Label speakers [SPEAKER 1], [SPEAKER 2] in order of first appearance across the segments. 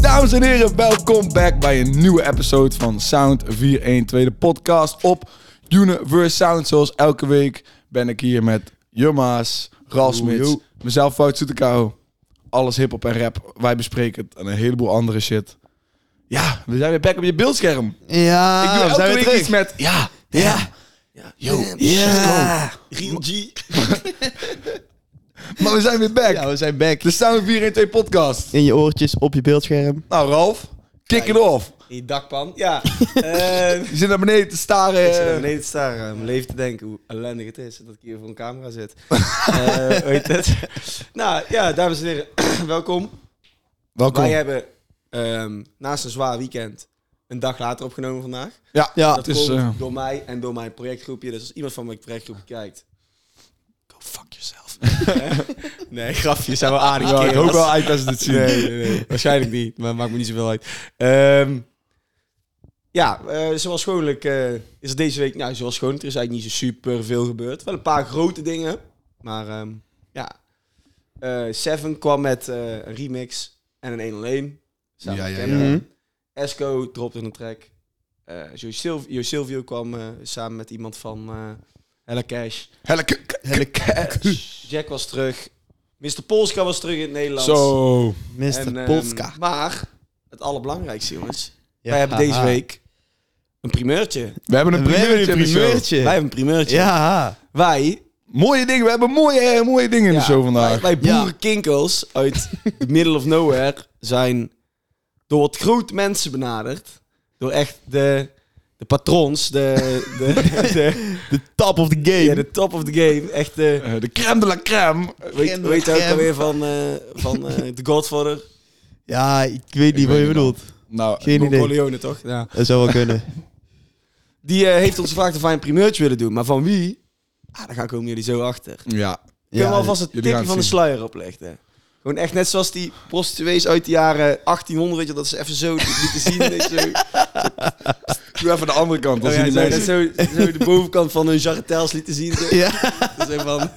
[SPEAKER 1] Dames en heren, welkom back bij een nieuwe episode van Sound 412, de podcast op Universe Sound. Zoals elke week ben ik hier met Jumma's, Rasmits,
[SPEAKER 2] Yo.
[SPEAKER 1] mezelf Fout Soetekau. Alles hip-hop en rap. Wij bespreken het en een heleboel andere shit. Ja, we zijn weer back op je beeldscherm.
[SPEAKER 2] Ja,
[SPEAKER 1] ik doe elke
[SPEAKER 2] zijn we
[SPEAKER 1] week
[SPEAKER 2] terug.
[SPEAKER 1] iets met ja, ja, ja, yo, let's
[SPEAKER 2] Ja.
[SPEAKER 3] G.
[SPEAKER 1] go. Maar we zijn weer back.
[SPEAKER 2] ja, we zijn back.
[SPEAKER 1] De Sound 412 podcast.
[SPEAKER 2] Dus In je oortjes, op je beeldscherm.
[SPEAKER 1] Nou Ralf, kick it
[SPEAKER 3] Kijk.
[SPEAKER 1] off.
[SPEAKER 3] Die dakpan. Ja. Ehm
[SPEAKER 1] Je zit naar beneden te staren.
[SPEAKER 3] ik zit naar beneden te staren, aan mijn leven te denken hoe ellendig het is dat ik hier voor een camera zit. Eh hoe heet het? Nou ja, dames en heren, welkom.
[SPEAKER 1] Welkom.
[SPEAKER 3] Wij eh, hebben ehm, naast een zwaar weekend een dag later opgenomen vandaag.
[SPEAKER 1] Ja,
[SPEAKER 2] Ja.
[SPEAKER 3] dat
[SPEAKER 1] het is,
[SPEAKER 3] komt
[SPEAKER 1] eh,
[SPEAKER 3] door mij en door mijn projectgroepje. Dus als iemand van mijn projectgroepje kijkt... Go fuck yourself. nee, grafje, zijn wel aardig.
[SPEAKER 1] ja, ik hoop wel uit als ze dit zien.
[SPEAKER 3] Nee, nee, nee. Waarschijnlijk niet, maar maakt me niet zoveel uit. Ehm, ja, eh, zoals gewoonlijk eh, is er deze week, nou, zoals gewoonlijk, er is eigenlijk niet zo super veel gebeurd. Wel een paar grote dingen, maar ehm, ja. Eh, Seven kwam met eh, een remix en een 1 alleen. Samen
[SPEAKER 1] Ja,
[SPEAKER 3] met
[SPEAKER 1] ja,
[SPEAKER 3] Camera.
[SPEAKER 2] Mhm.
[SPEAKER 3] Esco dropte een track. Eh Jo, Silv- Jo Silvio kwam eh, samen met iemand van eh Hella Cash.
[SPEAKER 1] Helle k- k- k-
[SPEAKER 3] Jack was terug. Mr. Polska was terug in het Nederlands.
[SPEAKER 1] Zo.
[SPEAKER 2] Mr.
[SPEAKER 3] En, ehm,
[SPEAKER 2] Polska.
[SPEAKER 3] maar het allerbelangrijkste, jongens.
[SPEAKER 2] Ja.
[SPEAKER 3] Wij hebben deze
[SPEAKER 2] Haha.
[SPEAKER 3] week een primeurtje.
[SPEAKER 1] We hebben een
[SPEAKER 2] We hebben
[SPEAKER 1] primeurtje
[SPEAKER 2] een
[SPEAKER 1] in de show.
[SPEAKER 2] primeurtje.
[SPEAKER 3] Wij hebben een primeurtje.
[SPEAKER 2] Ja.
[SPEAKER 3] Wij,
[SPEAKER 1] Mooie dingen. We hebben mooie, eh, mooie dingen in
[SPEAKER 3] ja,
[SPEAKER 1] de show vandaag.
[SPEAKER 3] Wij, wij
[SPEAKER 2] Ja.
[SPEAKER 3] boerenkinkels uit the middle of nowhere zijn door wat groot mensen benaderd. Door echt de, de patrons, de, de, de,
[SPEAKER 2] De top of the game.
[SPEAKER 3] ja, de top of the game. Echt de...
[SPEAKER 1] Eh, de crème de la crème.
[SPEAKER 3] Weet,
[SPEAKER 2] Crème de
[SPEAKER 3] weet je ook
[SPEAKER 2] crème.
[SPEAKER 3] alweer van, eh van eh The Godfather?
[SPEAKER 2] Ja, ik weet niet
[SPEAKER 1] Ik weet
[SPEAKER 2] wat je
[SPEAKER 1] niet,
[SPEAKER 2] bedoelt.
[SPEAKER 1] Nou,
[SPEAKER 2] Geen idee.
[SPEAKER 3] Corleone, toch? Ja.
[SPEAKER 2] Dat zou wel kunnen.
[SPEAKER 3] Die eh, heeft ons gevraagd of wij een primeurtje willen doen. Maar van wie? Ah, daar gaan komen jullie zo achter.
[SPEAKER 1] ja.
[SPEAKER 3] Kunnen
[SPEAKER 2] Ja,
[SPEAKER 3] we alvast het
[SPEAKER 1] jullie
[SPEAKER 3] tipje
[SPEAKER 1] gaan
[SPEAKER 3] van de
[SPEAKER 1] het zien.
[SPEAKER 3] sluier oplichten? Gewoon echt net zoals die prostituees uit de jaren 1800, weet je, dat ze even zo lieten zien. Weet je, zo.
[SPEAKER 1] Doe even de andere kant. Dan
[SPEAKER 3] Oh ja,
[SPEAKER 1] zien die
[SPEAKER 3] zo,
[SPEAKER 1] mensen.
[SPEAKER 3] net zo, zo de bovenkant van hun jarretels lieten zien. Zo.
[SPEAKER 2] ja.
[SPEAKER 3] Dus even van,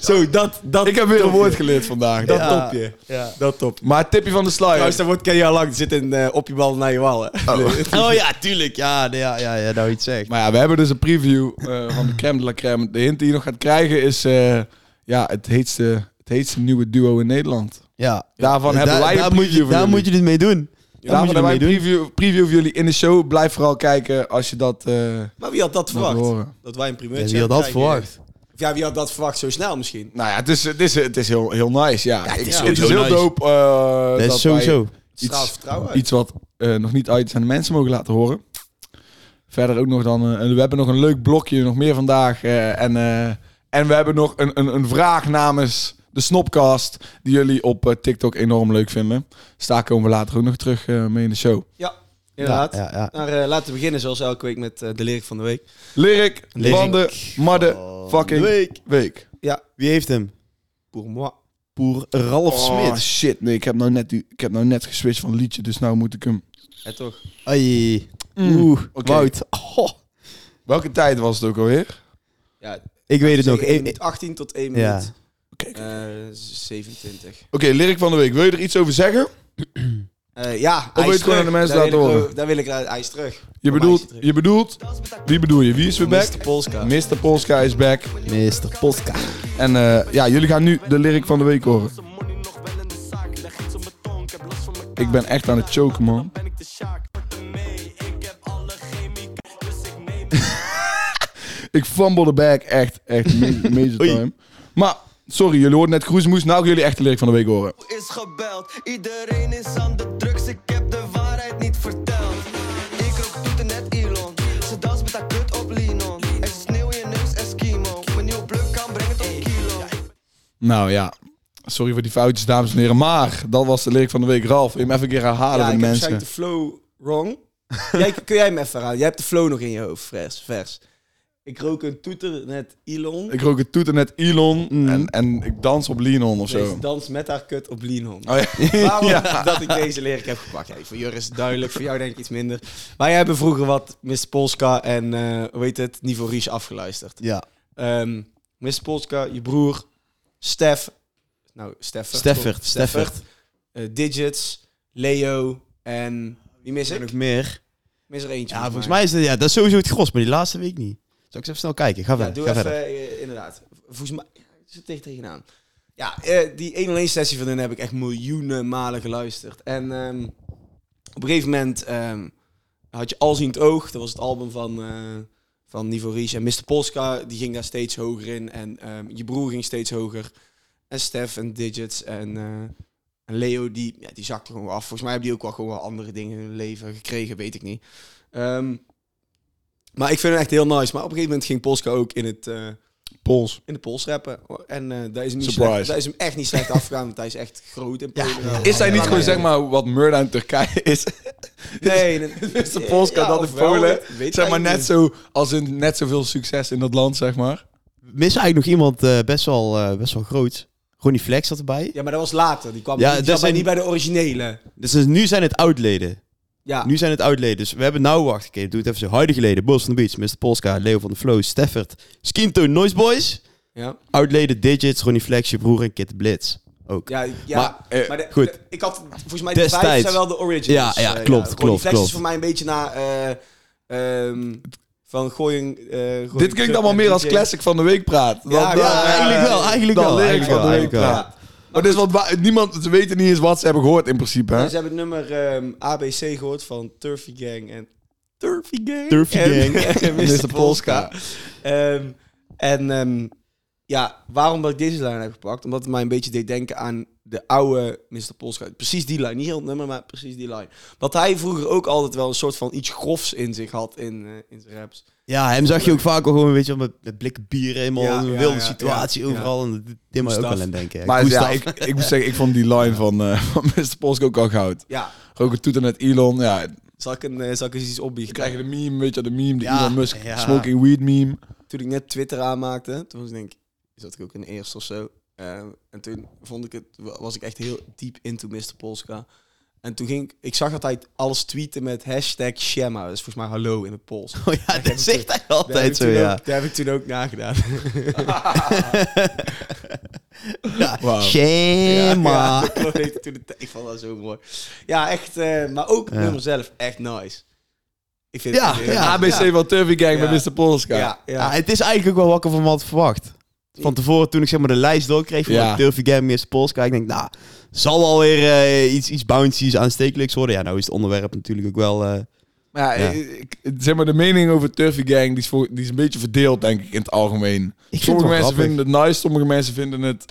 [SPEAKER 3] zo, dat, dat
[SPEAKER 1] Ik heb weer een
[SPEAKER 3] topje.
[SPEAKER 1] woord geleerd vandaag.
[SPEAKER 3] Dat
[SPEAKER 1] Dat-
[SPEAKER 2] Ja.
[SPEAKER 3] topje.
[SPEAKER 2] ja.
[SPEAKER 3] Dat top.
[SPEAKER 1] Maar het tipje van de
[SPEAKER 3] Trouwens,
[SPEAKER 1] sluier.
[SPEAKER 3] dat woord ken je al lang. Het zit in, eh, op je bal naar je wallen.
[SPEAKER 2] Oh ja, tuurlijk. Ja, nee, ja, ja, ja, nou iets zegt.
[SPEAKER 1] Maar ja, we hebben dus een preview eh, van de crème de la crème. De hint die je nog gaat krijgen is eh, ja, het, heetste, het heetste nieuwe duo in Nederland.
[SPEAKER 2] Ja.
[SPEAKER 1] Daarvan hebben
[SPEAKER 2] Daar-
[SPEAKER 1] wij
[SPEAKER 2] daar
[SPEAKER 1] een
[SPEAKER 2] moet
[SPEAKER 1] preview
[SPEAKER 2] je,
[SPEAKER 1] voor
[SPEAKER 2] Daar
[SPEAKER 1] jullie.
[SPEAKER 2] moet je dit mee doen.
[SPEAKER 1] Ja, Daarom
[SPEAKER 2] moet je
[SPEAKER 1] hebben wij
[SPEAKER 2] ermee
[SPEAKER 1] een preview, preview voor jullie in de show. Blijf vooral kijken als je dat eh,
[SPEAKER 3] Maar wie had dat
[SPEAKER 1] wilt
[SPEAKER 3] verwacht?
[SPEAKER 1] horen.
[SPEAKER 3] Dat wij een primeurtje
[SPEAKER 2] Ja, wie had dat
[SPEAKER 3] zouden krijgen?
[SPEAKER 2] verwacht?
[SPEAKER 3] Of Ja, wie had dat verwacht zo snel misschien?
[SPEAKER 1] Nou ja, het is, het is, het is heel, heel nice. Ja.
[SPEAKER 2] het is
[SPEAKER 1] Ik-
[SPEAKER 2] sowieso
[SPEAKER 1] heel
[SPEAKER 2] nice.
[SPEAKER 1] dope. eh,
[SPEAKER 2] Dat
[SPEAKER 1] wij
[SPEAKER 2] is sowieso.
[SPEAKER 3] Straalt
[SPEAKER 1] Iets,
[SPEAKER 3] vertrouwen uit.
[SPEAKER 1] iets wat eh, nog niet uit is aan de mensen mogen laten horen. Verder ook nog dan... eh, we hebben nog een leuk blokje, nog meer vandaag. eh, en, eh, en we hebben nog een, een, een vraag namens de Snopcast... die jullie op eh, TikTok enorm leuk vinden. Dus daar komen we later ook nog terug eh, mee in de show.
[SPEAKER 3] Ja, inderdaad.
[SPEAKER 2] Ja, ja, ja.
[SPEAKER 3] Maar eh, laten we beginnen zoals elke week met eh, de lyric van de week.
[SPEAKER 1] Lyric,
[SPEAKER 2] Lyric Oh,
[SPEAKER 1] van de madde fucking
[SPEAKER 2] Van de week.
[SPEAKER 1] week.
[SPEAKER 2] Wie heeft hem?
[SPEAKER 3] Pour moi.
[SPEAKER 2] Poer Ralf
[SPEAKER 1] Oh
[SPEAKER 2] Smit.
[SPEAKER 1] shit, nee, ik heb nou net, die- ik heb nou net geswitcht van liedje, dus nou moet ik hem.
[SPEAKER 3] Ja, toch?
[SPEAKER 2] Ai.
[SPEAKER 1] Mm.
[SPEAKER 2] Oeh,
[SPEAKER 1] Oké.
[SPEAKER 2] Wout. Oh.
[SPEAKER 1] Welke tijd was het ook alweer?
[SPEAKER 3] Ja,
[SPEAKER 2] Ik weet het nog.
[SPEAKER 3] Zeg één
[SPEAKER 2] E-
[SPEAKER 3] minuut 18 tot 1
[SPEAKER 2] Ja.
[SPEAKER 3] minuut
[SPEAKER 1] Oké, oké.
[SPEAKER 3] eh, 27.
[SPEAKER 1] Oké, lyric van de week. Wil je er iets over zeggen?
[SPEAKER 3] Eh, ja,
[SPEAKER 1] wil je het gewoon aan de mensen
[SPEAKER 3] Daar wil
[SPEAKER 1] laten
[SPEAKER 3] ik
[SPEAKER 1] horen?
[SPEAKER 3] wel- Daar wil ik naar ijs terug.
[SPEAKER 1] Je
[SPEAKER 3] Voor
[SPEAKER 1] bedoelt,
[SPEAKER 3] mij is het
[SPEAKER 1] je bedoelt, wie bedoel je? Wie is weer back?
[SPEAKER 3] Mr. Polska.
[SPEAKER 1] Mr. Polska is back.
[SPEAKER 2] Mr. Polska.
[SPEAKER 1] En eh, ja, jullie gaan nu de lyric van de week horen. Ik ben echt aan het choken, man.
[SPEAKER 4] dus
[SPEAKER 1] ik fumble de bag echt, echt ma- major
[SPEAKER 2] Oei.
[SPEAKER 1] time. Maar, sorry, jullie hoorden net Groesmoes. Nou gaan jullie echt de lyric van de week horen.
[SPEAKER 4] is gebeld. Iedereen is aan de drugs, ik heb de waarheid niet verteld. Ik rook toeten net Elon, ze danst met haar kut op Linon. Er is sneeuw in je neus, Eskimo. Mijn nieuwe pluk kan brengen tot een kilo.
[SPEAKER 1] Nou ja, sorry voor die foutjes, dames en heren. Maar, dat was de lyric van de week. Ralf, wil je hem even een keer herhalen
[SPEAKER 3] ja,
[SPEAKER 1] voor
[SPEAKER 3] ik
[SPEAKER 1] de
[SPEAKER 3] heb
[SPEAKER 1] mensen?
[SPEAKER 3] waarschijnlijk de flow wrong. jij, kun jij hem even herhalen? Jij hebt de flow nog in je hoofd, vers. vers. Ik rook een toeter net Elon.
[SPEAKER 1] Ik rook het toeter net Elon
[SPEAKER 3] Mm.
[SPEAKER 1] en, en ik dans op Linon of zo.
[SPEAKER 3] Deze dans met haar kut op Lienholm.
[SPEAKER 1] Oh, ja.
[SPEAKER 3] Waarom dat ik deze leer ik heb gepakt? Hey, voor Jur is het duidelijk, voor jou denk ik iets minder. Wij hebben vroeger wat Miss Polska en, eh hoe heet het, Niveau Ries afgeluisterd.
[SPEAKER 2] Ja.
[SPEAKER 3] Ehm Miss Polska, je broer, Stef, nou, Steffert.
[SPEAKER 2] Steffert,
[SPEAKER 3] Steffert. Eh, Digits, Leo, En die mis ik.
[SPEAKER 2] Nog meer.
[SPEAKER 3] Mis er eentje.
[SPEAKER 2] Ja, volgens mij is dat, ja, dat is sowieso het gros, maar die laatste week niet. Zal ik eens even snel kijken? Ga
[SPEAKER 3] Ja,
[SPEAKER 2] verder.
[SPEAKER 3] doe
[SPEAKER 2] ga
[SPEAKER 3] even,
[SPEAKER 2] verder.
[SPEAKER 3] eh, inderdaad. Volgens mij ja, ik zit tegen tegenaan. Ja, eh, die 1-1 sessie van hun heb ik echt miljoenen malen geluisterd. En ehm, op een gegeven moment ehm, had je Als in het Oog. Dat was het album van, eh van Nivo Ries. En Mr. Polska, die ging daar steeds hoger in. En ehm, je broer ging steeds hoger. En Stef en Digits en, eh, en Leo, die, ja, die zakte gewoon af. Volgens mij hebben die ook wel gewoon wel andere dingen in hun leven gekregen, weet ik niet. Ehm, maar ik vind het echt heel nice. Maar op een gegeven moment ging Polska ook in het... eh,
[SPEAKER 1] Pols.
[SPEAKER 3] in de pols rappen. En eh daar, is hem niet
[SPEAKER 1] Surprise.
[SPEAKER 3] slecht, daar is hem echt niet slecht afgegaan, want hij is echt groot in Polen.
[SPEAKER 1] Is hij niet
[SPEAKER 3] Ja,
[SPEAKER 1] gewoon
[SPEAKER 3] nee.
[SPEAKER 1] zeg maar wat Murda in Turkije is?
[SPEAKER 3] Nee, nee.
[SPEAKER 1] Is de Polska
[SPEAKER 3] Ja,
[SPEAKER 1] dat in
[SPEAKER 3] ofwel,
[SPEAKER 1] Polen?
[SPEAKER 3] dat weet
[SPEAKER 1] Zeg maar
[SPEAKER 3] ik
[SPEAKER 1] net
[SPEAKER 3] niet.
[SPEAKER 1] zo als in net zoveel succes in dat land, zeg maar.
[SPEAKER 2] Mis eigenlijk nog iemand eh, best, wel, eh, best wel groot. Ronnie Flex zat erbij.
[SPEAKER 3] Ja, maar dat was later. Die kwam,
[SPEAKER 2] Ja,
[SPEAKER 3] die
[SPEAKER 1] dus
[SPEAKER 2] dat
[SPEAKER 3] zat bij-
[SPEAKER 2] zijn-
[SPEAKER 3] niet bij de originele.
[SPEAKER 2] Dus, dus nu zijn het oudleden.
[SPEAKER 3] Ja,
[SPEAKER 2] Nu zijn het oudleden. Dus we hebben nou, wacht, oké, doe het even zo. Huidige leden, Bos van de Beach, Mr. Polska, Leo van de Flow, Steffert, Skinto, Noise Boys.
[SPEAKER 3] ja.
[SPEAKER 2] Oudleden, Digits, Ronnie Flex, je broer en Kid the Blitz. Ook.
[SPEAKER 3] ja, ja.
[SPEAKER 1] Maar, eh,
[SPEAKER 3] de-
[SPEAKER 2] goed.
[SPEAKER 3] de- ik had volgens mij de
[SPEAKER 2] Destijds.
[SPEAKER 3] vijf zijn wel de originals.
[SPEAKER 2] Ja, ja,
[SPEAKER 3] eh,
[SPEAKER 2] klopt,
[SPEAKER 3] Ronnie
[SPEAKER 2] klopt,
[SPEAKER 3] Flex
[SPEAKER 2] klopt.
[SPEAKER 3] is voor mij een beetje naar... eh, ehm, van gooien... eh, gooien-
[SPEAKER 1] Dit klinkt allemaal meer als
[SPEAKER 3] DJ.
[SPEAKER 1] classic van de week praat. Dan-
[SPEAKER 3] Ja,
[SPEAKER 1] dan-
[SPEAKER 2] Ja, eigenlijk wel, eigenlijk
[SPEAKER 1] dan
[SPEAKER 2] wel,
[SPEAKER 1] lyrics
[SPEAKER 2] eigenlijk
[SPEAKER 1] van de
[SPEAKER 2] wel,
[SPEAKER 1] week
[SPEAKER 2] eigenlijk wel.
[SPEAKER 1] praat. Maar dus wat, wa- niemand, ze weten niet eens wat ze hebben gehoord in principe. Hè?
[SPEAKER 3] Dus Ze hebben het nummer ehm, ABC gehoord van Turfy Gang en... Turfy Gang?
[SPEAKER 2] Turfy Gang.
[SPEAKER 3] en Mr.
[SPEAKER 1] Mr.
[SPEAKER 3] Polska. Ehm, en ehm, ja, waarom dat ik deze lijn heb gepakt? Omdat het mij een beetje deed denken aan de oude Mr. Polska. Precies die lijn. Niet heel het nummer, maar precies die lijn. Wat hij vroeger ook altijd wel een soort van iets grofs in zich had in, eh, in zijn raps.
[SPEAKER 2] Ja, hem zag je ook vaak al gewoon, weet je wel, met, met blikken bier helemaal
[SPEAKER 3] Ja,
[SPEAKER 2] in een
[SPEAKER 3] ja,
[SPEAKER 2] wilde
[SPEAKER 3] ja,
[SPEAKER 2] situatie
[SPEAKER 3] ja,
[SPEAKER 2] overal. En dit deed mij ook
[SPEAKER 3] Gustav.
[SPEAKER 2] wel aan denken. hè.
[SPEAKER 1] Maar ja,
[SPEAKER 2] Gustav.
[SPEAKER 1] ik, ik moet zeggen, ik vond die line van, eh, van Mr. Polska ook al goud.
[SPEAKER 3] Ja,
[SPEAKER 1] Ook een toeter met Elon. Ja,
[SPEAKER 3] zal ik, een, eh, zal ik eens iets
[SPEAKER 1] dan
[SPEAKER 3] opbiechten?
[SPEAKER 1] krijg je de meme, weet je, de meme, de
[SPEAKER 2] Ja,
[SPEAKER 1] Elon Musk
[SPEAKER 2] ja.
[SPEAKER 1] smoking weed meme.
[SPEAKER 3] toen ik net Twitter aanmaakte, toen was ik denk, is dat ik ook in de eerste of zo. Eh, en toen vond ik het, was ik echt heel diep into Mr. Polska. En toen ging ik, ik zag altijd alles tweeten met hashtag Shema. Dat is volgens mij hallo in het Pools.
[SPEAKER 2] Oh ja, dat zegt hij altijd zo,
[SPEAKER 3] toen
[SPEAKER 2] ja.
[SPEAKER 3] ook- daar heb ik toen ook nagedaan.
[SPEAKER 1] Wauw.
[SPEAKER 2] Shema.
[SPEAKER 3] Ja, dat weet ik toen de tijd. ik vond dat zo mooi. Ja, echt, eh, maar ook het
[SPEAKER 2] Ja.
[SPEAKER 3] nummer zelf, echt nice. Ik vind
[SPEAKER 2] Ja,
[SPEAKER 3] het
[SPEAKER 2] ja.
[SPEAKER 1] ABC van Turvy Gang
[SPEAKER 3] Ja.
[SPEAKER 1] met Mr. Polska.
[SPEAKER 3] ja,
[SPEAKER 2] Ja,
[SPEAKER 3] ja.
[SPEAKER 2] Ah, het is eigenlijk ook wel wat ik ervan had verwacht. Van tevoren, toen ik zeg maar de lijst doorkreeg van
[SPEAKER 1] Ja.
[SPEAKER 2] ja. Turfy Game is Polska, ik denk, nou, zal wel weer eh, iets, iets bouncy's aanstekelijks worden. Ja, nou is het onderwerp natuurlijk ook wel... eh,
[SPEAKER 1] Maar ja,
[SPEAKER 2] Ja.
[SPEAKER 1] ik- ik- zeg maar, de mening over Turfy Gang die is, voor- die is een beetje verdeeld, denk ik, in het algemeen.
[SPEAKER 2] vind
[SPEAKER 1] sommige
[SPEAKER 2] het wel
[SPEAKER 1] mensen
[SPEAKER 2] grappig.
[SPEAKER 1] vinden het nice, sommige mensen vinden het...
[SPEAKER 2] ik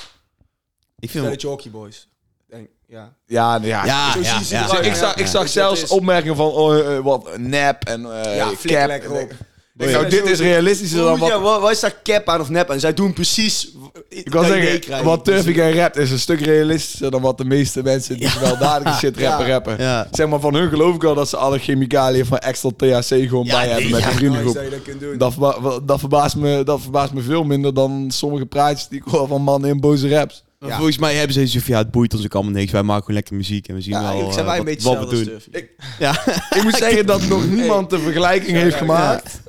[SPEAKER 2] vind
[SPEAKER 3] Stel
[SPEAKER 2] hem-
[SPEAKER 3] dat je Hockey Boys. Denk, ja.
[SPEAKER 1] Ja, nou ja.
[SPEAKER 2] ja,
[SPEAKER 3] zo
[SPEAKER 2] Ah, ja,
[SPEAKER 3] zie je
[SPEAKER 2] ja.
[SPEAKER 3] ze
[SPEAKER 1] Ik,
[SPEAKER 3] eruit.
[SPEAKER 1] ik zag, ik
[SPEAKER 3] Ja.
[SPEAKER 1] zag
[SPEAKER 3] Dus dat
[SPEAKER 1] zelfs
[SPEAKER 3] is-
[SPEAKER 1] opmerkingen van, oh, eh, eh, wat, nep en eh
[SPEAKER 3] ja,
[SPEAKER 1] cap.
[SPEAKER 3] flik lekker op.
[SPEAKER 1] Ik denk, nou, dit is realistischer dan
[SPEAKER 3] Hoe-
[SPEAKER 1] wat...
[SPEAKER 3] Ja, wa- wat is daar cap aan of nep aan? Zij doen precies...
[SPEAKER 1] Ik wil zeggen, wat
[SPEAKER 3] dus-
[SPEAKER 1] Turfy Gang rapt is een stuk realistischer dan wat de meeste mensen die weldadige shit rappen
[SPEAKER 3] Ja.
[SPEAKER 1] rappen.
[SPEAKER 2] Ja.
[SPEAKER 1] Zeg maar, van hun geloof ik wel dat ze alle chemicaliën van extra THC gewoon
[SPEAKER 2] Ja,
[SPEAKER 1] bij hebben
[SPEAKER 2] nee,
[SPEAKER 1] met
[SPEAKER 2] ja,
[SPEAKER 1] hun
[SPEAKER 3] nice
[SPEAKER 1] vriendengroep.
[SPEAKER 3] dat je dat kunt doen.
[SPEAKER 1] Dat, verba- wa- dat, verbaast me, dat verbaast me veel minder dan sommige praatjes die ik hoor van mannen in boze raps.
[SPEAKER 2] Maar
[SPEAKER 3] Ja.
[SPEAKER 2] Volgens mij hebben ze zoiets van, ja, het boeit ons ook allemaal niks. Wij maken gewoon lekker muziek en we zien
[SPEAKER 3] ja,
[SPEAKER 2] wel
[SPEAKER 3] eigenlijk
[SPEAKER 2] eh,
[SPEAKER 3] zijn wij een
[SPEAKER 2] wat,
[SPEAKER 3] beetje
[SPEAKER 2] wat we
[SPEAKER 3] hetzelfde als
[SPEAKER 2] doen.
[SPEAKER 3] Turfy. Ik-
[SPEAKER 2] Ja.
[SPEAKER 1] Ik moet zeggen dat nog niemand de vergelijking heeft
[SPEAKER 3] ja.
[SPEAKER 1] gemaakt.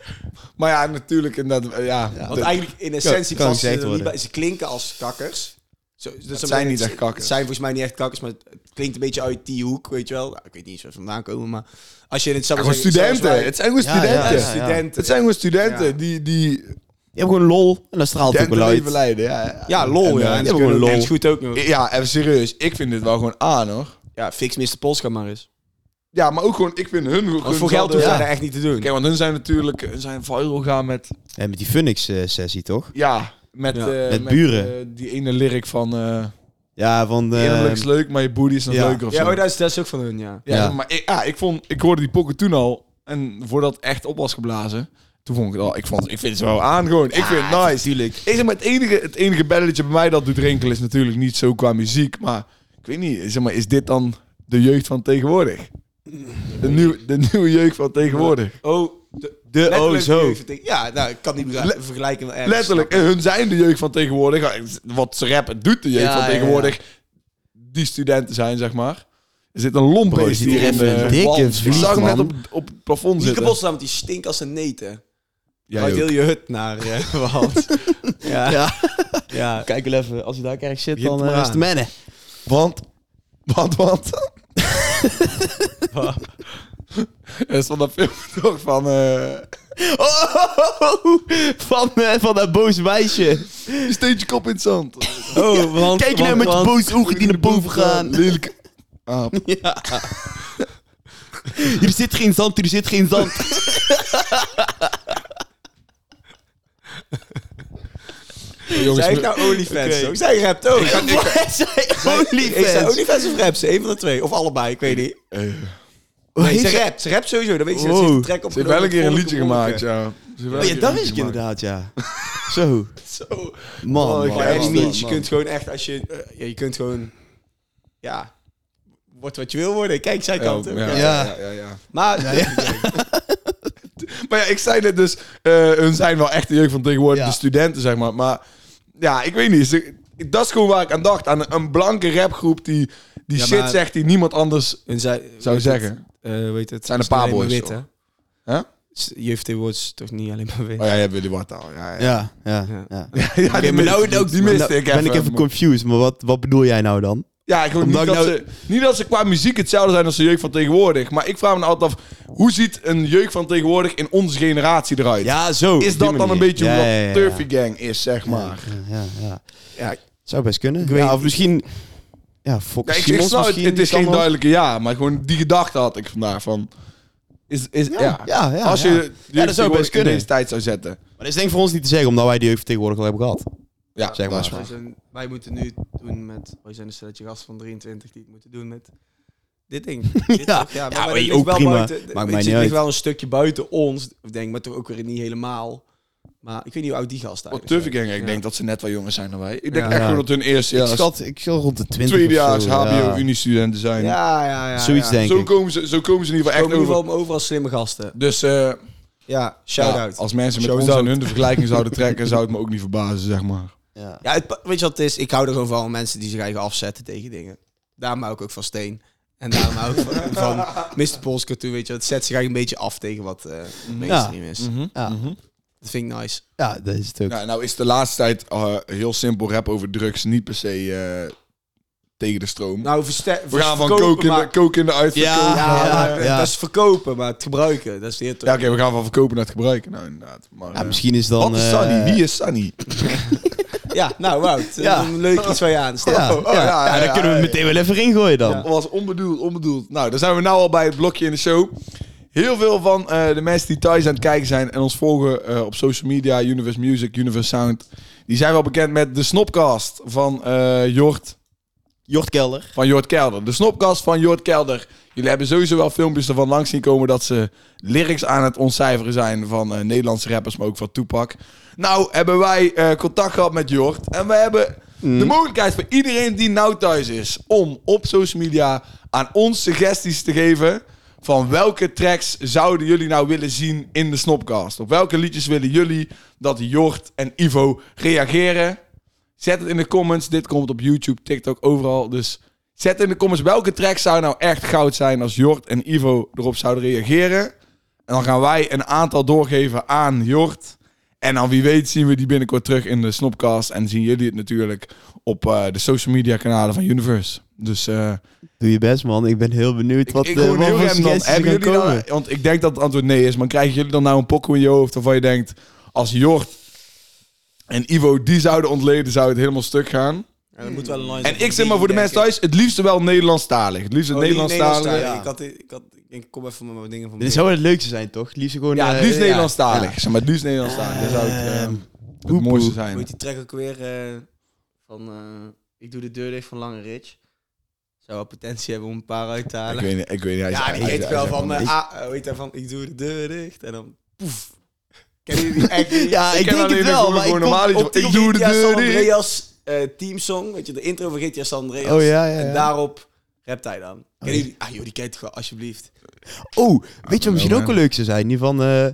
[SPEAKER 1] Maar ja, natuurlijk. Inderdaad, eh, ja,
[SPEAKER 3] Want
[SPEAKER 1] de-
[SPEAKER 3] eigenlijk in essentie
[SPEAKER 2] kan gezegd
[SPEAKER 3] passen ze er niet
[SPEAKER 2] worden.
[SPEAKER 3] bij. Ze klinken als kakkers. Zo, dus dan-
[SPEAKER 1] zijn niet
[SPEAKER 3] het-
[SPEAKER 1] echt kakkers.
[SPEAKER 3] Het zijn volgens mij niet echt kakkers, maar het klinkt een beetje uit die hoek, weet je wel. Nou, ik weet niet eens waar ze vandaan komen, maar als je in het zou
[SPEAKER 1] gewoon
[SPEAKER 3] zeggen,
[SPEAKER 1] studenten.
[SPEAKER 3] zoals
[SPEAKER 1] Het zijn gewoon
[SPEAKER 2] Ja, ja,
[SPEAKER 1] studenten.
[SPEAKER 2] ja, ja.
[SPEAKER 3] studenten.
[SPEAKER 1] Het zijn gewoon studenten
[SPEAKER 3] Ja.
[SPEAKER 1] die, die
[SPEAKER 2] Je hebt gewoon lol en dat straalt ook wel uit.
[SPEAKER 1] studentenleven leiden. Ja, ja.
[SPEAKER 3] wij- Ja, lol,
[SPEAKER 2] En, eh,
[SPEAKER 3] ja.
[SPEAKER 2] ja,
[SPEAKER 3] En ze
[SPEAKER 2] gewoon
[SPEAKER 3] kunnen ook
[SPEAKER 2] lol.
[SPEAKER 3] echt goed ook nog.
[SPEAKER 1] Ja, even serieus. Ik vind dit wel gewoon aan, hoor.
[SPEAKER 3] Ja, fix Mr. Polska maar eens.
[SPEAKER 1] Ja, maar ook gewoon, ik vind hun... hun
[SPEAKER 3] Want voor geld
[SPEAKER 1] zouden-
[SPEAKER 3] hoeft hij
[SPEAKER 1] Ja.
[SPEAKER 3] dat echt niet te doen.
[SPEAKER 1] Kijk, want hun zijn natuurlijk... Hun zijn viral gaan met...
[SPEAKER 2] En met die Phoenix-sessie, toch?
[SPEAKER 1] Ja, met...
[SPEAKER 3] Ja.
[SPEAKER 1] eh,
[SPEAKER 2] Met buren.
[SPEAKER 1] eh, die ene lyric van... eh
[SPEAKER 2] Ja, van... eh,
[SPEAKER 1] Eerlijk is leuk, maar je booty is nog
[SPEAKER 2] ja.
[SPEAKER 1] leuker of
[SPEAKER 3] Ja,
[SPEAKER 1] zo.
[SPEAKER 3] oh, dat is, dat is ook van hun, ja.
[SPEAKER 1] Ja,
[SPEAKER 2] Ja.
[SPEAKER 1] maar ik, ja, ik, vond, ik hoorde die pokken toen al. En voordat het echt op was geblazen, toen vond ik het al. Ik, vond, ik vind het wel aan gewoon. ik vind het nice.
[SPEAKER 2] tuurlijk.
[SPEAKER 1] Ik zeg maar, het enige, het enige belletje bij mij dat doet rinkelen is natuurlijk niet zo qua muziek. Maar ik weet niet, zeg maar, is dit dan de jeugd van tegenwoordig? De, nieuw, de nieuwe jeugd van tegenwoordig.
[SPEAKER 3] Oh, de,
[SPEAKER 2] De oh
[SPEAKER 3] letterlijk
[SPEAKER 2] zo.
[SPEAKER 3] jeugdvertegen- Ja, nou, ik kan niet begrijpen- vergelijken. met ergens.
[SPEAKER 1] Letterlijk, en hun zijn de jeugd van tegenwoordig. Wat ze rappen doet de jeugd
[SPEAKER 2] Ja,
[SPEAKER 1] van
[SPEAKER 2] ja, ja.
[SPEAKER 1] tegenwoordig. Die studenten zijn, zeg maar. Er zit een lomp
[SPEAKER 2] Bro,
[SPEAKER 1] die
[SPEAKER 2] zit hier
[SPEAKER 1] in
[SPEAKER 2] even
[SPEAKER 1] de
[SPEAKER 2] een dikke
[SPEAKER 1] wand. Ik
[SPEAKER 2] vlieg,
[SPEAKER 1] zag hem net
[SPEAKER 2] man.
[SPEAKER 1] op, op het plafond
[SPEAKER 3] Niet
[SPEAKER 1] zitten.
[SPEAKER 3] kapot slaan, want die stinkt als een neten.
[SPEAKER 1] Ja,
[SPEAKER 3] Uit
[SPEAKER 1] joh.
[SPEAKER 3] heel je hut naar eh Wahand. ja.
[SPEAKER 2] Ja.
[SPEAKER 3] ja.
[SPEAKER 2] Kijk wel even, als hij daar ergens zit,
[SPEAKER 3] Begint
[SPEAKER 2] dan
[SPEAKER 3] maar
[SPEAKER 2] eh, is
[SPEAKER 3] aan.
[SPEAKER 2] het mennen.
[SPEAKER 1] Want, want, want. Er stond dat filmpje toch van... eh,
[SPEAKER 2] Oh, van, eh, van dat boos wijsje.
[SPEAKER 1] steentje kop in het zand.
[SPEAKER 3] Oh, want,
[SPEAKER 2] Kijk nou met je boos ogen die naar boven gaan.
[SPEAKER 1] Lelijk. aap.
[SPEAKER 2] Ja. Er zit geen zand, er zit geen zand.
[SPEAKER 1] Jongens,
[SPEAKER 3] Zij
[SPEAKER 1] we-
[SPEAKER 3] heeft nou OnlyFans
[SPEAKER 2] Oké.
[SPEAKER 3] ook. Zij rapt ook.
[SPEAKER 2] Wat zei
[SPEAKER 3] Is zij
[SPEAKER 2] OnlyFans?
[SPEAKER 3] OnlyFans of rapt ze? Eén van de twee. Of allebei, ik weet niet. Nee,
[SPEAKER 2] Heeft
[SPEAKER 3] ze
[SPEAKER 2] zij-
[SPEAKER 3] rapt. Ze rapt sowieso. Dan weet je dat
[SPEAKER 2] Wow.
[SPEAKER 3] ze heeft een track op.
[SPEAKER 1] Ze heeft wel een keer een liedje gemaakt, ja. Ze heeft wel
[SPEAKER 2] Oh,
[SPEAKER 1] een
[SPEAKER 2] ja,
[SPEAKER 1] keer
[SPEAKER 2] dat
[SPEAKER 1] een
[SPEAKER 2] is ik
[SPEAKER 1] liedje gemaakt.
[SPEAKER 2] inderdaad, ja. Zo. Oh,
[SPEAKER 3] Zo.
[SPEAKER 2] Man,
[SPEAKER 1] ik
[SPEAKER 2] man,
[SPEAKER 1] ga
[SPEAKER 3] Oh, Ja,
[SPEAKER 1] echt
[SPEAKER 2] man,
[SPEAKER 1] niet.
[SPEAKER 2] man.
[SPEAKER 3] je kunt gewoon echt als je... eh, ja, je kunt gewoon... Ja. Wordt wat je wil worden. Kijk, zij kan het ook.
[SPEAKER 1] Oh, Ja,
[SPEAKER 3] Ja.
[SPEAKER 1] ja,
[SPEAKER 2] Ja.
[SPEAKER 1] ja, ja, ja.
[SPEAKER 3] Maar...
[SPEAKER 1] Maar ja, ik zei net dus, eh, hun zijn wel echt de jeugd van tegenwoordig,
[SPEAKER 2] Ja.
[SPEAKER 1] de studenten, zeg maar. Maar ja, ik weet niet. ze- Dat is gewoon waar ik aan dacht. Aan een, een blanke rapgroep die, die
[SPEAKER 3] Ja,
[SPEAKER 1] shit
[SPEAKER 3] maar-
[SPEAKER 1] zegt die niemand anders...
[SPEAKER 3] En zij,
[SPEAKER 1] Zou
[SPEAKER 3] weet
[SPEAKER 1] zeggen.
[SPEAKER 3] Het, eh, weet het,
[SPEAKER 1] Zijn een
[SPEAKER 3] is niet
[SPEAKER 1] paar
[SPEAKER 3] alleen maar
[SPEAKER 1] boys,
[SPEAKER 3] wit,
[SPEAKER 1] joh.
[SPEAKER 3] hè?
[SPEAKER 1] Huh?
[SPEAKER 3] S- Jeugd tegenwoordig is toch niet alleen maar wit.
[SPEAKER 1] Oh ja, jij Willy Wart al. Ja, ja.
[SPEAKER 2] Ja, ja, ja.
[SPEAKER 3] Ja.
[SPEAKER 1] Ja, die, mist, die miste
[SPEAKER 2] Nou,
[SPEAKER 1] ik
[SPEAKER 2] ben ik even confused, maar wat, wat bedoel jij nou dan?
[SPEAKER 1] Ja, ik hoop niet,
[SPEAKER 2] Omdat
[SPEAKER 1] dat
[SPEAKER 2] ik nou-
[SPEAKER 1] ze, niet dat ze qua muziek hetzelfde zijn als de jeugd van tegenwoordig. Maar ik vraag me nou altijd af, hoe ziet een jeugd van tegenwoordig in onze generatie eruit?
[SPEAKER 2] Ja, zo.
[SPEAKER 1] is dat dan een beetje
[SPEAKER 2] Ja,
[SPEAKER 1] hoe dat
[SPEAKER 2] ja, ja,
[SPEAKER 1] Turfy Gang is, zeg maar?
[SPEAKER 2] Ja, ja.
[SPEAKER 3] Ja,
[SPEAKER 2] Zou best kunnen.
[SPEAKER 3] weet-
[SPEAKER 2] ja, of misschien... Ja, Fox
[SPEAKER 1] Ja, ik, ik
[SPEAKER 2] Simons
[SPEAKER 1] snap het,
[SPEAKER 2] misschien,
[SPEAKER 1] het is
[SPEAKER 2] kan
[SPEAKER 1] geen
[SPEAKER 2] wel.
[SPEAKER 1] duidelijke ja, maar gewoon die gedachte had ik vandaag van... Is, is, ja.
[SPEAKER 2] ja, ja,
[SPEAKER 1] Als je
[SPEAKER 2] ja.
[SPEAKER 1] de
[SPEAKER 2] Ja, dat
[SPEAKER 1] jeugd
[SPEAKER 2] zou best
[SPEAKER 1] tegenwoordig in
[SPEAKER 2] kunnen.
[SPEAKER 1] deze tijd zou zetten.
[SPEAKER 2] Maar dat is denk ik voor ons niet te zeggen, omdat wij die jeugd tegenwoordig al hebben gehad.
[SPEAKER 1] Ja,
[SPEAKER 2] Zeg maar.
[SPEAKER 1] daar.
[SPEAKER 3] wij, zijn- dus, eh, wij moeten nu doen met... Wij zijn een stelletje gast van 23 die het moeten doen met... Dit ding. Dit
[SPEAKER 2] Ja.
[SPEAKER 3] toch? maar
[SPEAKER 2] Ja,
[SPEAKER 3] wij
[SPEAKER 2] maar
[SPEAKER 3] liggen
[SPEAKER 2] ook prima.
[SPEAKER 3] Buiten,
[SPEAKER 2] Maakt
[SPEAKER 3] weet
[SPEAKER 2] mij
[SPEAKER 3] je,
[SPEAKER 2] niet
[SPEAKER 3] het
[SPEAKER 2] uit.
[SPEAKER 3] ligt wel een stukje buiten ons, ik denk maar toch ook weer niet helemaal. Maar ik weet niet hoe oud die gast
[SPEAKER 1] Wat
[SPEAKER 3] eigenlijk
[SPEAKER 1] Turfy Gang, ik
[SPEAKER 3] Ja.
[SPEAKER 1] denk dat ze net wel jonger zijn dan wij. Ik denk
[SPEAKER 3] Ja.
[SPEAKER 1] echt
[SPEAKER 2] Ja.
[SPEAKER 1] gewoon dat hun eerste jaar,
[SPEAKER 2] ik, schat, ik zal rond de 20
[SPEAKER 1] tweedejaars
[SPEAKER 2] of zo, ja.
[SPEAKER 1] HBO-uni-studenten zijn.
[SPEAKER 3] Ja, ja, ja.
[SPEAKER 2] Zoiets
[SPEAKER 3] ja.
[SPEAKER 2] denk
[SPEAKER 1] zo,
[SPEAKER 2] ik.
[SPEAKER 1] komen ze, zo komen ze in ieder
[SPEAKER 3] Echt
[SPEAKER 1] geval
[SPEAKER 3] in
[SPEAKER 1] echt
[SPEAKER 3] ieder
[SPEAKER 1] over.
[SPEAKER 3] geval overal slimme gasten.
[SPEAKER 1] Dus... eh,
[SPEAKER 3] Ja, shout-out.
[SPEAKER 1] Ja, als mensen met
[SPEAKER 3] Shout
[SPEAKER 1] ons
[SPEAKER 3] out.
[SPEAKER 1] en hun de vergelijking zouden trekken, zou het me ook niet verbazen, zeg maar.
[SPEAKER 2] Ja.
[SPEAKER 3] Ja, het, weet je wat het is? Ik hou er gewoon van mensen die zich eigen afzetten tegen dingen. Daarom hou ik ook van Steen. En daarom hou ik van, van Mr. Polska toe, weet je. Het zet zich eigenlijk een beetje af tegen wat eh mainstream is.
[SPEAKER 2] Ja. Mhm.
[SPEAKER 3] Dat vind ik nice.
[SPEAKER 2] Hm? Ja, dat is het ook.
[SPEAKER 1] Nou, nou is de laatste tijd eh, heel simpel rap over drugs niet per se eh, tegen de stroom.
[SPEAKER 3] Nou, verste-
[SPEAKER 1] We gaan van
[SPEAKER 3] verkopen,
[SPEAKER 1] koken in, de-
[SPEAKER 3] maar-
[SPEAKER 1] koken in de uitverkoop.
[SPEAKER 2] Ja,
[SPEAKER 1] naar-
[SPEAKER 3] Ja,
[SPEAKER 1] Ja,
[SPEAKER 2] ja,
[SPEAKER 3] maar
[SPEAKER 2] ja.
[SPEAKER 3] dat is verkopen, maar het gebruiken, dat is de heer
[SPEAKER 1] oké, we gaan van verkopen naar het gebruiken. Nou, inderdaad. Maar,
[SPEAKER 2] Ja,
[SPEAKER 1] eh,
[SPEAKER 2] misschien is dan...
[SPEAKER 1] wat is
[SPEAKER 2] eh,
[SPEAKER 1] Sunny? Wie is Sunny?
[SPEAKER 3] Ja, nou Wout,
[SPEAKER 2] Ja.
[SPEAKER 3] een leuk iets van je aan. Stel.
[SPEAKER 2] Ja,
[SPEAKER 1] Oh, oh,
[SPEAKER 2] ja.
[SPEAKER 1] ja, ja,
[SPEAKER 2] Ja, dan
[SPEAKER 1] ja,
[SPEAKER 2] kunnen we
[SPEAKER 1] ja.
[SPEAKER 2] meteen wel even ingooien dan.
[SPEAKER 1] Dat was onbedoeld, onbedoeld. Nou, dan zijn we nou al bij het blokje in de show. Heel veel van eh, de mensen die thuis aan het kijken zijn en ons volgen eh, op social media, Universe Music, Universe Sound, die zijn wel bekend met de Snopcast van eh Jort.
[SPEAKER 2] Jort Kelder.
[SPEAKER 1] van Jort Kelder. De snopkast van Jort Kelder. Jullie hebben sowieso wel filmpjes ervan langs zien komen dat ze lyrics aan het ontcijferen zijn van eh, Nederlandse rappers, maar ook van Toepak. Nou hebben wij eh, contact gehad met Jort en we hebben de mogelijkheid voor iedereen die nou thuis is om op social media aan ons suggesties te geven van welke tracks zouden jullie nou willen zien in de snopkast. Op welke liedjes willen jullie dat Jort en Ivo reageren? Zet het in de comments. Dit komt op YouTube, TikTok, overal. Dus zet in de comments welke track zou nou echt goud zijn als Jort en Ivo erop zouden reageren. En dan gaan wij een aantal doorgeven aan Jort. En dan wie weet zien we die binnenkort terug in de Snopcast. En zien jullie het natuurlijk op eh, de social media kanalen van Universe. Dus eh
[SPEAKER 2] Doe je best, man. Ik ben heel benieuwd wat,
[SPEAKER 1] ik, ik
[SPEAKER 2] eh,
[SPEAKER 1] gewoon
[SPEAKER 2] wat
[SPEAKER 1] heel
[SPEAKER 2] voor
[SPEAKER 1] random.
[SPEAKER 2] suggesties er
[SPEAKER 1] Hebben
[SPEAKER 2] gaan
[SPEAKER 1] jullie nou-
[SPEAKER 2] komen.
[SPEAKER 1] dan, want ik denk dat het antwoord nee is. Maar krijgen jullie dan nou een pokoe in je hoofd waarvan je denkt... Als Jort en Ivo die zouden ontleden, zou het helemaal stuk gaan.
[SPEAKER 3] Ja, dat moet wel een line zijn
[SPEAKER 1] En ik
[SPEAKER 3] van
[SPEAKER 1] zeg maar voor de
[SPEAKER 3] Dean,
[SPEAKER 1] mensen
[SPEAKER 3] denk ik.
[SPEAKER 1] thuis, het liefst wel Nederlandstalig. Het liefst een
[SPEAKER 3] Oh, die
[SPEAKER 1] Nederlandstalig.
[SPEAKER 3] Nederlandstalig,
[SPEAKER 2] ja.
[SPEAKER 3] Ik, had, ik, had, ik denk, kom even van mijn dingen van
[SPEAKER 2] Dit zou wel het leukste zijn, toch? Liefst gewoon...
[SPEAKER 1] Ja,
[SPEAKER 2] eh,
[SPEAKER 1] het liefst
[SPEAKER 2] ja.
[SPEAKER 1] Nederlandstalig. Zeg maar, het liefst Nederlandstalig. Dat zou het, eh,
[SPEAKER 2] Ehm,
[SPEAKER 1] het mooiste
[SPEAKER 3] Hoe
[SPEAKER 1] zijn.
[SPEAKER 3] heet die track ook weer? eh, van eh, Ik doe de deur dicht van Lange Rich. Zou wel potentie hebben om een paar uit te
[SPEAKER 1] Ik
[SPEAKER 3] halen.
[SPEAKER 1] weet niet, ik weet niet. Hij
[SPEAKER 3] ja,
[SPEAKER 1] zei-
[SPEAKER 3] die
[SPEAKER 1] hij
[SPEAKER 3] heet
[SPEAKER 1] zei-
[SPEAKER 3] wel
[SPEAKER 1] hij zei
[SPEAKER 3] van, eh, ah, eh, hoe heet dat van Ik doe de deur dicht. En dan poef. Kennen jullie die echt niet?
[SPEAKER 2] Ja, ik,
[SPEAKER 1] ken
[SPEAKER 2] denk het
[SPEAKER 1] alleen
[SPEAKER 2] wel,
[SPEAKER 1] gewoon
[SPEAKER 2] maar ik
[SPEAKER 1] gewoon
[SPEAKER 2] kom
[SPEAKER 1] normaal iets
[SPEAKER 2] op
[SPEAKER 1] van,
[SPEAKER 2] die-
[SPEAKER 1] ik doe de
[SPEAKER 3] GTA
[SPEAKER 1] deur
[SPEAKER 3] San
[SPEAKER 1] dicht.
[SPEAKER 3] Andreas eh, teamsong. Weet je, de intro van GTA San Andreas.
[SPEAKER 2] Oh, ja, ja, ja.
[SPEAKER 3] En daarop rapt hij
[SPEAKER 1] Oh,
[SPEAKER 3] dan. Kennen jullie? Ah joh, die kent toch wel, alsjeblieft.
[SPEAKER 2] Oh, weet je
[SPEAKER 3] Ah,
[SPEAKER 2] wat misschien
[SPEAKER 1] man.
[SPEAKER 2] ook wel leuk zou zijn? Die van eh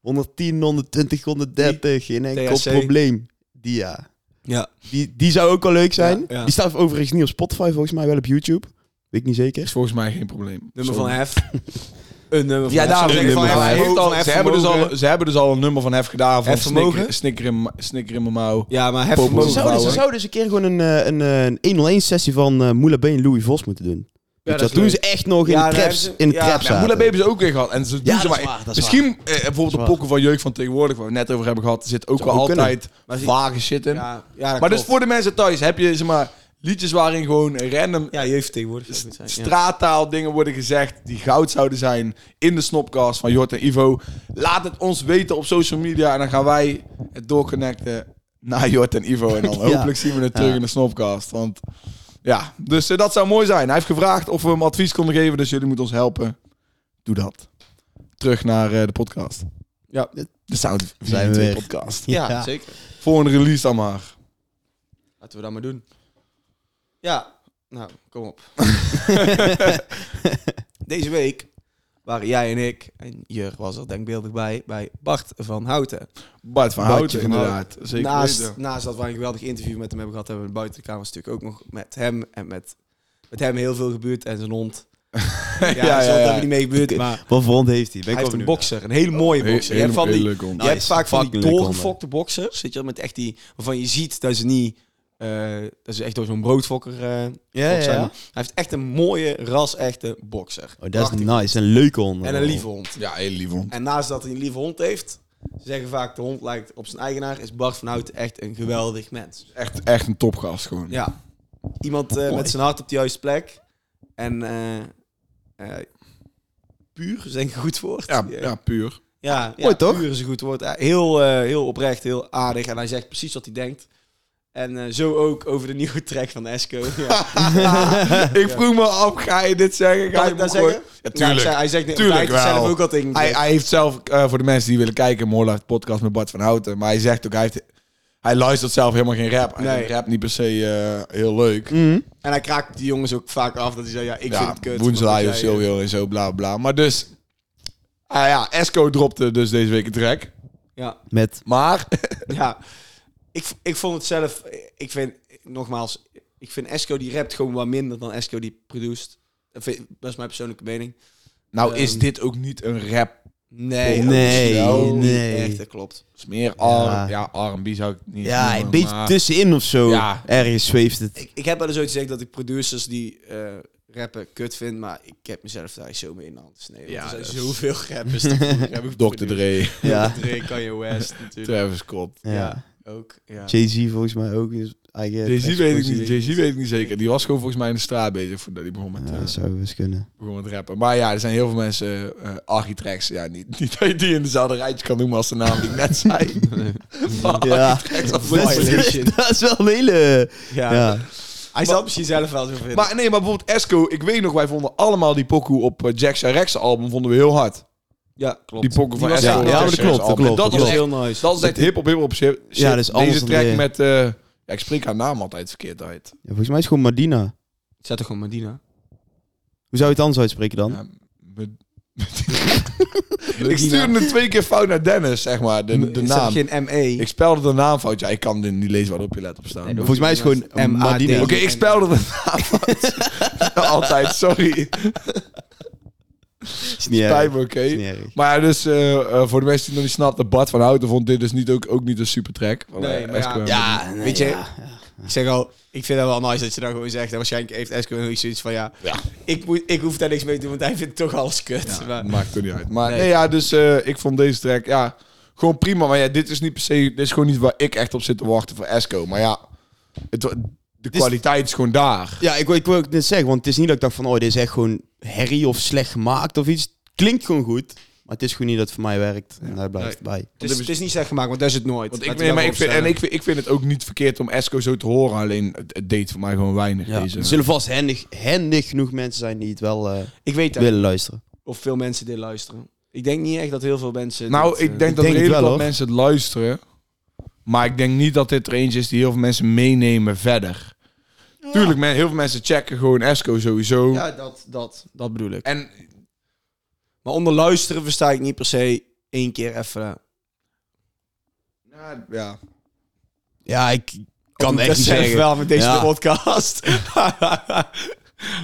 [SPEAKER 2] 110, 120, 130. Geen enkel
[SPEAKER 3] THC.
[SPEAKER 2] probleem. Die, ja.
[SPEAKER 3] Ja.
[SPEAKER 2] Die, die zou ook wel leuk zijn.
[SPEAKER 3] Ja, ja.
[SPEAKER 2] Die staat overigens niet op Spotify, volgens mij wel op YouTube. Weet ik niet
[SPEAKER 1] Is
[SPEAKER 2] zeker.
[SPEAKER 1] volgens mij geen probleem.
[SPEAKER 3] Nummer
[SPEAKER 1] Sorry.
[SPEAKER 3] van Hef. Een nummer van
[SPEAKER 1] Ja,
[SPEAKER 3] Hef.
[SPEAKER 1] daarom.
[SPEAKER 3] Zo'n
[SPEAKER 1] Een
[SPEAKER 3] nummer
[SPEAKER 1] nummer
[SPEAKER 3] van
[SPEAKER 1] van
[SPEAKER 3] Hef.
[SPEAKER 1] Hij heeft al-
[SPEAKER 3] Hef
[SPEAKER 1] Ze hebben dus al- ze hebben dus al een nummer van Hef gedaan. Van
[SPEAKER 3] Hef vermogen?
[SPEAKER 1] snikker, snikker, in, m- snikker in mijn mouw.
[SPEAKER 3] Ja, maar Hef
[SPEAKER 1] Popel.
[SPEAKER 3] vermogen
[SPEAKER 2] Ze zouden, ze
[SPEAKER 1] vrouwen.
[SPEAKER 2] zouden dus een keer gewoon een, eh, een, eh, een 101-sessie van eh Moula B en Louis Vos moeten doen. dat
[SPEAKER 3] dat is
[SPEAKER 2] doen
[SPEAKER 3] leuk.
[SPEAKER 2] ze echt nog in
[SPEAKER 3] Ja,
[SPEAKER 2] de
[SPEAKER 3] daar
[SPEAKER 2] traps.
[SPEAKER 3] hebben ze-
[SPEAKER 2] In de
[SPEAKER 3] ja.
[SPEAKER 2] traps
[SPEAKER 3] Ja,
[SPEAKER 1] Ja,
[SPEAKER 2] zaten.
[SPEAKER 1] Moela Baby is ook weer gehad. En ze doen ze
[SPEAKER 2] dat is
[SPEAKER 1] maar.
[SPEAKER 2] waar, dat is
[SPEAKER 1] misschien eh, bijvoorbeeld de pokken van jeugd van tegenwoordig, waar we het net over hebben gehad, zit ook wel
[SPEAKER 2] ook kunnen.
[SPEAKER 1] altijd vage shit in.
[SPEAKER 3] Ja, ja, dat
[SPEAKER 1] maar dus
[SPEAKER 3] klopt.
[SPEAKER 1] voor de mensen thuis heb je zeg maar, liedjes waarin gewoon random
[SPEAKER 3] Ja, jeugd tegenwoordig. zou ik het zeggen, ja.
[SPEAKER 1] straattaal dingen worden gezegd die goud zouden zijn in de snopcast van Jort en Ivo. Laat het ons weten op social media en dan gaan wij het doorconnecten naar Jort en Ivo. En dan hopelijk zien we het terug in de snopcast. Want ja, dus eh, dat zou mooi zijn. Hij heeft gevraagd of we hem advies konden geven, dus jullie moeten ons helpen. Doe dat. Terug naar eh, de podcast.
[SPEAKER 3] Ja.
[SPEAKER 1] De Sound
[SPEAKER 2] Zijn we
[SPEAKER 1] 4
[SPEAKER 2] weer.
[SPEAKER 1] podcast.
[SPEAKER 3] Ja,
[SPEAKER 2] Ja.
[SPEAKER 3] zeker.
[SPEAKER 1] Volgende release dan maar.
[SPEAKER 3] Laten we dat maar doen. Ja, nou, kom op. Deze week waren jij en ik, en Jur was er denkbeeldig bij, bij Bart van Houten.
[SPEAKER 1] Bart van
[SPEAKER 2] Bartje
[SPEAKER 1] Houten,
[SPEAKER 2] van
[SPEAKER 1] inderdaad. Zeker
[SPEAKER 3] naast,
[SPEAKER 1] weten.
[SPEAKER 3] naast dat we een geweldig interview met hem hebben gehad, hebben we buiten de kamers natuurlijk ook nog met hem en met, met hem heel veel gebeurd en zijn hond. Ja, ja,
[SPEAKER 1] ja,
[SPEAKER 3] ja,
[SPEAKER 1] ja.
[SPEAKER 3] hebben we niet mee gebeurd, maar
[SPEAKER 2] Wat voor hond heeft hij? Ben
[SPEAKER 3] hij
[SPEAKER 2] ik wel
[SPEAKER 3] heeft een
[SPEAKER 2] benieuwd.
[SPEAKER 3] boxer, een hele mooie
[SPEAKER 1] Heel-
[SPEAKER 3] boxer. Je hebt van
[SPEAKER 1] heel
[SPEAKER 3] die,
[SPEAKER 1] leuk om.
[SPEAKER 3] je
[SPEAKER 2] Nice.
[SPEAKER 3] hebt vaak van die
[SPEAKER 2] Fucking leuk honden.
[SPEAKER 3] doorgefokte boxers, weet je wel, met echt die, waarvan je ziet dat ze niet, eh, dat ze echt door zo'n broodfokker eh,
[SPEAKER 2] Ja, ja,
[SPEAKER 3] fokt zijn.
[SPEAKER 2] ja.
[SPEAKER 3] Hij heeft echt een mooie, ras-echte boxer.
[SPEAKER 2] Oh, dat is nice. Een leuke hond.
[SPEAKER 3] En een lieve hond.
[SPEAKER 1] Ja, heel lief hond.
[SPEAKER 3] En naast dat hij een lieve hond heeft, ze zeggen vaak de hond lijkt op zijn eigenaar, is Bart van Houten echt een geweldig mens.
[SPEAKER 1] Echt, echt een topgast gewoon.
[SPEAKER 3] Ja. Iemand eh, met zijn hart op de juiste plek. En eh, eh, puur is denk ik een goed woord.
[SPEAKER 1] Ja, ja, puur.
[SPEAKER 3] ja, ja,
[SPEAKER 2] Mooi, toch?
[SPEAKER 3] Puur is een goed woord. Eh, Heel, eh, heel oprecht, heel aardig. En hij zegt precies wat hij denkt. En eh, zo ook over de nieuwe track van Esco. Ja. Nou,
[SPEAKER 1] Ik vroeg me af, ga je dit zeggen? Ga
[SPEAKER 3] Kan
[SPEAKER 1] je
[SPEAKER 3] ik
[SPEAKER 1] me
[SPEAKER 3] dat zeggen?
[SPEAKER 1] gooien? Ja,
[SPEAKER 3] Nou, hij
[SPEAKER 1] tuurlijk.
[SPEAKER 3] zei- hij zegt,
[SPEAKER 1] Tuurlijk
[SPEAKER 3] hij heeft het
[SPEAKER 1] wel.
[SPEAKER 3] zelf ook al tegen me
[SPEAKER 1] hij,
[SPEAKER 3] gezegd.
[SPEAKER 1] hij heeft zelf, eh, voor de mensen die willen kijken, Moorla heeft podcast met Bart van Houten. Maar hij zegt ook, hij, heeft, hij luistert zelf helemaal geen rap. Hij
[SPEAKER 3] Nee.
[SPEAKER 1] vindt rap niet per se eh, heel leuk.
[SPEAKER 3] En hij kraakt die jongens ook vaak af dat hij zei, ja, ik vind
[SPEAKER 1] ja,
[SPEAKER 3] het kut. maar
[SPEAKER 1] Woenselaar
[SPEAKER 3] jij,
[SPEAKER 1] of
[SPEAKER 3] eh,
[SPEAKER 1] Silvio en zo, bla bla. Maar dus, ah ja, Esco dropte dus deze week een track.
[SPEAKER 3] Ja.
[SPEAKER 2] Met...
[SPEAKER 1] Maar,
[SPEAKER 3] Ja, ik, ik vond het zelf. Ik vind, nogmaals, ik vind Esco die rapt gewoon wat minder dan Esco die produced. Dat vind- dat is mijn persoonlijke mening.
[SPEAKER 1] nou is
[SPEAKER 3] Ehm.
[SPEAKER 1] dit ook niet een rap.
[SPEAKER 3] Nee,
[SPEAKER 2] Nee,
[SPEAKER 3] dat is wel
[SPEAKER 2] nee.
[SPEAKER 3] niet Echt, dat klopt.
[SPEAKER 1] Het is meer R-
[SPEAKER 2] Ja.
[SPEAKER 1] ja. R&B zou ik het niet
[SPEAKER 2] Ja,
[SPEAKER 1] noemen,
[SPEAKER 2] een beetje
[SPEAKER 1] maar-
[SPEAKER 2] tussenin of zo.
[SPEAKER 1] Ja.
[SPEAKER 2] Ergens zweeft het.
[SPEAKER 3] Ik, ik heb wel eens ooit gezegd dat ik producers die eh, rappen kut vind, maar ik heb mezelf daar zo mee in de hand gesneden.
[SPEAKER 1] Ja,
[SPEAKER 3] Ja, er zijn
[SPEAKER 1] dat is-
[SPEAKER 3] zoveel rappers. die vroeger hebben
[SPEAKER 1] Dr.
[SPEAKER 3] geproduceerd.
[SPEAKER 1] Dre,
[SPEAKER 2] Ja.
[SPEAKER 3] Dr. Dre, Kanye West natuurlijk.
[SPEAKER 1] Travis Scott.
[SPEAKER 2] Ja.
[SPEAKER 3] Ook, ja.
[SPEAKER 2] Jay-Z volgens mij ook. is eigen
[SPEAKER 1] Jay-Z weet ik niet,
[SPEAKER 2] explosieve-
[SPEAKER 1] Jay-Z weet ik niet zeker. Die was gewoon volgens mij in de straat bezig voordat hij begon met,
[SPEAKER 2] Ja,
[SPEAKER 1] eh,
[SPEAKER 2] dat zou eens kunnen.
[SPEAKER 1] begon met rappen. Maar ja, er zijn heel veel mensen, eh architracks, ja, niet, niet dat je die in dezelfde rijtje kan noemen als de naam die ik net zei. Maar
[SPEAKER 2] Ja.
[SPEAKER 1] Architracks of
[SPEAKER 3] Violation.
[SPEAKER 2] dat is wel een hele...
[SPEAKER 3] Ja.
[SPEAKER 2] Ja.
[SPEAKER 3] Hij zal het misschien zelf wel zo vinden.
[SPEAKER 1] Maar nee, maar bijvoorbeeld Esco, ik weet nog, wij vonden allemaal die pokoe op eh, Jack Rex album vonden we heel hard.
[SPEAKER 3] ja, klopt.
[SPEAKER 1] Die pokoe van
[SPEAKER 3] was
[SPEAKER 1] Esco.
[SPEAKER 3] heel
[SPEAKER 1] op Jack
[SPEAKER 3] nice.
[SPEAKER 2] Ja, dat
[SPEAKER 1] Sharrex
[SPEAKER 2] klopt, dat
[SPEAKER 1] album. En
[SPEAKER 2] klopt, dat
[SPEAKER 1] Dat
[SPEAKER 3] was
[SPEAKER 1] is echt,
[SPEAKER 3] heel nice.
[SPEAKER 1] dat is echt hip-hop, hip-hop shit.
[SPEAKER 2] Ja, dat is anders
[SPEAKER 1] Deze
[SPEAKER 2] dan
[SPEAKER 1] track
[SPEAKER 2] de-
[SPEAKER 1] met, eh, ja, ik spreek haar naam altijd verkeerd uit.
[SPEAKER 2] Ja, volgens mij is het gewoon Madina.
[SPEAKER 3] Het staat toch gewoon Medina?
[SPEAKER 2] Hoe zou je het anders uitspreken dan?
[SPEAKER 1] Ja, me- ik stuurde het twee keer fout naar Dennis, zeg maar, de, de
[SPEAKER 3] Er staat
[SPEAKER 1] naam.
[SPEAKER 3] toch geen ME.
[SPEAKER 1] Ik spelde de naam fout. Ja, ik kan dit niet lezen waarop je let op staan. Oké,
[SPEAKER 2] Volgens mij is het gewoon
[SPEAKER 3] M A D.
[SPEAKER 2] Madina.
[SPEAKER 3] Oké.
[SPEAKER 1] ik spelde de naam fout. Altijd, sorry.
[SPEAKER 2] is niet
[SPEAKER 1] Spijt
[SPEAKER 2] erg.
[SPEAKER 1] me, oké.
[SPEAKER 2] Is niet erg.
[SPEAKER 1] Maar ja, dus eh, eh, voor de mensen die nog niet snapten, Bart van Houten vond dit dus niet ook, ook niet een super track. Want,
[SPEAKER 3] Nee,
[SPEAKER 1] eh,
[SPEAKER 3] maar ja,
[SPEAKER 1] Esco-
[SPEAKER 2] Ja, nee,
[SPEAKER 3] Weet je,
[SPEAKER 2] ja, ja.
[SPEAKER 3] Ik zeg al, ik vind het wel nice dat je dat gewoon zegt. En waarschijnlijk heeft Esco nog zoiets van, ja,
[SPEAKER 1] Ja.
[SPEAKER 3] Ik, moet, ik hoef daar niks mee te doen, want hij vindt toch alles kut.
[SPEAKER 1] Ja,
[SPEAKER 3] maar,
[SPEAKER 1] maakt er niet uit. Maar nee,
[SPEAKER 3] Nee.
[SPEAKER 1] ja, dus eh, ik vond deze track, ja, gewoon prima. Maar ja, dit is niet per se, dit is gewoon niet waar ik echt op zit te wachten voor Esco. Maar ja, het, wa- de kwaliteit is gewoon daar.
[SPEAKER 2] Ja, ik, wou- ik wil ook net zeggen, want het is niet dat ik dacht van, oh, dit is echt gewoon herrie of slecht gemaakt of iets. Klinkt gewoon goed, maar het is gewoon niet dat het voor mij werkt. En daar blijft het bij. Dus,
[SPEAKER 3] het, is, het is niet slecht gemaakt, want dat is het nooit.
[SPEAKER 1] Want ik,
[SPEAKER 3] Laten
[SPEAKER 1] nee,
[SPEAKER 3] we
[SPEAKER 1] maar
[SPEAKER 3] dat
[SPEAKER 1] ik vind, en
[SPEAKER 3] vooropstellen.
[SPEAKER 1] ik vind, ik vind het ook niet verkeerd om Esco zo te horen. Alleen het, het deed voor mij gewoon weinig.
[SPEAKER 2] Ja.
[SPEAKER 1] Deze.
[SPEAKER 2] Er zullen vast hendig, hendig genoeg mensen zijn die het wel eh,
[SPEAKER 3] ik weet dat,
[SPEAKER 2] willen luisteren.
[SPEAKER 3] of veel mensen dit luisteren. Ik denk niet echt dat heel veel mensen...
[SPEAKER 1] nou,
[SPEAKER 3] dit,
[SPEAKER 1] ik
[SPEAKER 3] eh,
[SPEAKER 1] denk dat
[SPEAKER 2] denk het
[SPEAKER 1] redelijk
[SPEAKER 2] wel,
[SPEAKER 1] wat
[SPEAKER 2] hoor.
[SPEAKER 1] mensen het luisteren. Maar ik denk niet dat dit er eentje is die heel veel mensen meenemen verder. Tuurlijk, men, heel veel mensen checken gewoon Esco sowieso.
[SPEAKER 3] Ja, dat, dat, dat bedoel ik.
[SPEAKER 1] En
[SPEAKER 3] Maar onder luisteren versta ik niet per se één keer even...
[SPEAKER 1] ja, ja.
[SPEAKER 2] Ja, ik kan
[SPEAKER 3] dat
[SPEAKER 2] echt niet
[SPEAKER 3] zeg ik
[SPEAKER 2] zeggen.
[SPEAKER 3] wel met deze
[SPEAKER 2] Ja.
[SPEAKER 3] podcast.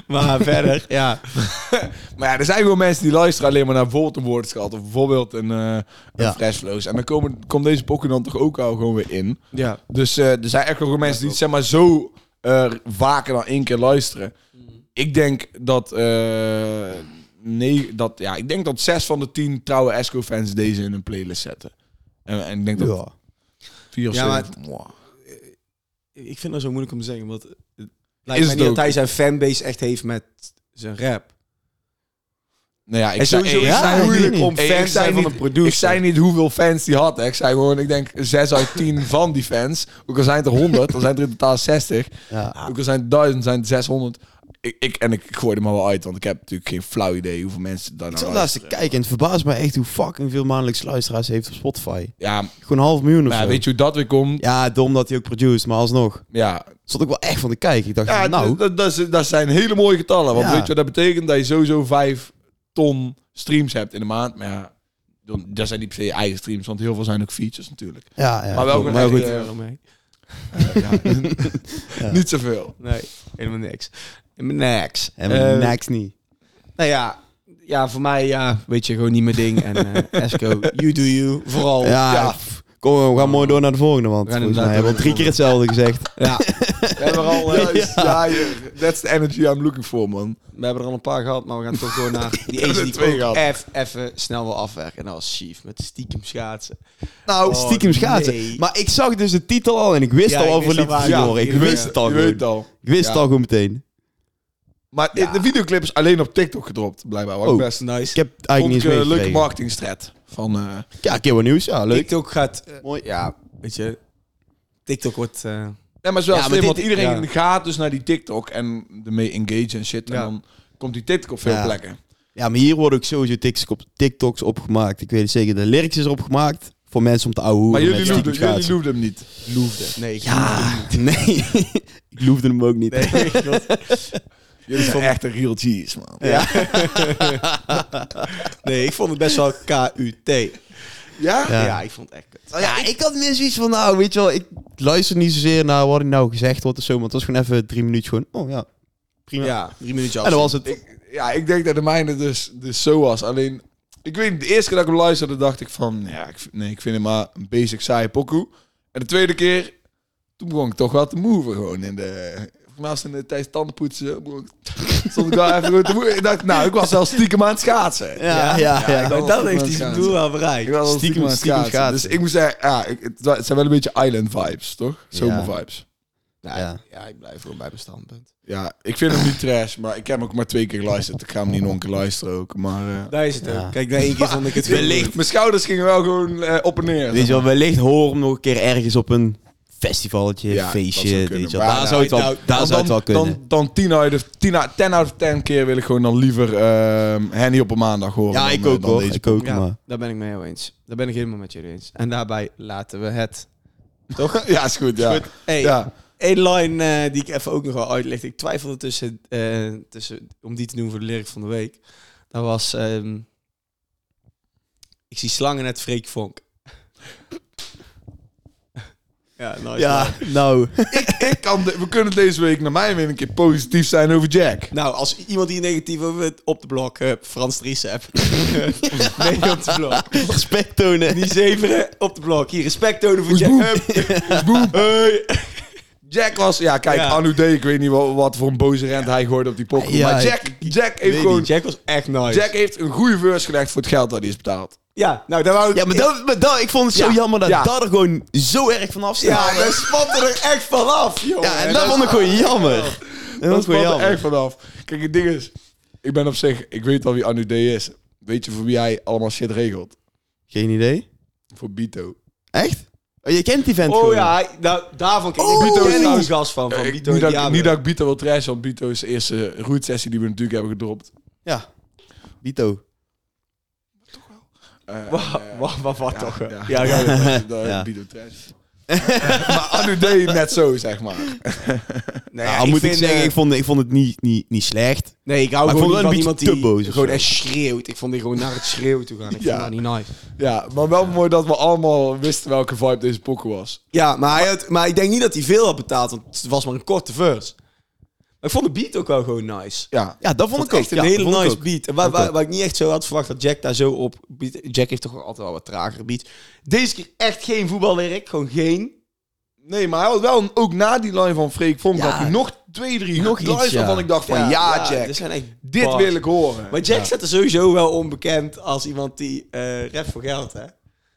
[SPEAKER 3] maar verder, ja.
[SPEAKER 1] Maar ja, er zijn gewoon mensen die luisteren alleen maar naar bijvoorbeeld een woordenschat. Of bijvoorbeeld een, eh een
[SPEAKER 2] Ja.
[SPEAKER 1] Fresh Flows. En dan komen, komt deze pokken dan toch ook al gewoon weer in.
[SPEAKER 3] ja.
[SPEAKER 1] Dus eh, er zijn echt wel gewoon mensen die het zeg maar zo eh, vaker dan één keer luisteren. Ik denk dat, eh, nee, dat, ja, ik denk dat zes van de tien trouwe Esco-fans deze in een playlist zetten. En, en ik denk dat
[SPEAKER 2] Ja.
[SPEAKER 1] vier of
[SPEAKER 3] Ja, maar
[SPEAKER 1] zeven- mwah.
[SPEAKER 3] Ik vind dat zo moeilijk om te zeggen, want het lijkt
[SPEAKER 1] Is
[SPEAKER 3] mij
[SPEAKER 1] het
[SPEAKER 3] niet dat
[SPEAKER 1] ook.
[SPEAKER 3] hij zijn fanbase echt heeft met zijn rap.
[SPEAKER 1] Nou ja, ik
[SPEAKER 3] en
[SPEAKER 1] zei,
[SPEAKER 3] sowieso
[SPEAKER 1] ik
[SPEAKER 3] is
[SPEAKER 1] zei-
[SPEAKER 3] het moeilijk
[SPEAKER 1] niet.
[SPEAKER 3] om
[SPEAKER 1] Hey,
[SPEAKER 3] fan
[SPEAKER 1] ik
[SPEAKER 3] te
[SPEAKER 1] zei
[SPEAKER 3] zijn van
[SPEAKER 1] niet-
[SPEAKER 3] een producer.
[SPEAKER 1] Ik zei niet hoeveel fans die had. Hè. Ik zei gewoon, ik denk 6 uit 10 van die fans. Ook al zijn het er 100, dan zijn er in totaal 60.
[SPEAKER 2] Ja.
[SPEAKER 1] Ook al zijn het 1000, zijn het 600. Ik, ik, en ik gooi er maar wel uit, want ik heb natuurlijk geen flauw idee hoeveel mensen daar
[SPEAKER 2] Ik
[SPEAKER 1] nou
[SPEAKER 2] zat
[SPEAKER 1] luisteren.
[SPEAKER 2] laatst te kijken en het verbaast mij echt hoe fucking veel maandelijks luisteraars hij heeft op Spotify.
[SPEAKER 1] Ja,
[SPEAKER 2] Gewoon een half miljoen of
[SPEAKER 1] maar
[SPEAKER 2] zo.
[SPEAKER 1] ja, weet je hoe dat weer komt?
[SPEAKER 2] Ja, dom dat hij ook produced, maar alsnog.
[SPEAKER 1] Ja,
[SPEAKER 2] Stond ik wel echt van te kijken. Ik dacht,
[SPEAKER 1] ja
[SPEAKER 2] nou,
[SPEAKER 1] nou. dat, dat, is- dat zijn hele mooie getallen. Want
[SPEAKER 2] Ja.
[SPEAKER 1] weet je wat dat betekent? Dat je sowieso 5 ton streams hebt in de maand. Maar ja, dan- dat zijn niet per se je eigen streams, want heel veel zijn ook features natuurlijk.
[SPEAKER 2] ja, ja,
[SPEAKER 1] maar wel
[SPEAKER 2] klopt,
[SPEAKER 1] gewoon echt,
[SPEAKER 2] Nou, goed.
[SPEAKER 1] eh,
[SPEAKER 3] mee.
[SPEAKER 2] Ja.
[SPEAKER 1] Niet zoveel.
[SPEAKER 3] Nee, helemaal niks. Helemaal niks.
[SPEAKER 2] En
[SPEAKER 3] Eh,
[SPEAKER 2] niks niet.
[SPEAKER 3] Nou ja, ja, voor mij ja, weet je gewoon niet mijn ding. En eh, Esco, you do you, vooral.
[SPEAKER 2] Ja, pff, kom, we gaan mooi door naar de volgende, want
[SPEAKER 3] We gaan
[SPEAKER 2] volgens mij
[SPEAKER 3] inderdaad
[SPEAKER 2] hebben we al drie
[SPEAKER 3] door
[SPEAKER 2] keer hetzelfde gezegd.
[SPEAKER 3] Ja,
[SPEAKER 1] We hebben er al... eh, ja, je- that's the energy I'm looking for, man.
[SPEAKER 3] we hebben er al een paar gehad, maar we gaan toch door naar die
[SPEAKER 1] hebben
[SPEAKER 3] ene
[SPEAKER 1] er twee
[SPEAKER 3] die twee ook
[SPEAKER 1] gehad.
[SPEAKER 3] eff- even snel wil afwerken. En dat was Chief met stiekem schaatsen.
[SPEAKER 2] Nou, stiekem schaatsen.
[SPEAKER 3] nee.
[SPEAKER 2] Maar ik zag dus de titel al en ik wist
[SPEAKER 3] Ja,
[SPEAKER 2] al
[SPEAKER 3] ik
[SPEAKER 2] over
[SPEAKER 3] wist al
[SPEAKER 2] lied
[SPEAKER 3] waar-
[SPEAKER 2] ja,
[SPEAKER 3] ja,
[SPEAKER 2] Ik
[SPEAKER 3] je
[SPEAKER 2] wist
[SPEAKER 3] weet-
[SPEAKER 2] het al
[SPEAKER 1] Je
[SPEAKER 2] gewoon.
[SPEAKER 1] weet het al.
[SPEAKER 2] Ik wist het
[SPEAKER 1] Ja.
[SPEAKER 2] al gewoon meteen.
[SPEAKER 1] Maar
[SPEAKER 3] Ja.
[SPEAKER 1] de videoclip is alleen op TikTok gedropt, blijkbaar. Wat
[SPEAKER 2] Oh,
[SPEAKER 1] ik best
[SPEAKER 3] Nice.
[SPEAKER 2] Ik heb het eigenlijk
[SPEAKER 1] vond ik,
[SPEAKER 2] niet eens
[SPEAKER 1] een leuke
[SPEAKER 2] meegekregen.
[SPEAKER 1] marketingstrat. Van, eh,
[SPEAKER 2] Ja, een keer wat nieuws. Ja, leuk.
[SPEAKER 3] TikTok gaat... eh,
[SPEAKER 2] Mooi.
[SPEAKER 3] Ja, weet je... TikTok wordt... eh,
[SPEAKER 1] nee, maar het is wel
[SPEAKER 2] Ja, maar
[SPEAKER 1] slim,
[SPEAKER 2] dit-
[SPEAKER 1] want iedereen
[SPEAKER 3] ja.
[SPEAKER 1] gaat dus naar die TikTok en ermee engage en shit.
[SPEAKER 3] Ja.
[SPEAKER 1] En dan komt die TikTok op veel
[SPEAKER 2] Ja.
[SPEAKER 1] plekken.
[SPEAKER 2] Ja, maar hier worden ook sowieso TikToks op- TikToks opgemaakt. Ik weet het zeker. De lyrics is opgemaakt voor mensen om te ouwehoeren.
[SPEAKER 1] Maar jullie
[SPEAKER 2] met
[SPEAKER 1] loefden,
[SPEAKER 2] stiekem
[SPEAKER 1] jullie
[SPEAKER 2] schaatsen.
[SPEAKER 1] loefden hem niet.
[SPEAKER 3] Loefde. Nee, ik
[SPEAKER 2] Ja, nee. ik loefde hem ook niet.
[SPEAKER 3] Nee, klopt.
[SPEAKER 1] Jullie zijn echt een real G's, man.
[SPEAKER 3] nee, ik vond het best wel KUT.
[SPEAKER 1] Ja?
[SPEAKER 3] Ja,
[SPEAKER 2] Ja.
[SPEAKER 3] ik vond het echt kut.
[SPEAKER 2] Oh Ja, ik had meer zoiets van, nou, weet je wel, ik luister niet zozeer naar wat er nou gezegd wordt of zo, maar het was gewoon even drie minuutjes gewoon, oh ja, prima.
[SPEAKER 3] Ja, drie minuutjes af.
[SPEAKER 2] en dat was het.
[SPEAKER 1] Ik, ja, ik denk dat de mijne dus, dus zo was. Alleen, ik weet niet, de eerste keer dat ik hem luisterde, dacht ik van... Ja, ik, vind- nee, ik vind hem maar een basic saaie pokoe. En de tweede keer, toen begon ik toch wel te moeven gewoon in de... Naast in de tijdens tandenpoetsen begon ik- stond ik wel even goed te moeven. Ik dacht, nou, ik was wel stiekem aan het schaatsen.
[SPEAKER 2] ja, ja, ja.
[SPEAKER 1] ja, ik-
[SPEAKER 3] Maar
[SPEAKER 1] Dat
[SPEAKER 3] dat
[SPEAKER 1] was
[SPEAKER 3] heeft
[SPEAKER 1] wel
[SPEAKER 3] hij zijn
[SPEAKER 1] schaatsen.
[SPEAKER 3] doel wel
[SPEAKER 1] Ik
[SPEAKER 3] bereikt.
[SPEAKER 1] was wel
[SPEAKER 2] Stiekem-
[SPEAKER 1] stiekem, aan het
[SPEAKER 2] stiekem
[SPEAKER 1] schaatsen.
[SPEAKER 2] schaatsen.
[SPEAKER 1] Dus ik moet zeggen, ja, ik, het wa- het zijn wel een beetje island vibes, toch? Zomer vibes.
[SPEAKER 3] Nou,
[SPEAKER 2] Ja.
[SPEAKER 3] ja. ik blijf gewoon bij mijn standpunt.
[SPEAKER 1] Ja, ik vind hem niet trash, maar ik heb hem ook maar twee keer geluisterd. Ik ga hem niet nog een keer luisteren ook, maar... eh,
[SPEAKER 3] Daar is het
[SPEAKER 2] Ja.
[SPEAKER 3] ook. Kijk, na één keer vond ik het goed.
[SPEAKER 1] Wellicht. Mijn schouders gingen wel gewoon eh, op en neer.
[SPEAKER 2] Weet je wel, wellicht hoor hem nog een keer ergens op een festivaletje,
[SPEAKER 1] Ja, dat zou
[SPEAKER 2] feestje,
[SPEAKER 1] kunnen,
[SPEAKER 2] weet je wel.
[SPEAKER 1] maar nou,
[SPEAKER 2] Daar zou het wel,
[SPEAKER 3] nou,
[SPEAKER 2] daar
[SPEAKER 1] Want
[SPEAKER 2] zou het wel kunnen.
[SPEAKER 1] Dan, dan 10 uit de 10 uit, 10 uit de 10 keer wil ik gewoon dan liever ehm Henny op een maandag horen.
[SPEAKER 2] ja,
[SPEAKER 1] dan,
[SPEAKER 2] ik
[SPEAKER 1] eh,
[SPEAKER 2] ook
[SPEAKER 1] dan
[SPEAKER 2] hoor,
[SPEAKER 1] deze.
[SPEAKER 2] ik ook, maar.
[SPEAKER 3] Ja, daar ben ik mee heel eens. Daar ben ik helemaal met jullie eens. En daarbij laten we het.
[SPEAKER 1] Toch? ja, is goed. Ja.
[SPEAKER 3] Hey,
[SPEAKER 1] Ja.
[SPEAKER 3] één line eh, die ik even ook nog wel uitleg. Ik twijfelde tussen, eh, tussen, om die te doen voor de lyric van de week. Dat was... ehm, ik zie slangen net Freek Vonk. ja, nice.
[SPEAKER 2] Ja, nou.
[SPEAKER 1] Ik kan de- we kunnen deze week naar mij weer een keer positief zijn over Jack.
[SPEAKER 3] Nou, als iemand die negatief over het- op de blok hebt, Frans Dries hebt. nee, op de blok.
[SPEAKER 2] Respect tonen.
[SPEAKER 3] Die zeveren op de blok. Hier, respect tonen voor
[SPEAKER 1] Boem.
[SPEAKER 3] Jack. Hup.
[SPEAKER 1] Boem.
[SPEAKER 3] Hey.
[SPEAKER 1] Jack was, ja kijk,
[SPEAKER 3] Ja.
[SPEAKER 1] Anu D, ik weet niet wat, wat voor een boze rent hij gooide op die pokken.
[SPEAKER 2] Ja,
[SPEAKER 1] maar
[SPEAKER 2] ik-
[SPEAKER 1] Jack, Jack heeft
[SPEAKER 3] Nee,
[SPEAKER 1] gewoon,
[SPEAKER 3] die Jack was echt nice.
[SPEAKER 1] Jack heeft een goede verse gelegd voor het geld dat hij is betaald.
[SPEAKER 3] Ja, nou, daar wou ik...
[SPEAKER 2] Ja, maar, dat, maar dat, ik vond het zo
[SPEAKER 1] Ja,
[SPEAKER 2] jammer dat
[SPEAKER 1] ja.
[SPEAKER 2] dat er gewoon zo erg vanaf staat.
[SPEAKER 3] Ja, daar spatte er echt vanaf, joh.
[SPEAKER 2] Ja, en dat vond ik gewoon jammer. Dat was
[SPEAKER 1] Dat
[SPEAKER 2] gewoon
[SPEAKER 1] kwam er
[SPEAKER 2] jammer.
[SPEAKER 1] echt vanaf. Kijk, het ding is, ik ben op zich, ik weet al wie Anu D is. Weet je voor wie hij allemaal shit regelt?
[SPEAKER 2] Geen idee.
[SPEAKER 1] Voor Bito.
[SPEAKER 2] Echt? Oh, je kent die vent
[SPEAKER 3] Oh
[SPEAKER 2] gewoon.
[SPEAKER 3] ja, nou, daarvan ken ik
[SPEAKER 1] Oh,
[SPEAKER 3] Bito
[SPEAKER 1] Bito is
[SPEAKER 3] ken ik
[SPEAKER 1] nice.
[SPEAKER 3] die gast van. van
[SPEAKER 1] Eh,
[SPEAKER 3] Bito
[SPEAKER 1] niet,
[SPEAKER 3] en
[SPEAKER 1] dat, ik-
[SPEAKER 3] Diablo.
[SPEAKER 1] niet dat ik Bito wil trash, want Bito is de eerste route-sessie die we natuurlijk hebben gedropt.
[SPEAKER 2] Ja. Bito.
[SPEAKER 1] Eh,
[SPEAKER 3] Wa-
[SPEAKER 1] eh,
[SPEAKER 3] wa- wa- wat
[SPEAKER 1] ja,
[SPEAKER 3] toch, hè?
[SPEAKER 1] Ja,
[SPEAKER 3] Ja,
[SPEAKER 1] ja,
[SPEAKER 3] ja,
[SPEAKER 1] ja, ja,
[SPEAKER 2] Ja.
[SPEAKER 1] Bito trash. Eh, maar Anu D net zo, zeg maar.
[SPEAKER 3] Nee,
[SPEAKER 2] Ja, al Ah, moet ik
[SPEAKER 3] vind,
[SPEAKER 2] zeggen,
[SPEAKER 3] eh,
[SPEAKER 2] ik vond, ik vond het niet, niet, niet slecht.
[SPEAKER 3] Nee, ik hou
[SPEAKER 2] Maar ik
[SPEAKER 3] gewoon
[SPEAKER 2] vond
[SPEAKER 3] niet van
[SPEAKER 2] het wel
[SPEAKER 3] iemand
[SPEAKER 2] een beetje
[SPEAKER 3] die
[SPEAKER 2] te boos of
[SPEAKER 3] gewoon
[SPEAKER 2] zo.
[SPEAKER 3] echt schreeuwt. Ik vond die gewoon naar het schreeuwen toe gaan. Ik
[SPEAKER 1] Ja.
[SPEAKER 3] vond dat niet nice.
[SPEAKER 1] Ja, maar wel mooi dat we allemaal wisten welke vibe deze pokken was.
[SPEAKER 3] Ja, maar, hij had, maar ik denk niet dat hij veel had betaald, want het was maar een korte verse. Maar ik vond de beat ook wel gewoon nice.
[SPEAKER 1] Ja,
[SPEAKER 2] Ja, dat vond,
[SPEAKER 3] vond
[SPEAKER 2] ik ook.
[SPEAKER 3] echt een
[SPEAKER 2] Ja,
[SPEAKER 3] hele
[SPEAKER 2] vond ik
[SPEAKER 3] nice
[SPEAKER 2] ook.
[SPEAKER 3] beat. En waar,
[SPEAKER 2] Vond ik
[SPEAKER 3] waar,
[SPEAKER 2] ook.
[SPEAKER 3] waar ik niet echt zo had verwacht dat Jack daar zo op... beat- Jack heeft toch wel altijd wel wat tragere beats. Deze keer echt geen voetbalwerk, gewoon geen.
[SPEAKER 1] Nee, maar hij had wel een- ook na die line van Freek Vonk
[SPEAKER 2] Ja.
[SPEAKER 1] had hij nog twee, drie
[SPEAKER 2] Nog
[SPEAKER 1] nog iets
[SPEAKER 2] iets, ja.
[SPEAKER 1] waarvan ik dacht van ja, dus Jack,
[SPEAKER 3] er zijn echt
[SPEAKER 1] dit
[SPEAKER 3] bars.
[SPEAKER 1] wil ik horen.
[SPEAKER 3] Maar Jack staat er sowieso wel onbekend als iemand die eh redt voor geld, hè?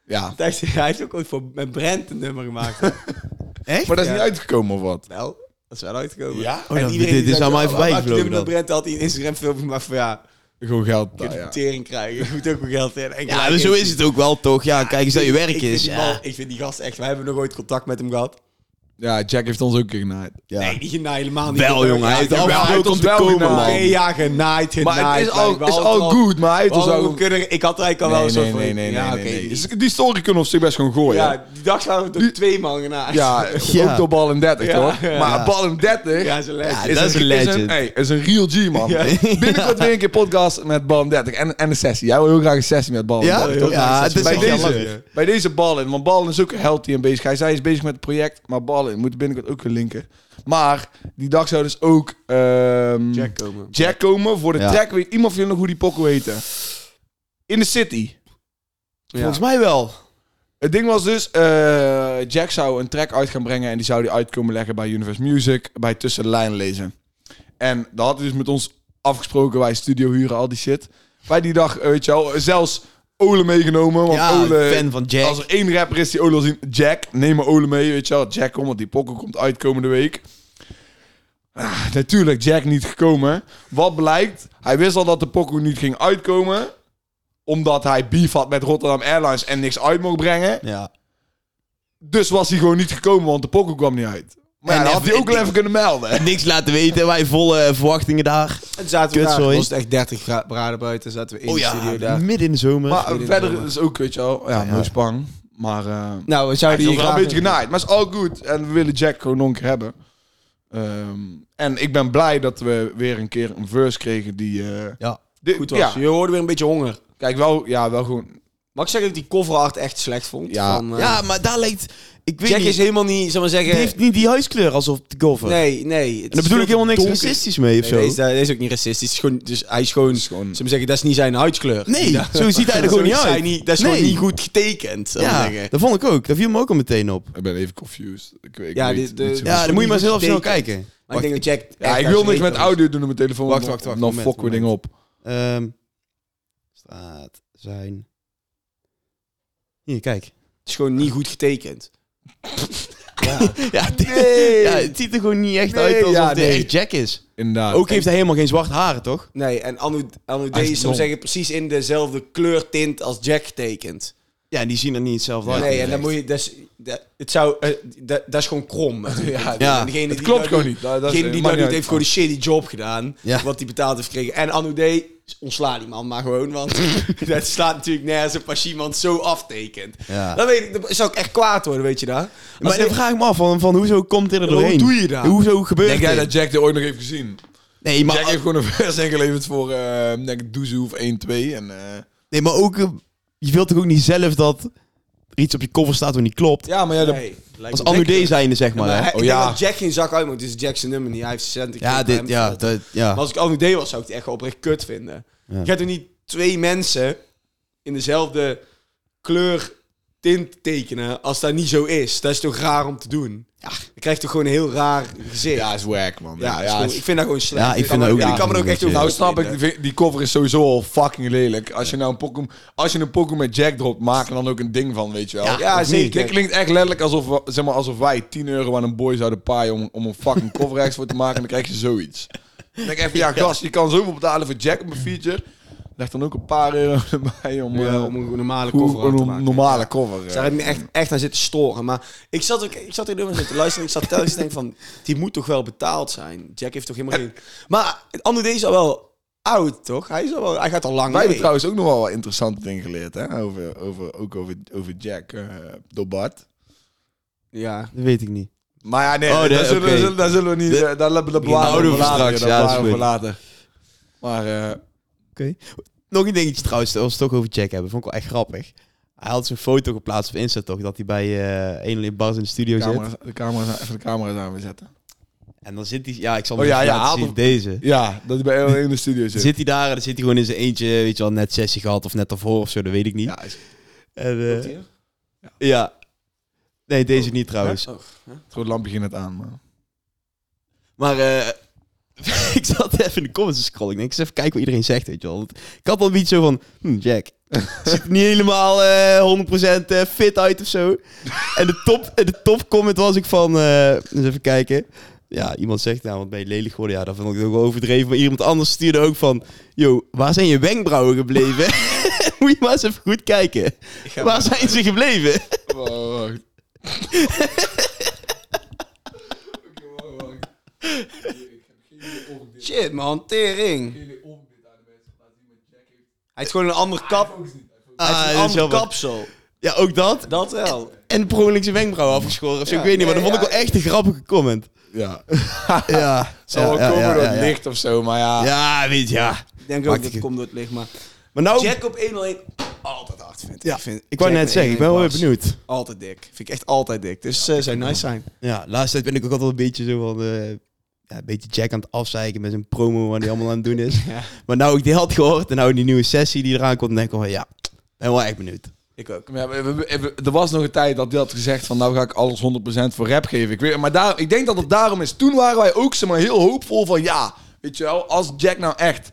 [SPEAKER 1] Ja,
[SPEAKER 3] Hij heeft- Hij heeft ook ooit voor, met Brent een nummer gemaakt. hè?
[SPEAKER 2] Echt?
[SPEAKER 1] maar dat is
[SPEAKER 3] Ja.
[SPEAKER 1] niet uitgekomen of wat?
[SPEAKER 3] wel, dat is wel uitgekomen.
[SPEAKER 1] Ja?
[SPEAKER 2] Oh, dat-
[SPEAKER 3] iedereen
[SPEAKER 2] dit
[SPEAKER 3] die
[SPEAKER 2] is
[SPEAKER 3] zegt,
[SPEAKER 2] allemaal
[SPEAKER 3] "Oh,
[SPEAKER 2] even
[SPEAKER 3] waar maakt die
[SPEAKER 2] bijgevlogen
[SPEAKER 3] nummer
[SPEAKER 2] dan.
[SPEAKER 3] met Brent had hij een Instagram filmpje gemaakt van ja,
[SPEAKER 1] Gewoon geld.
[SPEAKER 3] je
[SPEAKER 1] nou,
[SPEAKER 3] moet
[SPEAKER 1] ja.
[SPEAKER 3] tering krijgen. Je moet ook wel geld in. En
[SPEAKER 2] Ja,
[SPEAKER 3] gelijk
[SPEAKER 2] maar zo
[SPEAKER 3] heeft
[SPEAKER 2] is
[SPEAKER 3] hij-
[SPEAKER 2] het ook wel toch. Ja, kijk eens dat je werk
[SPEAKER 3] ik vind
[SPEAKER 2] is.
[SPEAKER 3] die
[SPEAKER 2] Ja.
[SPEAKER 3] man- Ik vind die gast echt, we hebben nog ooit contact met hem gehad.
[SPEAKER 1] ja, Jack heeft ons ook genaaid.
[SPEAKER 2] Ja.
[SPEAKER 3] Nee, die genaaid helemaal niet.
[SPEAKER 2] Wel, jongen. Hij heeft
[SPEAKER 1] jawel, hij heeft
[SPEAKER 2] afgesproken om
[SPEAKER 1] ons
[SPEAKER 2] te
[SPEAKER 1] wel
[SPEAKER 2] komen,
[SPEAKER 1] gedaan.
[SPEAKER 2] man.
[SPEAKER 3] Nee, ja, genaaid, genaaid.
[SPEAKER 1] Maar het is al,
[SPEAKER 3] blijkbaar.
[SPEAKER 1] is
[SPEAKER 3] Altijd
[SPEAKER 1] al goed, maar het is
[SPEAKER 3] Waarom
[SPEAKER 1] ook...
[SPEAKER 3] kunnen- ik had eigenlijk al wel
[SPEAKER 1] Nee,
[SPEAKER 3] een soort
[SPEAKER 1] nee,
[SPEAKER 3] van...
[SPEAKER 1] nee, nee,
[SPEAKER 3] ja,
[SPEAKER 1] nee,
[SPEAKER 3] oké,
[SPEAKER 1] nee.
[SPEAKER 3] die-
[SPEAKER 1] Dus Die story kunnen we op zich best gewoon gooien.
[SPEAKER 3] ja,
[SPEAKER 1] Ja,
[SPEAKER 3] die dag waren we door twee man genaaid.
[SPEAKER 1] ook door Bal en 30,
[SPEAKER 3] Ja,
[SPEAKER 1] hoor.
[SPEAKER 3] ja.
[SPEAKER 1] Maar Bal en 30...
[SPEAKER 3] Ja, ze lijkt.
[SPEAKER 2] Ja, dat is een
[SPEAKER 1] Is een,
[SPEAKER 2] legend.
[SPEAKER 1] hey, is een real G, man.
[SPEAKER 3] Ja.
[SPEAKER 1] Binnenkort weer een keer podcast met Bal en 30. En, en een sessie. Jij wil heel graag een sessie met Bal en
[SPEAKER 2] Ja?
[SPEAKER 1] 30.
[SPEAKER 2] Ja,
[SPEAKER 3] graag
[SPEAKER 2] het is
[SPEAKER 1] Bij
[SPEAKER 3] sessie.
[SPEAKER 2] wel
[SPEAKER 3] Ja,
[SPEAKER 2] jammer.
[SPEAKER 1] deze, bij deze Ballin, want Ballin is ook healthy en bezig. Hij zei, hij is bezig met het project, maar Ballin moet binnenkort ook een linker. Maar die dag zou dus ook ehm,
[SPEAKER 3] Jack komen.
[SPEAKER 1] Jack komen voor de
[SPEAKER 2] Ja.
[SPEAKER 1] track. Weet iemand van jullie nog hoe die pokoe heette? In de City.
[SPEAKER 2] Volgens mij wel.
[SPEAKER 1] Het ding was dus, eh, Jack zou een track uit gaan brengen en die zou die uit komen leggen bij Universe Music, bij Tussen de Lijn lezen. En dat had hij dus met ons afgesproken, wij studio huren, al die shit. Wij die dag, eh, weet je wel, zelfs Ole meegenomen, want
[SPEAKER 2] Ja,
[SPEAKER 1] Ole...
[SPEAKER 2] fan van Jack.
[SPEAKER 1] Als er één rapper is die Ole wil zien, Jack, neem maar Ole mee, weet je wel. Jack, kom, want die pokken komt uit komende week. Ah, natuurlijk, Jack niet gekomen. Wat blijkt, hij wist al dat de pokoe niet ging uitkomen omdat hij beef had met Rotterdam Airlines en niks uit mocht brengen.
[SPEAKER 2] Ja.
[SPEAKER 1] Dus was hij gewoon niet gekomen, want de pokoe kwam niet uit. Maar ja,
[SPEAKER 2] En
[SPEAKER 1] dan had hij
[SPEAKER 2] even-
[SPEAKER 1] ook wel even kunnen melden.
[SPEAKER 2] Niks laten weten. Wij volle eh, verwachtingen daar.
[SPEAKER 3] En zaten we
[SPEAKER 2] Kut,
[SPEAKER 3] daar,
[SPEAKER 2] sorry.
[SPEAKER 3] was het echt 30 gra- graden buiten, zaten we in
[SPEAKER 2] Oh
[SPEAKER 3] de
[SPEAKER 2] ja,
[SPEAKER 3] studio daar.
[SPEAKER 2] midden in de zomer.
[SPEAKER 1] Maar eh,
[SPEAKER 3] niet
[SPEAKER 1] verder
[SPEAKER 3] helemaal.
[SPEAKER 1] is ook, weet je wel, ja, mooi spang. Maar eh
[SPEAKER 3] Nou, we
[SPEAKER 1] hij
[SPEAKER 3] zouden
[SPEAKER 1] is
[SPEAKER 3] hier
[SPEAKER 1] wel een
[SPEAKER 3] graag...
[SPEAKER 1] beetje genaaid. Maar is al goed. En we willen Jack gewoon nog een keer hebben. Ehm, en ik ben blij dat we weer een keer een verse kregen die... eh,
[SPEAKER 2] ja.
[SPEAKER 1] dit-
[SPEAKER 3] Goed was.
[SPEAKER 1] Ja,
[SPEAKER 3] Je hoorde weer een beetje honger.
[SPEAKER 1] kijk, wel, ja, wel gewoon...
[SPEAKER 3] Mag ik zeggen dat ik die cover art echt slecht vond?
[SPEAKER 1] Ja.
[SPEAKER 3] Van, eh,
[SPEAKER 2] ja, maar daar lijkt... Ik weet
[SPEAKER 3] Jack
[SPEAKER 2] niet,
[SPEAKER 3] is helemaal niet, zal maar zeggen...
[SPEAKER 2] die heeft niet die huiskleur alsof de golfer.
[SPEAKER 3] Nee, nee.
[SPEAKER 2] En daar bedoel ik helemaal niks racistisch mee of
[SPEAKER 3] Nee,
[SPEAKER 2] zo.
[SPEAKER 3] deze, deze is ook niet racistisch. Het is gewoon, dus hij is gewoon,
[SPEAKER 1] gewoon-
[SPEAKER 3] Zullen we zeggen, dat is niet zijn huidskleur.
[SPEAKER 2] Nee,
[SPEAKER 3] Ja.
[SPEAKER 2] zo ziet hij er gewoon
[SPEAKER 3] Zo
[SPEAKER 2] niet
[SPEAKER 3] is
[SPEAKER 2] uit.
[SPEAKER 3] hij Niet, dat is
[SPEAKER 2] Nee.
[SPEAKER 3] gewoon niet goed getekend, zal
[SPEAKER 2] ja,
[SPEAKER 3] ja. zeggen.
[SPEAKER 2] dat vond ik ook. Dat viel me ook al meteen op.
[SPEAKER 1] Ik ben even confused. Ik, weet- ik
[SPEAKER 3] Ja,
[SPEAKER 1] weet
[SPEAKER 3] dit-
[SPEAKER 1] niet
[SPEAKER 3] de-
[SPEAKER 1] zo
[SPEAKER 3] Ja,
[SPEAKER 1] goed.
[SPEAKER 2] Ja, dan moet je maar
[SPEAKER 3] niet
[SPEAKER 2] zelf snel
[SPEAKER 3] goed
[SPEAKER 2] kijken.
[SPEAKER 3] Maar ik denk dat Jack...
[SPEAKER 1] Ja,
[SPEAKER 3] echt
[SPEAKER 1] ik
[SPEAKER 3] daar
[SPEAKER 1] wil
[SPEAKER 3] zijn
[SPEAKER 1] niks met
[SPEAKER 3] reet
[SPEAKER 1] audio doen op mijn telefoon.
[SPEAKER 2] Wacht,
[SPEAKER 1] dan-
[SPEAKER 2] wacht, wacht,
[SPEAKER 1] Dan
[SPEAKER 2] moment,
[SPEAKER 1] fokken we dingen op.
[SPEAKER 2] Ehm, staat zijn... Hier, kijk.
[SPEAKER 3] Het is gewoon niet goed getekend.
[SPEAKER 2] Ja, dit- ja, het ziet er gewoon niet echt
[SPEAKER 1] Nee,
[SPEAKER 2] uit alsof
[SPEAKER 1] ja,
[SPEAKER 2] dit
[SPEAKER 1] nee.
[SPEAKER 2] echt Jack is.
[SPEAKER 1] Inderdaad.
[SPEAKER 2] Ook heeft hij helemaal geen zwart haar, toch?
[SPEAKER 3] Nee, en Anu, Anu D
[SPEAKER 1] Hij is
[SPEAKER 3] is, zal
[SPEAKER 1] blond.
[SPEAKER 3] ik zeggen, precies in dezelfde kleurtint als Jack getekend.
[SPEAKER 2] Ja, en die zien er niet hetzelfde uit.
[SPEAKER 3] nee, en dan moet je... Dat is, dat, het zou, eh, dat, dat is gewoon krom. ja,
[SPEAKER 2] Ja,
[SPEAKER 3] degene
[SPEAKER 1] Het
[SPEAKER 3] die
[SPEAKER 1] klopt
[SPEAKER 3] dat
[SPEAKER 1] gewoon
[SPEAKER 3] doet-
[SPEAKER 1] niet. Dat, dat is-
[SPEAKER 3] Degene
[SPEAKER 1] maakt niet
[SPEAKER 3] die dat doet,
[SPEAKER 1] uit.
[SPEAKER 3] heeft gewoon een shady job gedaan.
[SPEAKER 2] Ja.
[SPEAKER 3] Wat hij betaald heeft gekregen. En Anu D, ontsla die man maar gewoon. Want dat slaat natuurlijk nergens op als je iemand zo aftekent.
[SPEAKER 2] Ja.
[SPEAKER 3] Dan, weet ik, dan zou ik echt kwaad worden, weet je daar.
[SPEAKER 2] Maar dan vraag ik me af, van, van hoezo komt dit er
[SPEAKER 3] hoe
[SPEAKER 2] doorheen?
[SPEAKER 3] doe je dat?
[SPEAKER 2] Hoezo gebeurt
[SPEAKER 1] Denk jij
[SPEAKER 2] dit?
[SPEAKER 1] dat Jack dit ooit nog heeft gezien?
[SPEAKER 2] Nee, maar,
[SPEAKER 1] Jack heeft gewoon een vers ingeleverd voor, eh denk ik, Doezoe of 1-2. En, eh,
[SPEAKER 2] nee, maar ook... eh, Je wilt toch ook niet zelf dat er iets op je koffer staat wat niet klopt?
[SPEAKER 1] Ja, maar ja, dat-
[SPEAKER 3] Nee, lijkt
[SPEAKER 2] Als
[SPEAKER 3] me
[SPEAKER 2] Anu
[SPEAKER 3] gek.
[SPEAKER 2] D zijnde, zeg maar.
[SPEAKER 3] Maar
[SPEAKER 2] hè?
[SPEAKER 3] hij- ik
[SPEAKER 1] Oh,
[SPEAKER 3] denk
[SPEAKER 1] ja.
[SPEAKER 3] dat Jack geen zak uit moet. Het is Jack zijn nummer niet. Hij heeft zijn centen
[SPEAKER 2] Ja,
[SPEAKER 3] gekregen
[SPEAKER 2] dit,
[SPEAKER 3] bij hem.
[SPEAKER 2] ja, dat, ja.
[SPEAKER 3] Maar als ik Anu D was, zou ik het echt oprecht kut vinden.
[SPEAKER 2] Ja.
[SPEAKER 3] Je gaat er niet twee mensen in dezelfde kleur tint tekenen als dat niet zo is. Dat is toch raar om te doen? Ja. Je krijgt toch gewoon een heel raar gezicht.
[SPEAKER 1] ja, is wack, man.
[SPEAKER 3] Ja,
[SPEAKER 1] Ja,
[SPEAKER 3] is gewoon-
[SPEAKER 1] is-
[SPEAKER 3] ik vind dat gewoon slecht.
[SPEAKER 2] Ja, ik
[SPEAKER 3] Ik
[SPEAKER 2] vind dat
[SPEAKER 3] kan me-
[SPEAKER 2] ook
[SPEAKER 3] ja, Ik
[SPEAKER 2] niet
[SPEAKER 3] kan me er ook
[SPEAKER 2] goed,
[SPEAKER 3] echt over
[SPEAKER 2] ja.
[SPEAKER 1] Nou snap ik,
[SPEAKER 3] vinden.
[SPEAKER 1] die- die cover is sowieso al fucking lelijk. Als je nou een pokoe, als je een pokoe met Jack dropt, maak er dan ook een ding van, weet je wel.
[SPEAKER 2] Ja,
[SPEAKER 3] Ja,
[SPEAKER 1] Of niet?
[SPEAKER 3] zeker.
[SPEAKER 1] Dit klinkt echt letterlijk alsof, we- zeg maar, alsof wij 10 euro aan een boy zouden paaien om, om een fucking cover rechts voor te maken en dan krijg je zoiets. Dan denk ik even, ja gast, je kan zoveel betalen voor Jack op een feature. Leg dan ook een paar euro erbij om, eh,
[SPEAKER 3] Ja,
[SPEAKER 1] om
[SPEAKER 3] om een normale
[SPEAKER 1] hoe-
[SPEAKER 3] cover aan te
[SPEAKER 1] een
[SPEAKER 3] maken.
[SPEAKER 1] normale cover. eh.
[SPEAKER 3] Dus daar heb ik me echt, echt aan zitten storen. Maar ik zat, ook, ik zat hier nummer zitten luisteren. en Ik zat telkens te denken van, die moet toch wel betaald zijn? Jack heeft toch helemaal geen... Maar Anu D is al wel oud, toch? Hij, is al wel, hij gaat al lang
[SPEAKER 1] Wij hebben
[SPEAKER 3] mee.
[SPEAKER 1] trouwens ook nog wel wat interessante dingen geleerd, hè? Over, over, ook over, over Jack eh door Bart.
[SPEAKER 3] Ja.
[SPEAKER 2] Dat weet ik niet.
[SPEAKER 1] Maar ja, nee,
[SPEAKER 2] Oh,
[SPEAKER 1] daar
[SPEAKER 2] de-
[SPEAKER 1] zullen,
[SPEAKER 2] oké.
[SPEAKER 1] we- zullen- daar zullen we niet... eh, daar hebben we
[SPEAKER 2] die houden we
[SPEAKER 1] voor
[SPEAKER 2] voor
[SPEAKER 1] later.
[SPEAKER 2] straks,
[SPEAKER 1] dat
[SPEAKER 2] ja, dat is
[SPEAKER 1] bewaren we voor
[SPEAKER 2] goed.
[SPEAKER 1] later. Maar eh,
[SPEAKER 2] Oké. Nog een dingetje trouwens, als we het toch over Jack hebben, vond ik wel echt grappig. Hij had zijn foto geplaatst op Insta toch, dat hij bij eh een in Bars in de studio
[SPEAKER 1] de,
[SPEAKER 2] zit.
[SPEAKER 1] camera's, de camera's, even de camera's aan weer zetten.
[SPEAKER 2] En dan zit hij, ja, ik zal
[SPEAKER 1] Oh
[SPEAKER 2] hem
[SPEAKER 1] ja, ja,
[SPEAKER 2] even laten
[SPEAKER 1] haal
[SPEAKER 2] zien,
[SPEAKER 1] hem.
[SPEAKER 2] deze.
[SPEAKER 1] Ja, dat hij bij Ellen in de studio zit.
[SPEAKER 2] Zit hij daar en dan zit hij gewoon in zijn eentje, weet je wel, net sessie gehad of net daarvoor of zo, dat weet ik niet.
[SPEAKER 1] Ja, is-
[SPEAKER 2] En, eh, ja. Nee, deze niet trouwens.
[SPEAKER 3] Oh.
[SPEAKER 1] het rode lampje ging net aan, man.
[SPEAKER 2] Maar eh, ik zat even in de comments te scrollen. Ik denk, eens even kijken wat iedereen zegt, weet je wel. Want ik had al een beetje zo van, hm, Jack, ziet er niet helemaal eh 100% eh, fit uit of zo. en de top, en de top comment was ik van, eh, eens even kijken. Ja, iemand zegt, nou, wat ben je lelijk geworden? Ja, dat vond ik ook wel overdreven. Maar iemand anders stuurde ook van, yo, waar zijn je wenkbrauwen gebleven? Moet je maar eens even goed kijken. Waar zijn ze gebleven?
[SPEAKER 3] Shit, man, tering. Hij heeft gewoon een ander kap. Hij heeft
[SPEAKER 2] Ah,
[SPEAKER 3] een
[SPEAKER 2] dat is
[SPEAKER 3] ander
[SPEAKER 2] jammer.
[SPEAKER 3] kapsel.
[SPEAKER 2] Ja, ook dat.
[SPEAKER 3] Dat wel.
[SPEAKER 2] En per ongeluk zijn wenkbrauw afgeschoren of zo.
[SPEAKER 3] Ja,
[SPEAKER 2] ik weet niet, maar dat
[SPEAKER 3] ja,
[SPEAKER 2] vond ik
[SPEAKER 3] ja.
[SPEAKER 2] wel echt een grappige comment.
[SPEAKER 1] Ja.
[SPEAKER 2] Ja.
[SPEAKER 1] Zal wel komen door het licht of zo, maar ja.
[SPEAKER 2] Ja, weet je, ja.
[SPEAKER 3] Ik denk
[SPEAKER 2] Maakt
[SPEAKER 3] ook dat
[SPEAKER 2] ik-
[SPEAKER 3] het komt door het licht, maar...
[SPEAKER 2] Maar nou...
[SPEAKER 3] Jack op 101 altijd hard vind ik.
[SPEAKER 2] ja,
[SPEAKER 3] Ik vind
[SPEAKER 2] ik wou
[SPEAKER 3] Jack
[SPEAKER 2] net
[SPEAKER 3] op
[SPEAKER 2] zeggen, ik ben
[SPEAKER 3] 101
[SPEAKER 2] wel weer
[SPEAKER 3] bars.
[SPEAKER 2] benieuwd.
[SPEAKER 3] Altijd dik. Vind ik echt altijd dik. Dus eh zou nice zijn.
[SPEAKER 2] Ja, laatst tijd ben ik ook altijd een beetje zo van... eh, ja, een beetje Jack aan het afzeiken met zijn promo waar hij allemaal aan het doen is.
[SPEAKER 3] Ja.
[SPEAKER 2] Maar nou ik dit had gehoord en nou die nieuwe sessie die eraan komt, dan denk ik van ja, ben wel echt benieuwd.
[SPEAKER 3] Ik ook.
[SPEAKER 1] Ja, we- we- we- er was nog een tijd dat hij had gezegd van nou ga ik alles 100% voor rap geven. Ik, weet, maar daar, ik denk dat het daarom is. Toen waren wij ook zeg maar, heel hoopvol van ja, weet je wel, als Jack nou echt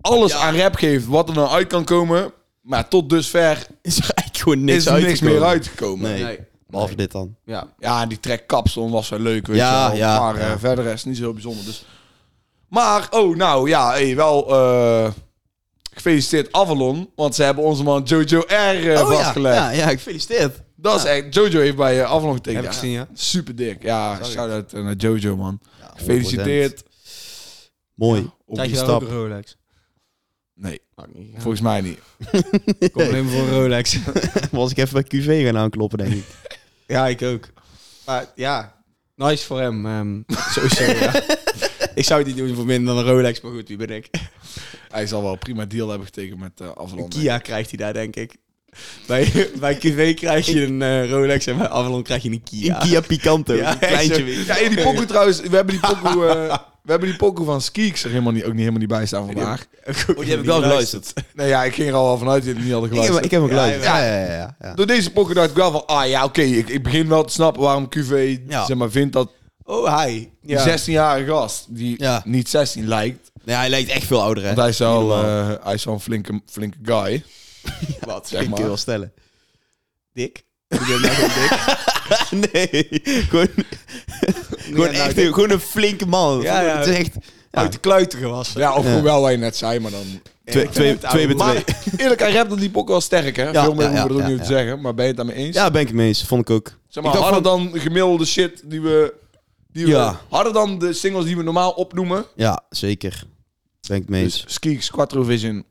[SPEAKER 1] alles aan rap geeft wat er nou uit kan komen. Maar tot dusver
[SPEAKER 2] Is er eigenlijk gewoon niks
[SPEAKER 1] is er niks
[SPEAKER 2] uitgekomen.
[SPEAKER 1] meer uitgekomen.
[SPEAKER 2] Nee. Behalve dit dan.
[SPEAKER 1] Ja. ja, die track Kapsalon was wel leuk, weet
[SPEAKER 2] Ja,
[SPEAKER 1] je wel.
[SPEAKER 2] ja,
[SPEAKER 1] maar eh,
[SPEAKER 2] ja.
[SPEAKER 1] verder is het niet zo heel bijzonder. Dus. Maar, oh nou ja, hey, wel eh, gefeliciteerd Avalon. Want ze hebben onze man Jojo R eh,
[SPEAKER 2] Oh ja,
[SPEAKER 1] vastgelegd.
[SPEAKER 2] ja, ja, gefeliciteerd.
[SPEAKER 1] Dat is echt. Jojo heeft bij eh, Avalon getekend.
[SPEAKER 3] Heb ik gezien, ja.
[SPEAKER 1] Super dik. Ja,
[SPEAKER 2] ik.
[SPEAKER 1] shout-out eh, naar Jojo, man.
[SPEAKER 2] Ja, 100%.
[SPEAKER 1] Gefeliciteerd.
[SPEAKER 2] Mooi.
[SPEAKER 1] Op
[SPEAKER 3] Krijg
[SPEAKER 1] die
[SPEAKER 3] je daar
[SPEAKER 1] stap.
[SPEAKER 3] ook een Rolex?
[SPEAKER 1] Nee,
[SPEAKER 3] Maakt niet. Ja.
[SPEAKER 1] volgens mij niet.
[SPEAKER 3] Kom alleen maar voor een Rolex.
[SPEAKER 2] Was ik even bij QV gaan aankloppen, denk ik.
[SPEAKER 3] ja, ik ook. Maar ja, nice voor hem. ehm, sowieso, ja. Ik zou het niet doen voor minder dan een Rolex, maar goed, wie ben ik?
[SPEAKER 1] Hij zal wel een prima deal hebben getekend met eh Avalon.
[SPEAKER 3] Een Kia krijgt hij daar, denk ik. Bij, bij QV krijg je een eh, Rolex en bij Avalon krijg je een Kia.
[SPEAKER 2] In Kia Picanto.
[SPEAKER 3] Ja,
[SPEAKER 2] een kleintje
[SPEAKER 3] zo.
[SPEAKER 2] weer.
[SPEAKER 1] Ja, in die pokoe trouwens. We hebben die pokoe, eh, we hebben die pokoe van Skeeks er helemaal niet, ook niet helemaal niet bij staan vandaag.
[SPEAKER 3] Oh, die heb ik wel geluisterd.
[SPEAKER 1] Nee, ja, ik ging er al wel vanuit dat jullie niet hadden
[SPEAKER 2] Ik heb,
[SPEAKER 1] geluisterd.
[SPEAKER 2] ik heb hem geluisterd.
[SPEAKER 1] Ja,
[SPEAKER 2] Ja, ja, ja. ja.
[SPEAKER 1] Door deze pokken dacht ik wel van, ah ja, oké, ik, ik begin wel te snappen waarom QV
[SPEAKER 2] Ja.
[SPEAKER 1] zeg maar, vindt dat
[SPEAKER 3] Oh, hi.
[SPEAKER 1] die
[SPEAKER 3] Ja.
[SPEAKER 1] 16-jarige gast, die
[SPEAKER 2] Ja.
[SPEAKER 1] niet 16 lijkt,
[SPEAKER 2] Nee, hij lijkt echt veel ouder, hè?
[SPEAKER 1] want hij is wel,
[SPEAKER 2] Helemaal.
[SPEAKER 1] eh, hij is wel een flinke, flinke guy.
[SPEAKER 3] Wat?
[SPEAKER 1] zeg
[SPEAKER 2] Ik
[SPEAKER 1] maar.
[SPEAKER 2] kan je wel stellen.
[SPEAKER 3] Dik? Ik ben nou gewoon dik.
[SPEAKER 2] nee, gewoon, gewoon,
[SPEAKER 3] Ja, nou,
[SPEAKER 2] echt,
[SPEAKER 3] dit-
[SPEAKER 2] een- gewoon een flinke man.
[SPEAKER 3] Ja, ja.
[SPEAKER 2] Het is echt
[SPEAKER 3] Uit de kluiten gewassen.
[SPEAKER 1] Ja, of
[SPEAKER 2] Ja.
[SPEAKER 1] gewoon wel wat je net zei, maar dan...
[SPEAKER 2] twee, twee, twee bij twee.
[SPEAKER 1] Maar eerlijk, hij rapt op die pokken wel sterk, hè?
[SPEAKER 2] Ja,
[SPEAKER 1] Veel meer
[SPEAKER 2] ja, ja,
[SPEAKER 1] hoeven we er ook
[SPEAKER 2] ja,
[SPEAKER 1] niet over te
[SPEAKER 2] ja.
[SPEAKER 1] zeggen, maar ben je het daarmee eens?
[SPEAKER 2] Ja, ben ik het mee eens. Vond ik ook.
[SPEAKER 1] Zeg maar,
[SPEAKER 2] ik dacht
[SPEAKER 1] harder dan gemiddelde shit die we... Die we
[SPEAKER 2] Ja.
[SPEAKER 1] Harder dan de singles die we normaal opnoemen.
[SPEAKER 2] Ja, zeker. Ben ik het mee eens.
[SPEAKER 1] Dus Skeeks, Quattro Vision,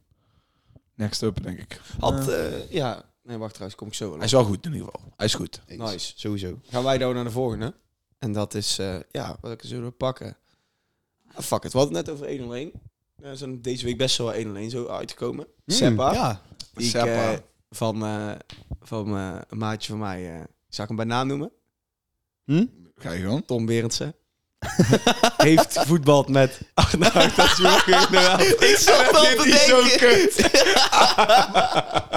[SPEAKER 1] Next Up, denk ik.
[SPEAKER 3] Had, eh, ja. Nee, wacht trouwens, kom ik zo wel
[SPEAKER 1] Hij is wel goed in ieder geval. Hij is goed.
[SPEAKER 2] Eens.
[SPEAKER 3] Dus- nice.
[SPEAKER 2] Sowieso.
[SPEAKER 3] Gaan wij dan naar de volgende. En dat is, eh, ja, welke zullen we pakken? Ah, fuck it, we hadden het net over 101. Er zijn deze week best wel 101 zo uitgekomen. Hm, Seppa.
[SPEAKER 2] Ja.
[SPEAKER 3] Die ik,
[SPEAKER 1] Seppa.
[SPEAKER 3] eh, van eh, van eh, een maatje van mij, eh zou ik hem bij naam noemen?
[SPEAKER 2] Hm?
[SPEAKER 1] Ga je gewoon.
[SPEAKER 3] Tom Berendsen. Heeft voetbald met Arnoud Tatsjoer, inderdaad.
[SPEAKER 2] Ik zat al te denken.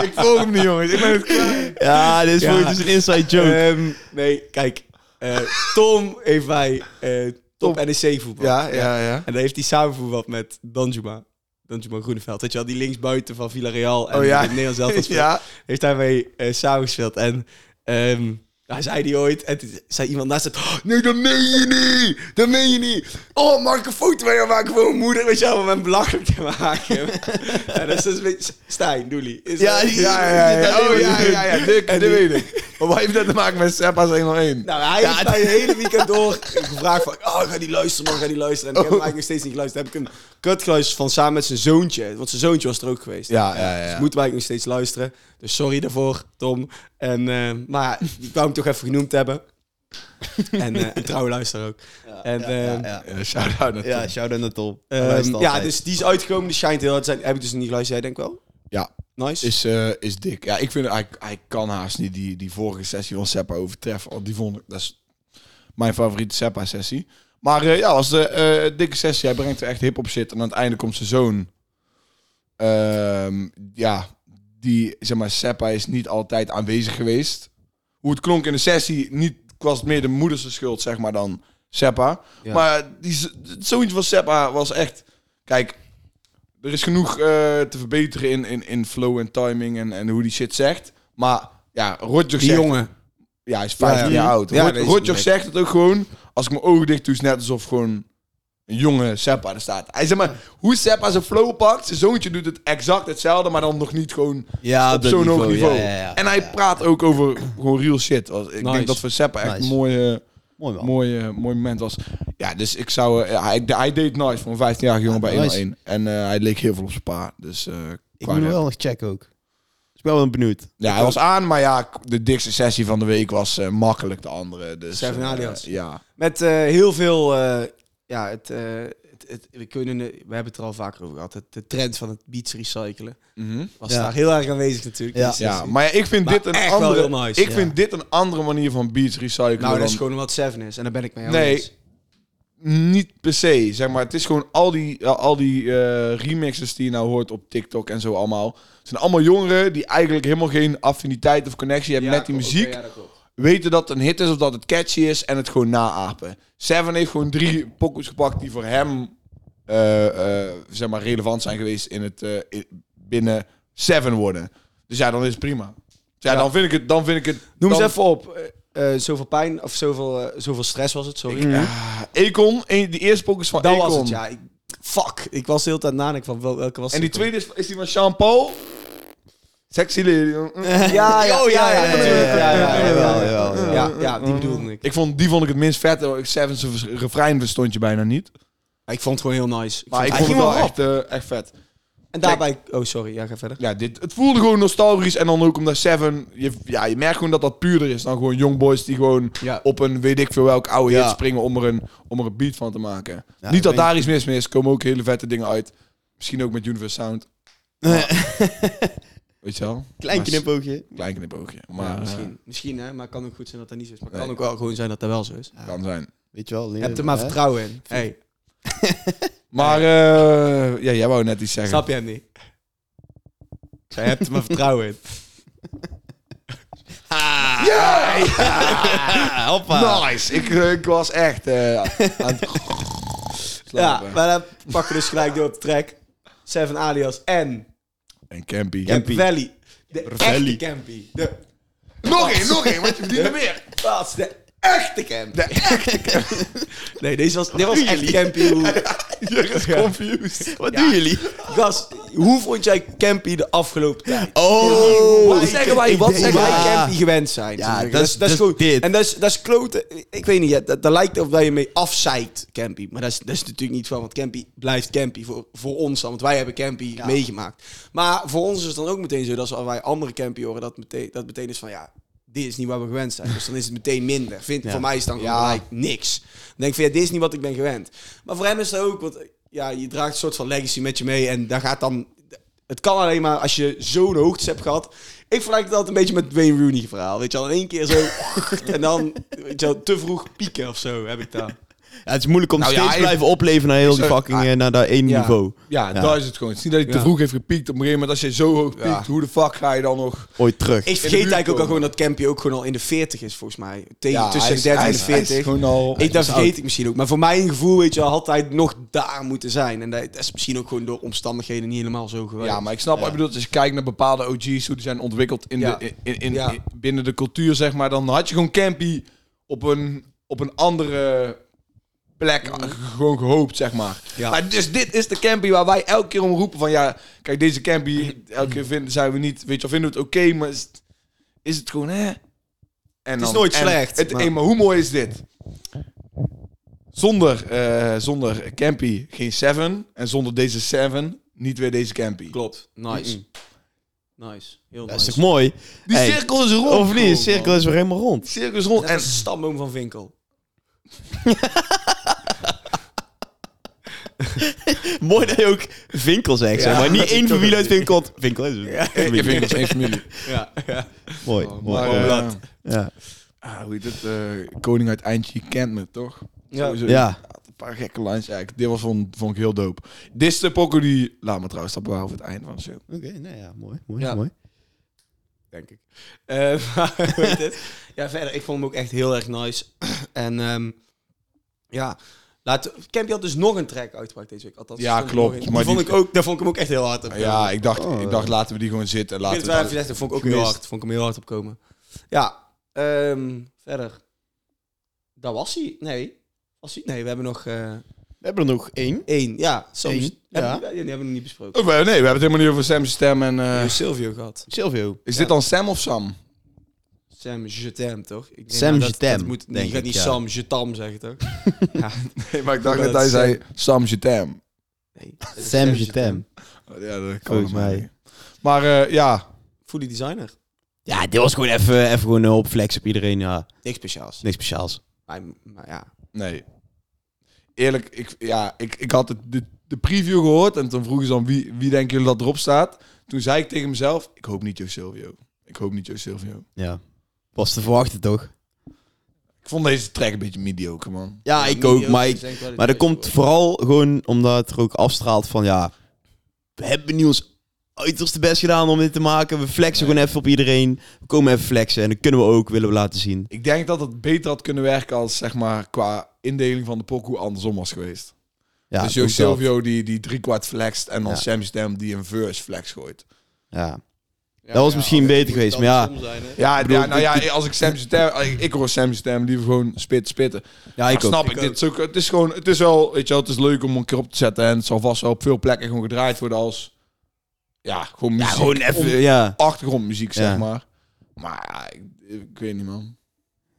[SPEAKER 1] Ik volg hem niet, jongens. Ik ben het klaar.
[SPEAKER 2] Ja, Ah, dit is
[SPEAKER 3] Ja.
[SPEAKER 2] voor het is een inside joke.
[SPEAKER 3] Ehm, nee, kijk. eh, Tom heeft bij eh Top NEC voetbal.
[SPEAKER 1] Ja, ja, ja.
[SPEAKER 3] En daar heeft hij samen voetbald met Danjuma. Danjuma Groeneveld. Weet je wel, die linksbuiten van Villarreal en
[SPEAKER 1] Oh ja.
[SPEAKER 3] het Nederlands elftal speelt.
[SPEAKER 1] Ja.
[SPEAKER 3] Heeft hij mee eh, samengespeeld. En ehm daar zei hij ooit, en toen zei iemand naast het... "Oh, nee, dat meen je niet! Dat meen je niet! Oh, mag ik een foto van jou maken voor mijn moeder? Weet je wel, om hem belachelijk te maken. en dat is dus een beetje... Stijn, Doelie. Is
[SPEAKER 2] Ja,
[SPEAKER 3] dat-
[SPEAKER 2] die-
[SPEAKER 1] Ja, ja, ja. Oh, ja, ja, ja. Dik, dat weet ik. Maar wat heeft dat te maken met Seppa's 101?
[SPEAKER 3] Nou, hij heeft mij het hele weekend door gevraagd van... Oh, ga die luisteren, man, ga die luisteren. En ik heb hem eigenlijk nog steeds niet geluisterd. Daar heb ik een kut geluisterd van samen met zijn zoontje. Want zijn zoontje was er ook geweest.
[SPEAKER 1] Ja, ja, ja.
[SPEAKER 3] Dus moeten wij eigenlijk nog steeds luisteren. Dus sorry daarvoor, Tom. En, eh, maar ja, ik wou hem toch even genoemd hebben. en, eh een trouwe luisteraar ook. en,
[SPEAKER 2] ja,
[SPEAKER 3] ehm,
[SPEAKER 2] ja, ja.
[SPEAKER 1] Eh, Shout-out naar
[SPEAKER 2] Ja,
[SPEAKER 1] Tim.
[SPEAKER 2] shout-out naar Tom. Hij
[SPEAKER 3] ehm,
[SPEAKER 2] luistert
[SPEAKER 3] ja,
[SPEAKER 2] altijd.
[SPEAKER 3] dus die is uitgekomen. Die schijnt heel hard te zijn. Heb ik dus niet geluisterd. Jij denkt wel?
[SPEAKER 1] Ja,
[SPEAKER 3] Nice.
[SPEAKER 1] is, eh, is dik. Ja, ik vind, hij, hij kan haast niet die, die vorige sessie van Seppa overtreffen. Want die vond ik, dat is mijn favoriete Seppa-sessie. Maar eh, ja, als de eh, dikke sessie, hij brengt er echt hip op shit. En aan het einde komt zijn zoon. Ehm, ja, die, zeg maar, Seppa is niet altijd aanwezig geweest. Hoe het klonk in de sessie, niet was het meer de moeders schuld, zeg maar, dan Seppa.
[SPEAKER 2] Ja.
[SPEAKER 1] Maar die, z- zoiets was Seppa was echt... Kijk, er is genoeg eh, te verbeteren in, in, in flow en timing en, en hoe die shit zegt. Maar ja, Roger
[SPEAKER 3] Die
[SPEAKER 1] zegt...
[SPEAKER 3] jongen.
[SPEAKER 1] Ja, hij is 15
[SPEAKER 3] Ja, ja.
[SPEAKER 1] jaar oud.
[SPEAKER 3] Ja,
[SPEAKER 1] Rod-
[SPEAKER 3] dat is
[SPEAKER 1] Roger
[SPEAKER 3] correct.
[SPEAKER 1] zegt het ook gewoon. Als ik mijn ogen dicht doe, is het net alsof gewoon een jonge Seppa er staat. Hij zegt maar, hoe Seppa zijn flow pakt, zijn zoontje doet het exact hetzelfde, maar dan nog niet gewoon
[SPEAKER 2] Ja,
[SPEAKER 1] op zo'n hoog niveau.
[SPEAKER 2] Ja, ja, ja.
[SPEAKER 1] En hij praat ook over gewoon real shit. Als- Ik
[SPEAKER 3] Nice.
[SPEAKER 1] denk dat voor Seppa echt
[SPEAKER 2] Nice.
[SPEAKER 1] een mooie,
[SPEAKER 2] Mooi man.
[SPEAKER 1] mooie, mooi moment was. Ja, dus ik zou... eh, ja, hij, hij deed nice voor een 15-jarige jongen bij
[SPEAKER 2] nice.
[SPEAKER 1] 101. En eh, hij leek heel veel op zijn pa. Dus, eh,
[SPEAKER 2] Ik
[SPEAKER 1] qua
[SPEAKER 2] moet hem
[SPEAKER 1] rap.
[SPEAKER 2] wel nog checken ook. Dus ik ben wel benieuwd.
[SPEAKER 1] Ja, hij was aan, maar ja, de dikste sessie van de week was eh, makkelijk de andere. Dus,
[SPEAKER 3] Seven
[SPEAKER 1] eh,
[SPEAKER 3] Alias.
[SPEAKER 1] ja.
[SPEAKER 3] Met eh, heel veel... eh, ja, het, eh, het, het- we, kunnen, we hebben het er al vaker over gehad. Het, de trend van het beats recyclen was
[SPEAKER 2] Ja.
[SPEAKER 3] daar heel erg aanwezig natuurlijk.
[SPEAKER 2] Ja.
[SPEAKER 3] Dus-
[SPEAKER 1] Ja, maar ja, ik vind
[SPEAKER 3] Maar
[SPEAKER 1] dit een
[SPEAKER 3] echt
[SPEAKER 1] andere.
[SPEAKER 3] wel heel nice,
[SPEAKER 1] ik
[SPEAKER 3] ja.
[SPEAKER 1] vind dit een andere manier van beats recyclen.
[SPEAKER 3] Nou, dat is
[SPEAKER 1] dan-
[SPEAKER 3] gewoon wat Seven is. En daar ben ik mee aan
[SPEAKER 1] Nee.
[SPEAKER 3] eens.
[SPEAKER 1] niet per se, zeg maar. Het is gewoon al die, ja, al die eh, remixes die je nou hoort op TikTok en zo allemaal. Het zijn allemaal jongeren die eigenlijk helemaal geen affiniteit of connectie hebben met die
[SPEAKER 3] klopt.
[SPEAKER 1] muziek.
[SPEAKER 3] Oké, ja, dat klopt.
[SPEAKER 1] Weten dat het een hit is of dat het catchy is en het gewoon naapen. Seven heeft gewoon drie pokkels gepakt die voor hem eh, eh, zeg maar relevant zijn geweest in het, eh, in- binnen Seven worden. Dus ja, dan is het prima. Dus ja,
[SPEAKER 3] Ja.
[SPEAKER 1] Dan, vind ik het, dan vind ik het...
[SPEAKER 3] Noem
[SPEAKER 1] dan-
[SPEAKER 3] eens even op. Eh, eh, zoveel pijn of zoveel, eh, zoveel stress was het, sorry.
[SPEAKER 1] Ja, Econ, een- die eerste pokus van
[SPEAKER 3] dat
[SPEAKER 1] Econ.
[SPEAKER 3] was het, ja. Ik- fuck. Ik was de hele tijd nadenken van wel- welke was
[SPEAKER 1] En
[SPEAKER 3] het
[SPEAKER 1] die
[SPEAKER 3] ook
[SPEAKER 1] tweede is, is die van Sean Paul. Sexy lady.
[SPEAKER 3] alweer? Ja, ja,
[SPEAKER 2] Oh, ja,
[SPEAKER 3] ja, ja,
[SPEAKER 2] ja,
[SPEAKER 3] ja, ja, ja, ja, ja,
[SPEAKER 2] jawel,
[SPEAKER 3] ja,
[SPEAKER 2] jawel,
[SPEAKER 3] ja,
[SPEAKER 2] jawel.
[SPEAKER 3] ja, ja, die bedoelde ik.
[SPEAKER 1] Ik vond, die vond ik het minst vet. Oh, hoor. Seven's vers- refrein verstond je bijna niet.
[SPEAKER 3] Ik vond het gewoon heel nice. Ik
[SPEAKER 1] Maar ik
[SPEAKER 3] vond-
[SPEAKER 1] vond
[SPEAKER 2] ging
[SPEAKER 1] het wel
[SPEAKER 2] wel op.
[SPEAKER 1] echt, eh, echt vet.
[SPEAKER 3] en daarbij... Oh, sorry. Ja, ga verder.
[SPEAKER 1] Ja, dit, het voelde gewoon nostalgisch. En dan ook omdat Seven... Je, ja, je merkt gewoon dat dat puurder is dan gewoon Young Boys die gewoon
[SPEAKER 3] Ja.
[SPEAKER 1] op een weet ik veel welk oude
[SPEAKER 2] Ja.
[SPEAKER 1] hit springen om er, een, om er een beat van te maken.
[SPEAKER 2] Ja,
[SPEAKER 1] niet
[SPEAKER 2] ik
[SPEAKER 1] dat
[SPEAKER 2] weet-
[SPEAKER 1] daar iets mis mee is. komen ook hele vette dingen uit. Misschien ook met Universe Sound. Weet je wel?
[SPEAKER 2] Klein
[SPEAKER 1] Maar-
[SPEAKER 2] knipoogje.
[SPEAKER 1] Klein knipoogje.
[SPEAKER 3] Ja,
[SPEAKER 1] Maar misschien.
[SPEAKER 3] misschien, misschien, hè. Maar het kan ook goed zijn dat dat niet zo is. Maar het
[SPEAKER 1] Eh. Nee.
[SPEAKER 3] kan ook wel gewoon zijn dat dat wel zo is.
[SPEAKER 1] kan zijn.
[SPEAKER 2] Weet je wel.
[SPEAKER 3] Heb er maar
[SPEAKER 2] hè?
[SPEAKER 3] vertrouwen in. Hey,
[SPEAKER 1] Maar eh, ja, jij wou net iets zeggen.
[SPEAKER 3] snap je hem niet? Ik zei, heb er maar vertrouwen in.
[SPEAKER 1] Ja!
[SPEAKER 2] Ah, hoppa.
[SPEAKER 1] Nice! Ik, eh, ik was echt eh, aan het
[SPEAKER 3] Ja,
[SPEAKER 1] slapen.
[SPEAKER 3] maar dan pakken we dus gelijk door op de track. Seven Alias en
[SPEAKER 1] En Campy.
[SPEAKER 3] Valley. De
[SPEAKER 2] Valley.
[SPEAKER 3] echte Campy. De
[SPEAKER 1] Nog één, nog één, want je verdient er meer.
[SPEAKER 3] plaats, de echte Campy. De echte Campy. Nee, deze was, dit was echt Campy. Hoe,
[SPEAKER 1] confused.
[SPEAKER 2] Wat doen jullie?
[SPEAKER 3] Gast, hoe vond jij Campy de afgelopen tijd?
[SPEAKER 2] Oh.
[SPEAKER 3] Wat zeggen wij, wat zeggen wij
[SPEAKER 2] Ja.
[SPEAKER 3] Campy gewend zijn?
[SPEAKER 2] Ja,
[SPEAKER 3] Zeg,
[SPEAKER 2] dat is- dat is dit.
[SPEAKER 3] En dat is, dat is kloten. Ik weet niet, ja, dat, dat lijkt of dat je mee afzeikt, Campy. Maar dat is, dat is natuurlijk niet van, want Campy blijft Campy voor, voor ons dan. Want wij hebben Campy meegemaakt. Maar voor ons is het dan ook meteen zo dat als wij andere Campy horen, dat meteen, dat meteen is van, ja, dit is niet waar we gewend zijn. Dus dan is het meteen minder. Vind, Voor mij is het dan gewoon gelijk niks. Dan denk ik van, ja, dit is niet wat ik ben gewend. Maar voor hem is dat ook, want ja, je draagt een soort van legacy met je mee. En daar gaat dan... Het kan alleen maar als je zo'n hoogtes hebt gehad. Ik vergelijk het altijd een beetje met Wayne Rooney verhaal. Weet je wel, in één keer zo. en dan weet je wel, te vroeg pieken of zo heb ik daar.
[SPEAKER 2] Ja, het is moeilijk om
[SPEAKER 1] Nou ja,
[SPEAKER 2] steeds
[SPEAKER 1] hij-
[SPEAKER 2] blijven opleven naar heel die
[SPEAKER 1] Zo-
[SPEAKER 2] fucking,
[SPEAKER 1] hij-
[SPEAKER 2] eh, naar dat één
[SPEAKER 3] Ja.
[SPEAKER 2] niveau.
[SPEAKER 1] Ja,
[SPEAKER 2] Ja.
[SPEAKER 1] daar is het gewoon. Het is niet dat je te
[SPEAKER 3] Ja.
[SPEAKER 1] vroeg heeft gepiekt. Op een gegeven moment, als je zo hoog piekt,
[SPEAKER 3] Ja.
[SPEAKER 1] hoe de fuck ga je dan nog...
[SPEAKER 2] Ooit terug.
[SPEAKER 3] Ik vergeet
[SPEAKER 1] buurt
[SPEAKER 3] eigenlijk ook al
[SPEAKER 1] komen.
[SPEAKER 3] gewoon dat Campy ook gewoon al in de 40 is, volgens mij. Tegen, tussen
[SPEAKER 1] hij
[SPEAKER 3] de
[SPEAKER 1] is-
[SPEAKER 3] 30
[SPEAKER 1] hij
[SPEAKER 3] en de
[SPEAKER 1] is- hij is
[SPEAKER 3] 40.
[SPEAKER 1] gewoon al...
[SPEAKER 3] Ik, dat vergeet ik misschien ook. Maar voor mijn gevoel, weet je wel, had hij nog daar moeten zijn. En dat dat is misschien ook gewoon door omstandigheden niet helemaal zo geweest.
[SPEAKER 1] Ja, maar ik snap, ik bedoel, als je kijkt naar bepaalde OG's, hoe die zijn ontwikkeld in
[SPEAKER 3] Ja.
[SPEAKER 1] de, in, in, in-
[SPEAKER 3] Ja.
[SPEAKER 1] in- binnen de cultuur, zeg maar, dan had je gewoon Campy op een, op een andere plek eh, gewoon gehoopt, zeg maar.
[SPEAKER 3] Mm. Ja.
[SPEAKER 1] Maar dus dit is de Campy waar wij elke keer om roepen van, ja, kijk, deze Campy, elke keer vinden, zijn we niet, weet je, wel, vinden we het oké, maar is, het- is het gewoon, hè? En het
[SPEAKER 3] is nooit slecht,
[SPEAKER 1] Het,
[SPEAKER 3] maar-
[SPEAKER 1] hey, maar hoe mooi is dit? Zonder, eh, zonder Campy geen Seven. En zonder deze Seven niet weer deze Campy.
[SPEAKER 3] klopt. Nice. Nice. Heel
[SPEAKER 2] Dat is
[SPEAKER 3] nice.
[SPEAKER 2] toch mooi?
[SPEAKER 1] Die
[SPEAKER 2] Hey,
[SPEAKER 1] cirkel is rond.
[SPEAKER 2] Of niet?
[SPEAKER 1] gewoon,
[SPEAKER 2] De cirkel
[SPEAKER 1] man.
[SPEAKER 2] is weer helemaal rond.
[SPEAKER 1] Cirkel is rond.
[SPEAKER 3] Net
[SPEAKER 1] En
[SPEAKER 3] als de stamboom van Winkel.
[SPEAKER 2] Mooi dat je ook Vinkel zegt, zeg maar. Niet één familie uit Vinkel, want Vinkel is het.
[SPEAKER 1] ik vind het geen familie.
[SPEAKER 3] Ja, ja.
[SPEAKER 2] Mooi, mooi.
[SPEAKER 1] Maar, eh,
[SPEAKER 3] Blad.
[SPEAKER 2] ja.
[SPEAKER 1] ah, hoe heet het? eh, Koning uit Eindje kent me, toch?
[SPEAKER 3] Ja.
[SPEAKER 1] Sowieso.
[SPEAKER 2] Ja.
[SPEAKER 1] Een paar gekke lines eigenlijk. Dit was vond, vond ik heel dope. Dit is de pokoe die... Laat me trouwens, dat bewaren voor het einde van de show.
[SPEAKER 2] Oké, nou ja, mooi, mooi,
[SPEAKER 3] Ja.
[SPEAKER 2] mooi.
[SPEAKER 3] denk ik. Eh, maar, hoe heet het? Ja, verder, ik vond hem ook echt heel erg nice. En ehm, Ja. Laat, Campy had dus nog een track uitgebracht deze week. Althans,
[SPEAKER 1] Ja,
[SPEAKER 3] er stond er
[SPEAKER 1] klopt,
[SPEAKER 3] nog een.
[SPEAKER 1] maar
[SPEAKER 3] die vond
[SPEAKER 1] die-
[SPEAKER 3] ik ook, daar vond ik hem ook echt heel hard op.
[SPEAKER 1] Ja, ik dacht,
[SPEAKER 2] Oh,
[SPEAKER 1] ik
[SPEAKER 2] eh.
[SPEAKER 1] dacht laten we die gewoon zitten. en
[SPEAKER 3] Ik
[SPEAKER 1] Laten
[SPEAKER 3] vind
[SPEAKER 1] we
[SPEAKER 3] het wel
[SPEAKER 1] dan-
[SPEAKER 3] even gezegd, dat vond ik ook heel
[SPEAKER 1] Gemist.
[SPEAKER 3] hard. Vond ik hem heel hard opkomen. Ja, ehm, verder. Dat was hij. Nee. Was hij? Nee, we hebben nog eh
[SPEAKER 2] We hebben er nog één.
[SPEAKER 3] één. Ja, soms.
[SPEAKER 2] Eén,
[SPEAKER 3] Hebben-
[SPEAKER 2] ja.
[SPEAKER 3] die hebben we nog niet besproken.
[SPEAKER 1] Oh, nee, we hebben het helemaal niet over Sam's stem. En,
[SPEAKER 3] We
[SPEAKER 1] eh,
[SPEAKER 3] hebben Silvio gehad.
[SPEAKER 2] Silvio.
[SPEAKER 1] is dit dan Sam of Sam?
[SPEAKER 3] Sam Jetem, toch? Ik denk
[SPEAKER 2] Sam
[SPEAKER 3] dat- dat
[SPEAKER 2] Jetem,
[SPEAKER 3] moet,
[SPEAKER 2] denk
[SPEAKER 3] je gaat
[SPEAKER 2] ik,
[SPEAKER 3] niet
[SPEAKER 2] ja.
[SPEAKER 3] Sam Jetam zeggen, toch?
[SPEAKER 1] Nee, maar ik dacht
[SPEAKER 3] Ja,
[SPEAKER 1] dat hij
[SPEAKER 3] Sam.
[SPEAKER 1] zei Eh, Sam Jetem.
[SPEAKER 3] Nee.
[SPEAKER 2] Sam Jetem.
[SPEAKER 1] Ja, dat kan
[SPEAKER 2] Volgens
[SPEAKER 1] nog
[SPEAKER 2] mij.
[SPEAKER 1] niet. Maar eh, ja,
[SPEAKER 3] Foodie designer.
[SPEAKER 2] Ja, dit was gewoon even, even gewoon eh, op flex op iedereen. Ja,
[SPEAKER 3] Niks speciaals.
[SPEAKER 2] niks speciaals.
[SPEAKER 3] Maar, maar ja.
[SPEAKER 1] nee. Eerlijk, ik, ja, ik, ik had het- de, de preview gehoord en toen vroegen ze dan wie, wie denken jullie dat erop staat. Toen zei ik tegen mezelf, ik hoop niet Jo Silvio. Ik hoop niet Jo Silvio.
[SPEAKER 2] Ja. Was te verwachten, toch?
[SPEAKER 1] Ik vond deze track een beetje mediocre, man.
[SPEAKER 2] Ja, ik ook, maar ik- Maar dat komt vooral gewoon omdat het er ook afstraalt van ja, we hebben nu ons uiterste best gedaan om dit te maken. We flexen gewoon even op iedereen. We komen even flexen en dat kunnen we ook, willen we laten zien.
[SPEAKER 1] Ik denk dat het beter had kunnen werken als, zeg maar, qua indeling van de pokoe andersom was geweest.
[SPEAKER 2] Ja,
[SPEAKER 1] dus Jo
[SPEAKER 2] ook dat.
[SPEAKER 1] Silvio die, die driekwart flext en dan
[SPEAKER 2] Ja.
[SPEAKER 1] Sam Stem die een verse flex gooit.
[SPEAKER 2] Ja. dat was misschien beter geweest, maar ja,
[SPEAKER 1] Ja,
[SPEAKER 2] bedoel,
[SPEAKER 1] ja, nou
[SPEAKER 2] dit-
[SPEAKER 1] ja, als ik Sam Stem, ik, ik hoor Sam Stem liever gewoon spit spitten.
[SPEAKER 2] ja ik
[SPEAKER 1] Maar
[SPEAKER 2] ook.
[SPEAKER 1] snap ik, dit is ook, het is gewoon, het is wel, weet je wel, het is leuk om een keer op te zetten en het zal vast wel op veel plekken gewoon gedraaid worden als, ja, gewoon
[SPEAKER 2] Ja,
[SPEAKER 1] muziek,
[SPEAKER 2] gewoon even,
[SPEAKER 1] om-
[SPEAKER 2] ja.
[SPEAKER 1] achtergrondmuziek zeg
[SPEAKER 2] Ja.
[SPEAKER 1] maar. Maar ja, ik, ik weet niet man,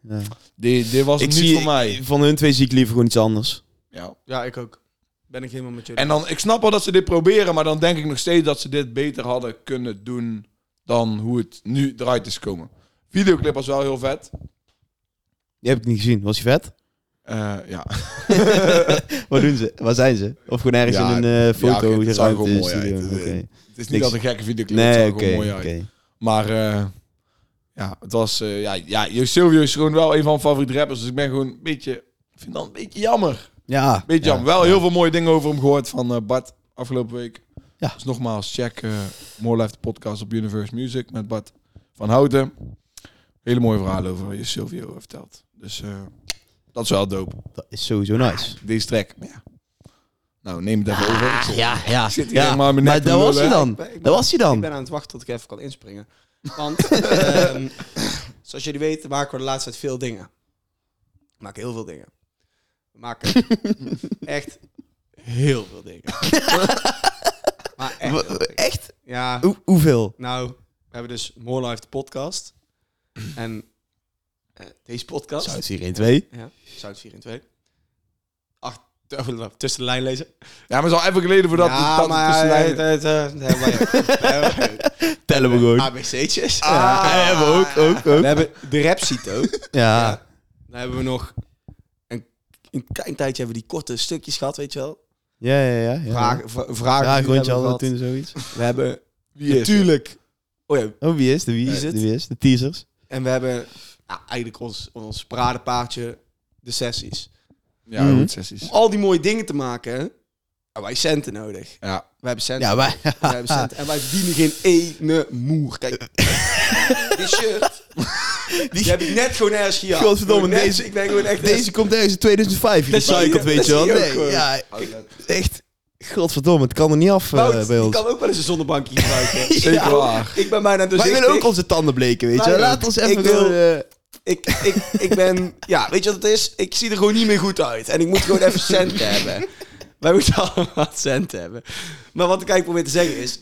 [SPEAKER 2] ja.
[SPEAKER 1] dit, dit was
[SPEAKER 2] Ik
[SPEAKER 1] niet
[SPEAKER 2] zie,
[SPEAKER 1] voor mij.
[SPEAKER 2] van hun twee zie ik liever gewoon iets anders.
[SPEAKER 1] Ja.
[SPEAKER 3] Ja, ik ook. Ben ik helemaal met jullie.
[SPEAKER 1] En dan, ik snap wel dat ze dit proberen, maar dan denk ik nog steeds dat ze dit beter hadden kunnen doen dan hoe het nu eruit is komen. Videoclip was wel heel vet.
[SPEAKER 2] Die heb ik niet gezien. Was je vet?
[SPEAKER 1] Eh, ja,
[SPEAKER 2] Wat doen ze? Waar zijn ze? Of gewoon ergens
[SPEAKER 1] Ja,
[SPEAKER 2] in een eh,
[SPEAKER 1] ja, oké,
[SPEAKER 2] foto
[SPEAKER 1] het zag er
[SPEAKER 2] geruimte
[SPEAKER 1] gewoon mooi
[SPEAKER 2] studio?
[SPEAKER 1] uit. Het-
[SPEAKER 2] Oké.
[SPEAKER 1] het is niet
[SPEAKER 2] Niks.
[SPEAKER 1] dat een gekke videoclip, het zag
[SPEAKER 2] Nee,
[SPEAKER 1] er
[SPEAKER 2] oké.
[SPEAKER 1] gewoon mooi uit.
[SPEAKER 2] oké.
[SPEAKER 1] Maar eh, ja, het was. eh, ja, ja, Jo Silvio is gewoon wel een van mijn favoriete rappers. Dus ik ben gewoon een beetje. Ik vind dat een beetje jammer.
[SPEAKER 2] Ja.
[SPEAKER 1] Beetje
[SPEAKER 2] ja.
[SPEAKER 1] jammer. Wel heel veel mooie dingen over hem gehoord van eh, Bart afgelopen week.
[SPEAKER 2] Ja.
[SPEAKER 1] Dus nogmaals, check eh More Life de podcast op Universe Music met Bart van Houten. Hele mooie verhalen over wat je Silvio vertelt. Dus eh, dat is wel dope.
[SPEAKER 2] Dat is sowieso nice.
[SPEAKER 1] Deze track. Ja. Nou, neem het even over. Ik zit-
[SPEAKER 2] Ah, Ja, ja.
[SPEAKER 1] Ik zit hier
[SPEAKER 2] ja.
[SPEAKER 1] helemaal in mijn nek
[SPEAKER 2] maar
[SPEAKER 1] te
[SPEAKER 2] daar was hij
[SPEAKER 1] lullen.
[SPEAKER 2] dan.
[SPEAKER 3] Ik ben- ik ben-
[SPEAKER 2] Daar was hij
[SPEAKER 3] Ik
[SPEAKER 2] dan.
[SPEAKER 3] ben aan het wachten tot ik even kan inspringen. Want, ehm, zoals jullie weten, maken we de laatste tijd veel dingen. We maken heel veel dingen. We maken echt heel veel dingen. maar echt. heel veel
[SPEAKER 2] W-
[SPEAKER 3] dingen.
[SPEAKER 2] Echt?
[SPEAKER 3] Ja,
[SPEAKER 2] Hoe- hoeveel?
[SPEAKER 3] nou, we hebben dus More Life, de podcast. En eh, deze podcast.
[SPEAKER 2] Zou het hier in twee?
[SPEAKER 3] Ja, Zout 4 en 2. Acht, eh, tussen de lijn lezen.
[SPEAKER 1] Ja, maar het is al even geleden voordat
[SPEAKER 3] ja,
[SPEAKER 1] dat
[SPEAKER 3] maar
[SPEAKER 1] tussen
[SPEAKER 3] ja,
[SPEAKER 1] lijnen-
[SPEAKER 3] het, het, eh, het, het- het-
[SPEAKER 2] Tellen we gewoon.
[SPEAKER 3] ABC'tjes.
[SPEAKER 2] Ja, hebben we ook, ook, ook.
[SPEAKER 3] We hebben de Repsito.
[SPEAKER 2] Ja.
[SPEAKER 3] Dan hebben we nog een, een klein tijdje hebben we die korte stukjes gehad, weet je wel.
[SPEAKER 2] Ja, ja, ja. ja.
[SPEAKER 3] Vragen, vra- vragen
[SPEAKER 2] Ja,
[SPEAKER 3] die we
[SPEAKER 2] rondje
[SPEAKER 3] hebben
[SPEAKER 2] hadden we
[SPEAKER 3] gehad.
[SPEAKER 2] toen zoiets.
[SPEAKER 3] We hebben
[SPEAKER 1] Wie is het?
[SPEAKER 3] natuurlijk... Oh ja,
[SPEAKER 2] Oh, wie is? De wie is
[SPEAKER 3] Wie is
[SPEAKER 2] De
[SPEAKER 3] het?
[SPEAKER 2] wie is? De teasers.
[SPEAKER 3] en we hebben nou, eigenlijk ons, ons paradepaardje, de sessies.
[SPEAKER 1] Ja,
[SPEAKER 2] Mhm.
[SPEAKER 1] goed, sessies.
[SPEAKER 3] Om al die mooie dingen te maken, hebben wij centen nodig.
[SPEAKER 1] Ja.
[SPEAKER 3] We hebben centen
[SPEAKER 2] Ja, wij.
[SPEAKER 3] Wij hebben centen. En wij verdienen geen ene moer. Kijk, die shirt. Die, heb ik net gewoon ergens gehaald.
[SPEAKER 2] Godverdomme,
[SPEAKER 3] Gewoon net-
[SPEAKER 2] deze-
[SPEAKER 3] Ik ben gewoon echt...
[SPEAKER 2] Deze komt ergens in 2005
[SPEAKER 3] zie
[SPEAKER 2] gerecycled,
[SPEAKER 3] je-
[SPEAKER 2] weet
[SPEAKER 3] dat
[SPEAKER 2] je wel.
[SPEAKER 3] zie je ook
[SPEAKER 2] Nee,
[SPEAKER 3] gewoon.
[SPEAKER 2] ja, echt. Godverdomme, het kan er niet af eh,
[SPEAKER 3] Wout,
[SPEAKER 2] bij
[SPEAKER 3] die
[SPEAKER 2] ons.
[SPEAKER 3] kan ook wel eens een zonnebankje gebruiken.
[SPEAKER 1] Zeker
[SPEAKER 2] Ja.
[SPEAKER 1] waar.
[SPEAKER 3] Ik ben bijna
[SPEAKER 2] Wij
[SPEAKER 3] doorzichtig.
[SPEAKER 2] willen ook onze tanden bleken, weet je.
[SPEAKER 3] Wij
[SPEAKER 2] Nou, Laat
[SPEAKER 3] ook.
[SPEAKER 2] ons even
[SPEAKER 3] Ik wil-
[SPEAKER 2] gewoon... eh,
[SPEAKER 3] ik, ik, ik ben... Ja, weet je wat het is? Ik zie er gewoon niet meer goed uit. En ik moet gewoon even centen hebben. Wij moeten allemaal centen hebben. Maar wat ik eigenlijk probeer te zeggen is...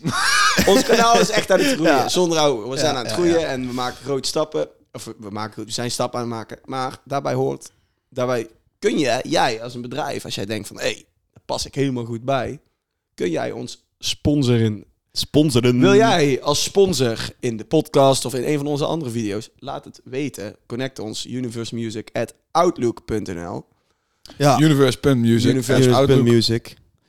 [SPEAKER 3] Ons kanaal is echt aan het groeien.
[SPEAKER 2] Ja.
[SPEAKER 3] Zonder ouwe. We zijn aan het
[SPEAKER 2] ja,
[SPEAKER 3] groeien en we maken grote stappen. Of we- we, maken, we zijn stappen aan het maken. Maar daarbij hoort... Daarbij kun je, jij als een bedrijf... Als jij denkt van... Hé, hey, daar pas ik helemaal goed bij. Kun jij ons sponsoren
[SPEAKER 2] Sponsoren.
[SPEAKER 3] wil jij als sponsor in de podcast of in een van onze andere video's? Laat het weten. Connect ons universemusic at outlook.nl.
[SPEAKER 2] Ja.
[SPEAKER 1] Ah. Universe.music.
[SPEAKER 3] Universe
[SPEAKER 2] Universe Music.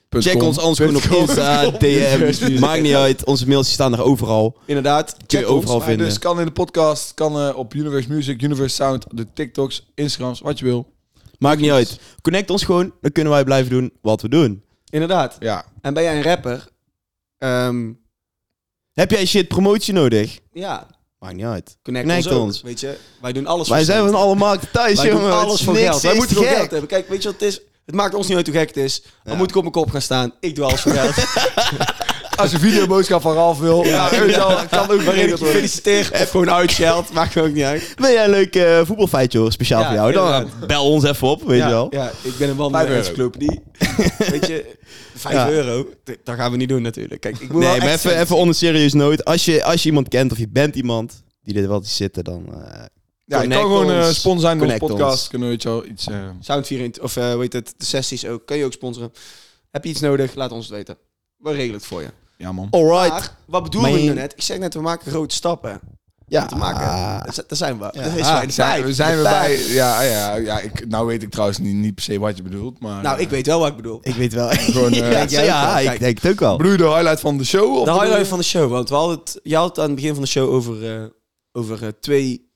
[SPEAKER 2] Check ons anders gewoon op Insta, DM. Maakt niet uit. Onze mails staan er overal.
[SPEAKER 3] Inderdaad,
[SPEAKER 2] Kun je
[SPEAKER 3] check ons.
[SPEAKER 2] overal
[SPEAKER 1] Maar
[SPEAKER 2] vinden.
[SPEAKER 1] dus kan in de podcast, kan eh, op Universe Music, Universe Sound, de TikToks, Instagrams, wat je wil.
[SPEAKER 2] Maakt niet uit. Connect ons gewoon. Dan kunnen wij blijven doen wat we doen.
[SPEAKER 3] Inderdaad.
[SPEAKER 1] Ja.
[SPEAKER 3] En ben jij een rapper? Ehm,
[SPEAKER 2] Heb jij shit promotie nodig?
[SPEAKER 3] ja,
[SPEAKER 2] Maakt niet uit.
[SPEAKER 3] Connect,
[SPEAKER 2] Connect
[SPEAKER 3] ons, ook,
[SPEAKER 2] ons.
[SPEAKER 3] Weet je, wij doen alles
[SPEAKER 2] Wij
[SPEAKER 3] voor
[SPEAKER 2] zijn
[SPEAKER 3] cent.
[SPEAKER 2] van alle markten thuis,
[SPEAKER 3] Wij
[SPEAKER 2] jongen.
[SPEAKER 3] doen
[SPEAKER 2] Het
[SPEAKER 3] alles
[SPEAKER 2] is
[SPEAKER 3] voor
[SPEAKER 2] niks,
[SPEAKER 3] geld. Wij
[SPEAKER 2] is
[SPEAKER 3] moeten
[SPEAKER 2] te
[SPEAKER 3] gewoon
[SPEAKER 2] gek.
[SPEAKER 3] geld hebben. Kijk, weet je wat het is? Het maakt ons niet uit hoe gek het is. Dan moet ik op mijn kop gaan staan. Ik doe alles voor geld.
[SPEAKER 1] Als je videoboodschap van Ralf wil, ja,
[SPEAKER 3] Ja, dat kan ook waarin ik je feliciteer. Of gewoon uitscheld. Maakt ook niet uit.
[SPEAKER 2] Wil jij een leuk eh, voetbalfeitje hoor, speciaal
[SPEAKER 3] Ja,
[SPEAKER 2] voor jou? Dan
[SPEAKER 3] inderdaad.
[SPEAKER 2] bel ons even op, weet
[SPEAKER 3] ja,
[SPEAKER 2] je wel.
[SPEAKER 3] Ja, ik ben een
[SPEAKER 1] Vijf
[SPEAKER 3] wandelende
[SPEAKER 1] euro.
[SPEAKER 3] encyclopedie. Weet je, 5
[SPEAKER 2] Ja.
[SPEAKER 3] euro, d- dat gaan we niet doen natuurlijk. Kijk, ik moet wel
[SPEAKER 2] Nee, maar
[SPEAKER 3] echt
[SPEAKER 2] even,
[SPEAKER 3] cent.
[SPEAKER 2] even onserieus nooit. Als je, als je iemand kent of je bent iemand die dit wel ziet zitten, dan... eh,
[SPEAKER 1] Ja, je
[SPEAKER 2] connect
[SPEAKER 1] kan gewoon eh,
[SPEAKER 2] ons.
[SPEAKER 1] sponsor zijn door onze
[SPEAKER 2] Connect
[SPEAKER 1] podcast.
[SPEAKER 2] ons.
[SPEAKER 1] Kunnen we weet je wel iets... eh,
[SPEAKER 3] Sound 24, of eh, hoe heet het, de sessies ook. Kun je ook sponsoren. Heb je iets nodig, laat ons het weten. We regelen het voor je.
[SPEAKER 1] ja, man.
[SPEAKER 2] Alright.
[SPEAKER 3] Maar, wat bedoel
[SPEAKER 2] Maar
[SPEAKER 3] ik
[SPEAKER 2] je-
[SPEAKER 3] nou net? Ik zeg net, we maken grote stappen.
[SPEAKER 2] ja.
[SPEAKER 3] Te maken. Daar zi- Daar zijn we. Daar is
[SPEAKER 1] Ah,
[SPEAKER 3] wij de
[SPEAKER 1] zijn,
[SPEAKER 3] vijf.
[SPEAKER 1] we zijn
[SPEAKER 3] De
[SPEAKER 1] weer
[SPEAKER 3] vijf.
[SPEAKER 1] bij. Ja, ah, ja, ja ik, nou weet ik trouwens niet, niet per se wat je bedoelt, maar...
[SPEAKER 3] Nou,
[SPEAKER 1] eh,
[SPEAKER 3] ik weet wel wat ik bedoel.
[SPEAKER 2] Ik weet wel.
[SPEAKER 1] Gewoon, eh,
[SPEAKER 2] ja,
[SPEAKER 1] Denk
[SPEAKER 3] jij ook
[SPEAKER 2] ja,
[SPEAKER 3] wel?
[SPEAKER 2] ik
[SPEAKER 3] Kijk.
[SPEAKER 2] denk het ook wel.
[SPEAKER 1] Bedoel je de highlight van de show? Of
[SPEAKER 3] De
[SPEAKER 1] bedoel je-
[SPEAKER 3] highlight van de show, want we hadden het, je had het aan het begin van de show over, eh, over eh, twee,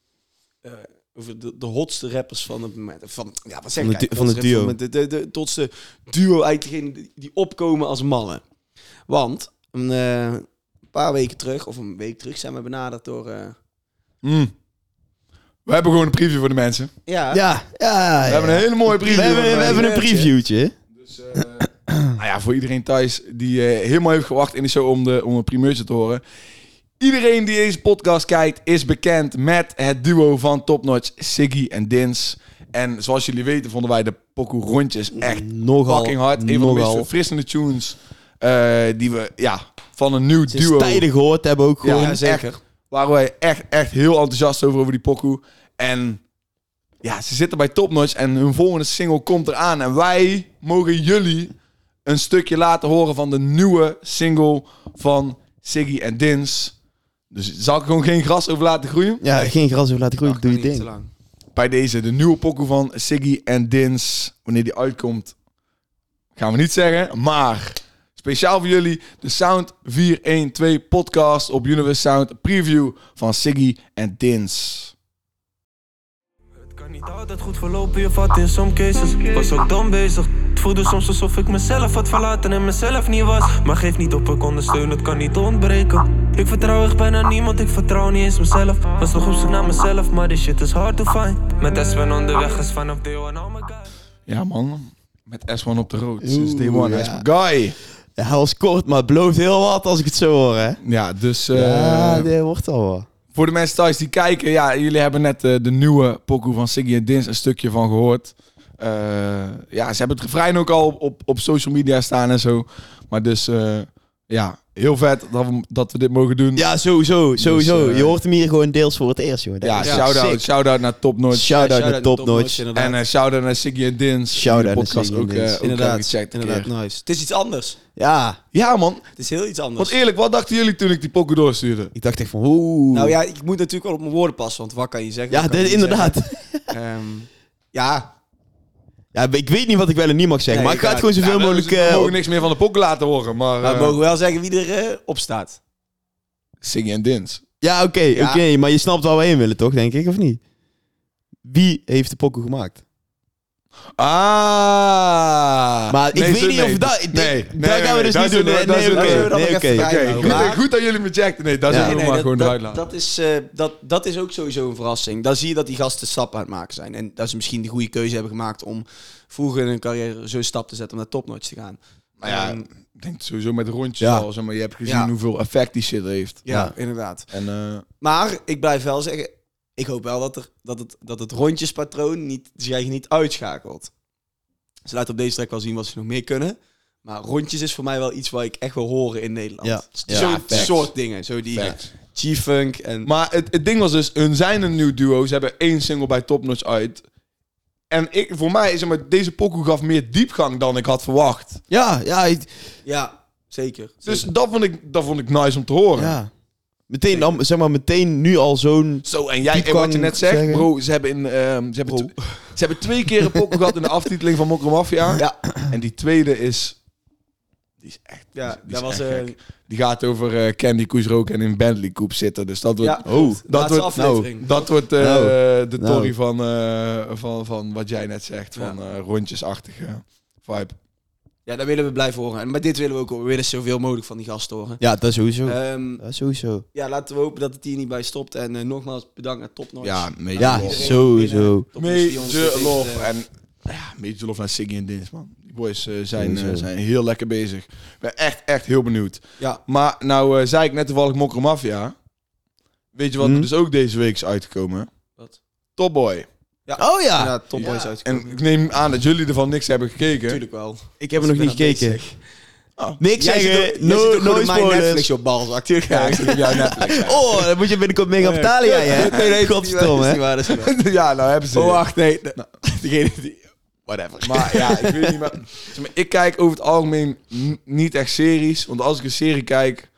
[SPEAKER 3] eh, over de, de hotste rappers van het moment. Van, ja, wat zeg
[SPEAKER 2] Van
[SPEAKER 3] ik
[SPEAKER 2] de du-
[SPEAKER 3] eigenlijk?
[SPEAKER 2] van het
[SPEAKER 3] Hotste rappers van het moment. De, de, de hotste duo, eigenlijk degene die- die opkomen als mannen. Want een eh, paar weken terug, of een week terug, zijn we benaderd door... eh,
[SPEAKER 1] Mm. We hebben gewoon een preview voor de mensen.
[SPEAKER 3] ja,
[SPEAKER 2] Ja, ja.
[SPEAKER 1] We hebben een hele mooie preview. eh,
[SPEAKER 2] we hebben,
[SPEAKER 1] voor de
[SPEAKER 2] we hebben een
[SPEAKER 1] mensen.
[SPEAKER 2] previewtje.
[SPEAKER 1] Dus, eh, nou ja, voor iedereen thuis die eh, helemaal heeft gewacht in de show om, de, om een primeurtje te horen. Iedereen die deze podcast kijkt is bekend met het duo van Top Notch, Siggy en Dins. En zoals jullie weten vonden wij de pokoe rondjes echt
[SPEAKER 2] Nogal.
[SPEAKER 1] fucking hard. Een van de meest
[SPEAKER 2] nogal.
[SPEAKER 1] verfrissende tunes eh, die we ja, van een nieuw
[SPEAKER 2] Sinds
[SPEAKER 1] duo...
[SPEAKER 2] tijden gehoord hebben ook
[SPEAKER 1] Ja,
[SPEAKER 2] gewoon.
[SPEAKER 1] zeker. waren wij echt, echt heel enthousiast over, over die pokoe. En ja, ze zitten bij Top Notch en hun volgende single komt eraan. En wij mogen jullie een stukje laten horen van de nieuwe single van Siggy en Dins. Dus zal ik gewoon geen gras over laten groeien?
[SPEAKER 2] Ja, geen gras over laten groeien.
[SPEAKER 3] Ach,
[SPEAKER 2] Doe je
[SPEAKER 3] Oh, niet te
[SPEAKER 2] ding.
[SPEAKER 3] lang.
[SPEAKER 1] Bij deze, de nieuwe pokoe van Siggy en Dins. Wanneer die uitkomt, gaan we niet zeggen. Maar speciaal voor jullie, de Sound 412 podcast op Universe Sound. Preview van Siggy en Dins.
[SPEAKER 5] Het kan niet altijd goed verlopen, je valt in some cases. Was ook dom bezig. Het voelde soms alsof ik mezelf had verlaten en mezelf niet was. Maar geef niet op, ik ondersteun, het kan niet ontbreken. Ik vertrouw echt bijna niemand, ik vertrouw niet eens mezelf. Was nog op zoek naar mezelf, maar this shit is hard to find. Met Sven onderweg is vanaf day one, oh my god.
[SPEAKER 1] Ja, man. Met S1 op de road.
[SPEAKER 2] Oeh,
[SPEAKER 1] Sinds day one. Hij is
[SPEAKER 2] ja.
[SPEAKER 1] mijn guy.
[SPEAKER 2] Ja, hij was kort, maar het belooft heel wat als ik het zo hoor, hè.
[SPEAKER 1] Ja, dus eh,
[SPEAKER 2] ja, dit wordt al wel.
[SPEAKER 1] voor de mensen thuis die kijken. Ja, jullie hebben net eh, de nieuwe pokoe van Siggy en Dins een stukje van gehoord. Eh, ja, ze hebben het refrein ook al op, op social media staan en zo. Maar dus, eh, ja, heel vet dat we, dat we dit mogen doen.
[SPEAKER 2] Ja, sowieso, sowieso.
[SPEAKER 1] eh,
[SPEAKER 2] je hoort hem hier gewoon deels voor het eerst, joh. Dat
[SPEAKER 1] ja,
[SPEAKER 2] is
[SPEAKER 1] shout-out.
[SPEAKER 2] sick.
[SPEAKER 1] Shout-out naar Top Notch.
[SPEAKER 2] Shout-out
[SPEAKER 3] Ja,
[SPEAKER 2] naar Top Notch.
[SPEAKER 3] inderdaad.
[SPEAKER 1] en eh shout-out naar Siggy en Dins.
[SPEAKER 2] Shout-out
[SPEAKER 1] Die
[SPEAKER 2] naar
[SPEAKER 1] podcast
[SPEAKER 2] Siggy en
[SPEAKER 1] ook, eh,
[SPEAKER 2] Dins.
[SPEAKER 1] ook
[SPEAKER 3] inderdaad,
[SPEAKER 1] hebben gecheckt een
[SPEAKER 3] inderdaad,
[SPEAKER 1] keer.
[SPEAKER 3] nice. Het is iets anders.
[SPEAKER 2] Ja,
[SPEAKER 1] Ja, man.
[SPEAKER 3] Het is heel iets anders.
[SPEAKER 1] Want eerlijk, wat dachten jullie toen ik die pokoe doorstuurde?
[SPEAKER 2] ik dacht echt van, oeh.
[SPEAKER 3] nou ja, ik moet natuurlijk wel op mijn woorden passen, want wat kan je zeggen?
[SPEAKER 2] ja
[SPEAKER 3] Wat kan
[SPEAKER 2] dit-
[SPEAKER 3] je niet
[SPEAKER 2] inderdaad.
[SPEAKER 3] zeggen? Ehm, ja,
[SPEAKER 2] Ja, ik weet niet wat ik wel en niet mag zeggen,
[SPEAKER 3] Nee,
[SPEAKER 2] maar ik ga het
[SPEAKER 3] ja,
[SPEAKER 2] gewoon zoveel
[SPEAKER 1] Ja, we-
[SPEAKER 2] mogelijk...
[SPEAKER 1] we
[SPEAKER 2] eh,
[SPEAKER 1] mogen niks meer van de pokoe laten horen, maar...
[SPEAKER 3] Maar
[SPEAKER 1] eh,
[SPEAKER 3] we mogen wel zeggen wie er eh, op staat.
[SPEAKER 1] Siggy en Dins.
[SPEAKER 2] Ja, oké, oké. maar je snapt waar we heen willen, toch, denk ik, of niet? Wie heeft de pokken gemaakt?
[SPEAKER 1] Ah.
[SPEAKER 2] Maar ik
[SPEAKER 1] Nee,
[SPEAKER 2] weet
[SPEAKER 1] zo-
[SPEAKER 2] niet
[SPEAKER 1] nee,
[SPEAKER 2] of dat...
[SPEAKER 1] Nee,
[SPEAKER 2] dit-
[SPEAKER 1] nee,
[SPEAKER 2] dat gaan we dus niet doen. Nee, nee,
[SPEAKER 1] oké.
[SPEAKER 2] oké.
[SPEAKER 3] zullen we dat
[SPEAKER 2] nee,
[SPEAKER 3] nog
[SPEAKER 2] oké.
[SPEAKER 3] even
[SPEAKER 1] Oké,
[SPEAKER 3] kijken.
[SPEAKER 1] goed,
[SPEAKER 3] Maar-
[SPEAKER 1] goed dat jullie me checkten. Nee, daar
[SPEAKER 2] Ja.
[SPEAKER 1] zullen we
[SPEAKER 2] Nee,
[SPEAKER 1] maar gewoon
[SPEAKER 3] dat,
[SPEAKER 1] eruit
[SPEAKER 3] dat,
[SPEAKER 1] laten.
[SPEAKER 3] dat is, eh, dat, dat is ook sowieso een verrassing. Dan zie je dat die gasten stappen aan het maken zijn. En dat ze misschien de goede keuze hebben gemaakt om vroeger in hun carrière zo'n stap te zetten om naar topnotch te gaan.
[SPEAKER 1] Maar ja,
[SPEAKER 3] Ehm,
[SPEAKER 1] ik denk sowieso met rondjes
[SPEAKER 2] Ja.
[SPEAKER 1] al, zeg maar. Je hebt gezien
[SPEAKER 3] Ja.
[SPEAKER 1] hoeveel effect die shit heeft.
[SPEAKER 3] ja,
[SPEAKER 2] ja.
[SPEAKER 3] inderdaad.
[SPEAKER 1] En eh,
[SPEAKER 3] Maar ik blijf wel zeggen, ik hoop wel dat, er, dat, het, dat het rondjespatroon niet, zich eigenlijk niet uitschakelt. Ze laten op deze track wel zien wat ze nog meer kunnen. Maar rondjes is voor mij wel iets wat ik echt wil horen in Nederland.
[SPEAKER 2] Ja. Ja,
[SPEAKER 3] Zo'n
[SPEAKER 1] facts.
[SPEAKER 3] soort dingen. Zo die
[SPEAKER 1] Facts.
[SPEAKER 3] G-funk en...
[SPEAKER 1] maar het, het ding was dus, hun zijn een nieuw duo. Ze hebben één single bij Top Notch uit. En ik, voor mij, zeg maar, deze pokoe gaf meer diepgang dan ik had verwacht.
[SPEAKER 2] Ja, ja, ik-
[SPEAKER 3] Ja, zeker.
[SPEAKER 1] Dus dat vond ik, dat vond ik nice om te horen.
[SPEAKER 2] ja. Meteen, dan, zeg maar, meteen nu al zo'n...
[SPEAKER 1] Zo, en jij,
[SPEAKER 2] Die
[SPEAKER 1] en wat je
[SPEAKER 2] kan
[SPEAKER 1] net zegt,
[SPEAKER 2] zeggen-
[SPEAKER 1] bro, ze hebben, in, ehm, ze, hebben tw- ze hebben twee keer een pokken gehad in de aftiteling van Mokro Mafia.
[SPEAKER 3] Ja.
[SPEAKER 1] En die tweede is, die is echt, die is-
[SPEAKER 3] Ja,
[SPEAKER 1] die is
[SPEAKER 3] dat was
[SPEAKER 1] echt
[SPEAKER 3] een
[SPEAKER 1] gek. Die gaat over eh, Candy Koes roken en in Bentley Coupe zitten. Dus dat wordt,
[SPEAKER 3] Ja, klopt.
[SPEAKER 1] dat
[SPEAKER 3] Laatste
[SPEAKER 1] wordt,
[SPEAKER 3] aflevering.
[SPEAKER 1] nou, dat wordt eh,
[SPEAKER 2] Nou.
[SPEAKER 1] de
[SPEAKER 2] Nou.
[SPEAKER 1] tory van, eh, van, van wat jij net zegt, van eh rondjesachtige vibe.
[SPEAKER 3] Ja, dat willen we blijven horen. En- Maar dit willen we ook weer eens zoveel mogelijk van die gasten horen.
[SPEAKER 2] Ja, dat sowieso.
[SPEAKER 3] Ehm,
[SPEAKER 2] dat sowieso.
[SPEAKER 3] ja, laten we hopen dat het hier niet bij stopt. En eh, nogmaals bedankt aan Topnotch.
[SPEAKER 1] Ja, Major
[SPEAKER 2] Ja,
[SPEAKER 1] Love.
[SPEAKER 3] Iedereen
[SPEAKER 2] sowieso.
[SPEAKER 3] Topnotch die ons dit
[SPEAKER 1] Major
[SPEAKER 3] heeft,
[SPEAKER 1] Love.
[SPEAKER 3] eh,
[SPEAKER 1] En ja, Major Love naar Siggy en Dins, man. Die boys eh, zijn,
[SPEAKER 2] Sowieso.
[SPEAKER 1] eh, zijn heel lekker bezig. Ik ben echt, echt heel benieuwd.
[SPEAKER 3] Ja.
[SPEAKER 1] Maar nou eh, zei ik net toevallig Mokker Mafia. Weet je wat
[SPEAKER 2] Hm?
[SPEAKER 1] er dus ook deze week is uitgekomen?
[SPEAKER 3] Wat?
[SPEAKER 1] Top Boy.
[SPEAKER 2] Oh ja!
[SPEAKER 3] Ah, Ja, Top Boys
[SPEAKER 1] En
[SPEAKER 3] uitgekomen.
[SPEAKER 1] ik neem aan dat jullie ervan niks hebben gekeken.
[SPEAKER 3] Natuurlijk wel.
[SPEAKER 2] ik heb hem nog niet gekeken.
[SPEAKER 1] Oh.
[SPEAKER 2] Niks
[SPEAKER 3] Jij eh, zit ook-
[SPEAKER 2] zeggen,
[SPEAKER 3] jij
[SPEAKER 2] no-
[SPEAKER 3] zit ook gewoon
[SPEAKER 2] no
[SPEAKER 3] op mijn
[SPEAKER 2] spoilers.
[SPEAKER 3] Netflix op bal, acteur. Ja, ik zit op jouw Netflix. ja.
[SPEAKER 2] Oh, dan moet je binnenkort mee gaan betalen, jij hè?
[SPEAKER 3] Nee, nee, dat is niet waar,
[SPEAKER 2] Godverdomme, hè?
[SPEAKER 3] dat is niet waar.
[SPEAKER 1] ja, nou hebben ze.
[SPEAKER 3] Oh, wacht, nee. de- Degene die... Whatever.
[SPEAKER 1] Maar ja, ik weet niet. Maar, zeg maar, ik kijk over het algemeen n- niet echt series. Want als ik een serie kijk.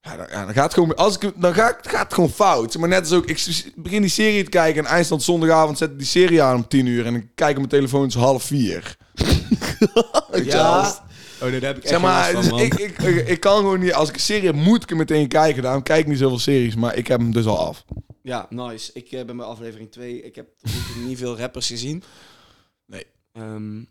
[SPEAKER 1] Ja, dan, ja, dan gaat het gewoon, als ik, dan gaat, gaat het gewoon fout. Zeg Maar net als ook, ik s- begin die serie te kijken en eindstand zondagavond zet ik die serie aan om tien uur en ik kijk op mijn telefoon, het is half vier.
[SPEAKER 3] Ja. Oh, nee, daar heb ik echt
[SPEAKER 1] Zeg maar,
[SPEAKER 3] geen last
[SPEAKER 1] dus
[SPEAKER 3] van, man.
[SPEAKER 1] ik, ik, ik, ik kan gewoon niet, als ik een serie heb, moet ik hem meteen kijken. Daarom kijk ik niet zoveel series, maar ik heb hem dus al af.
[SPEAKER 3] Ja, nice. Ik eh, ben bij aflevering 2. Ik heb tot nu toe niet veel rappers gezien.
[SPEAKER 1] Nee.
[SPEAKER 3] Ehm,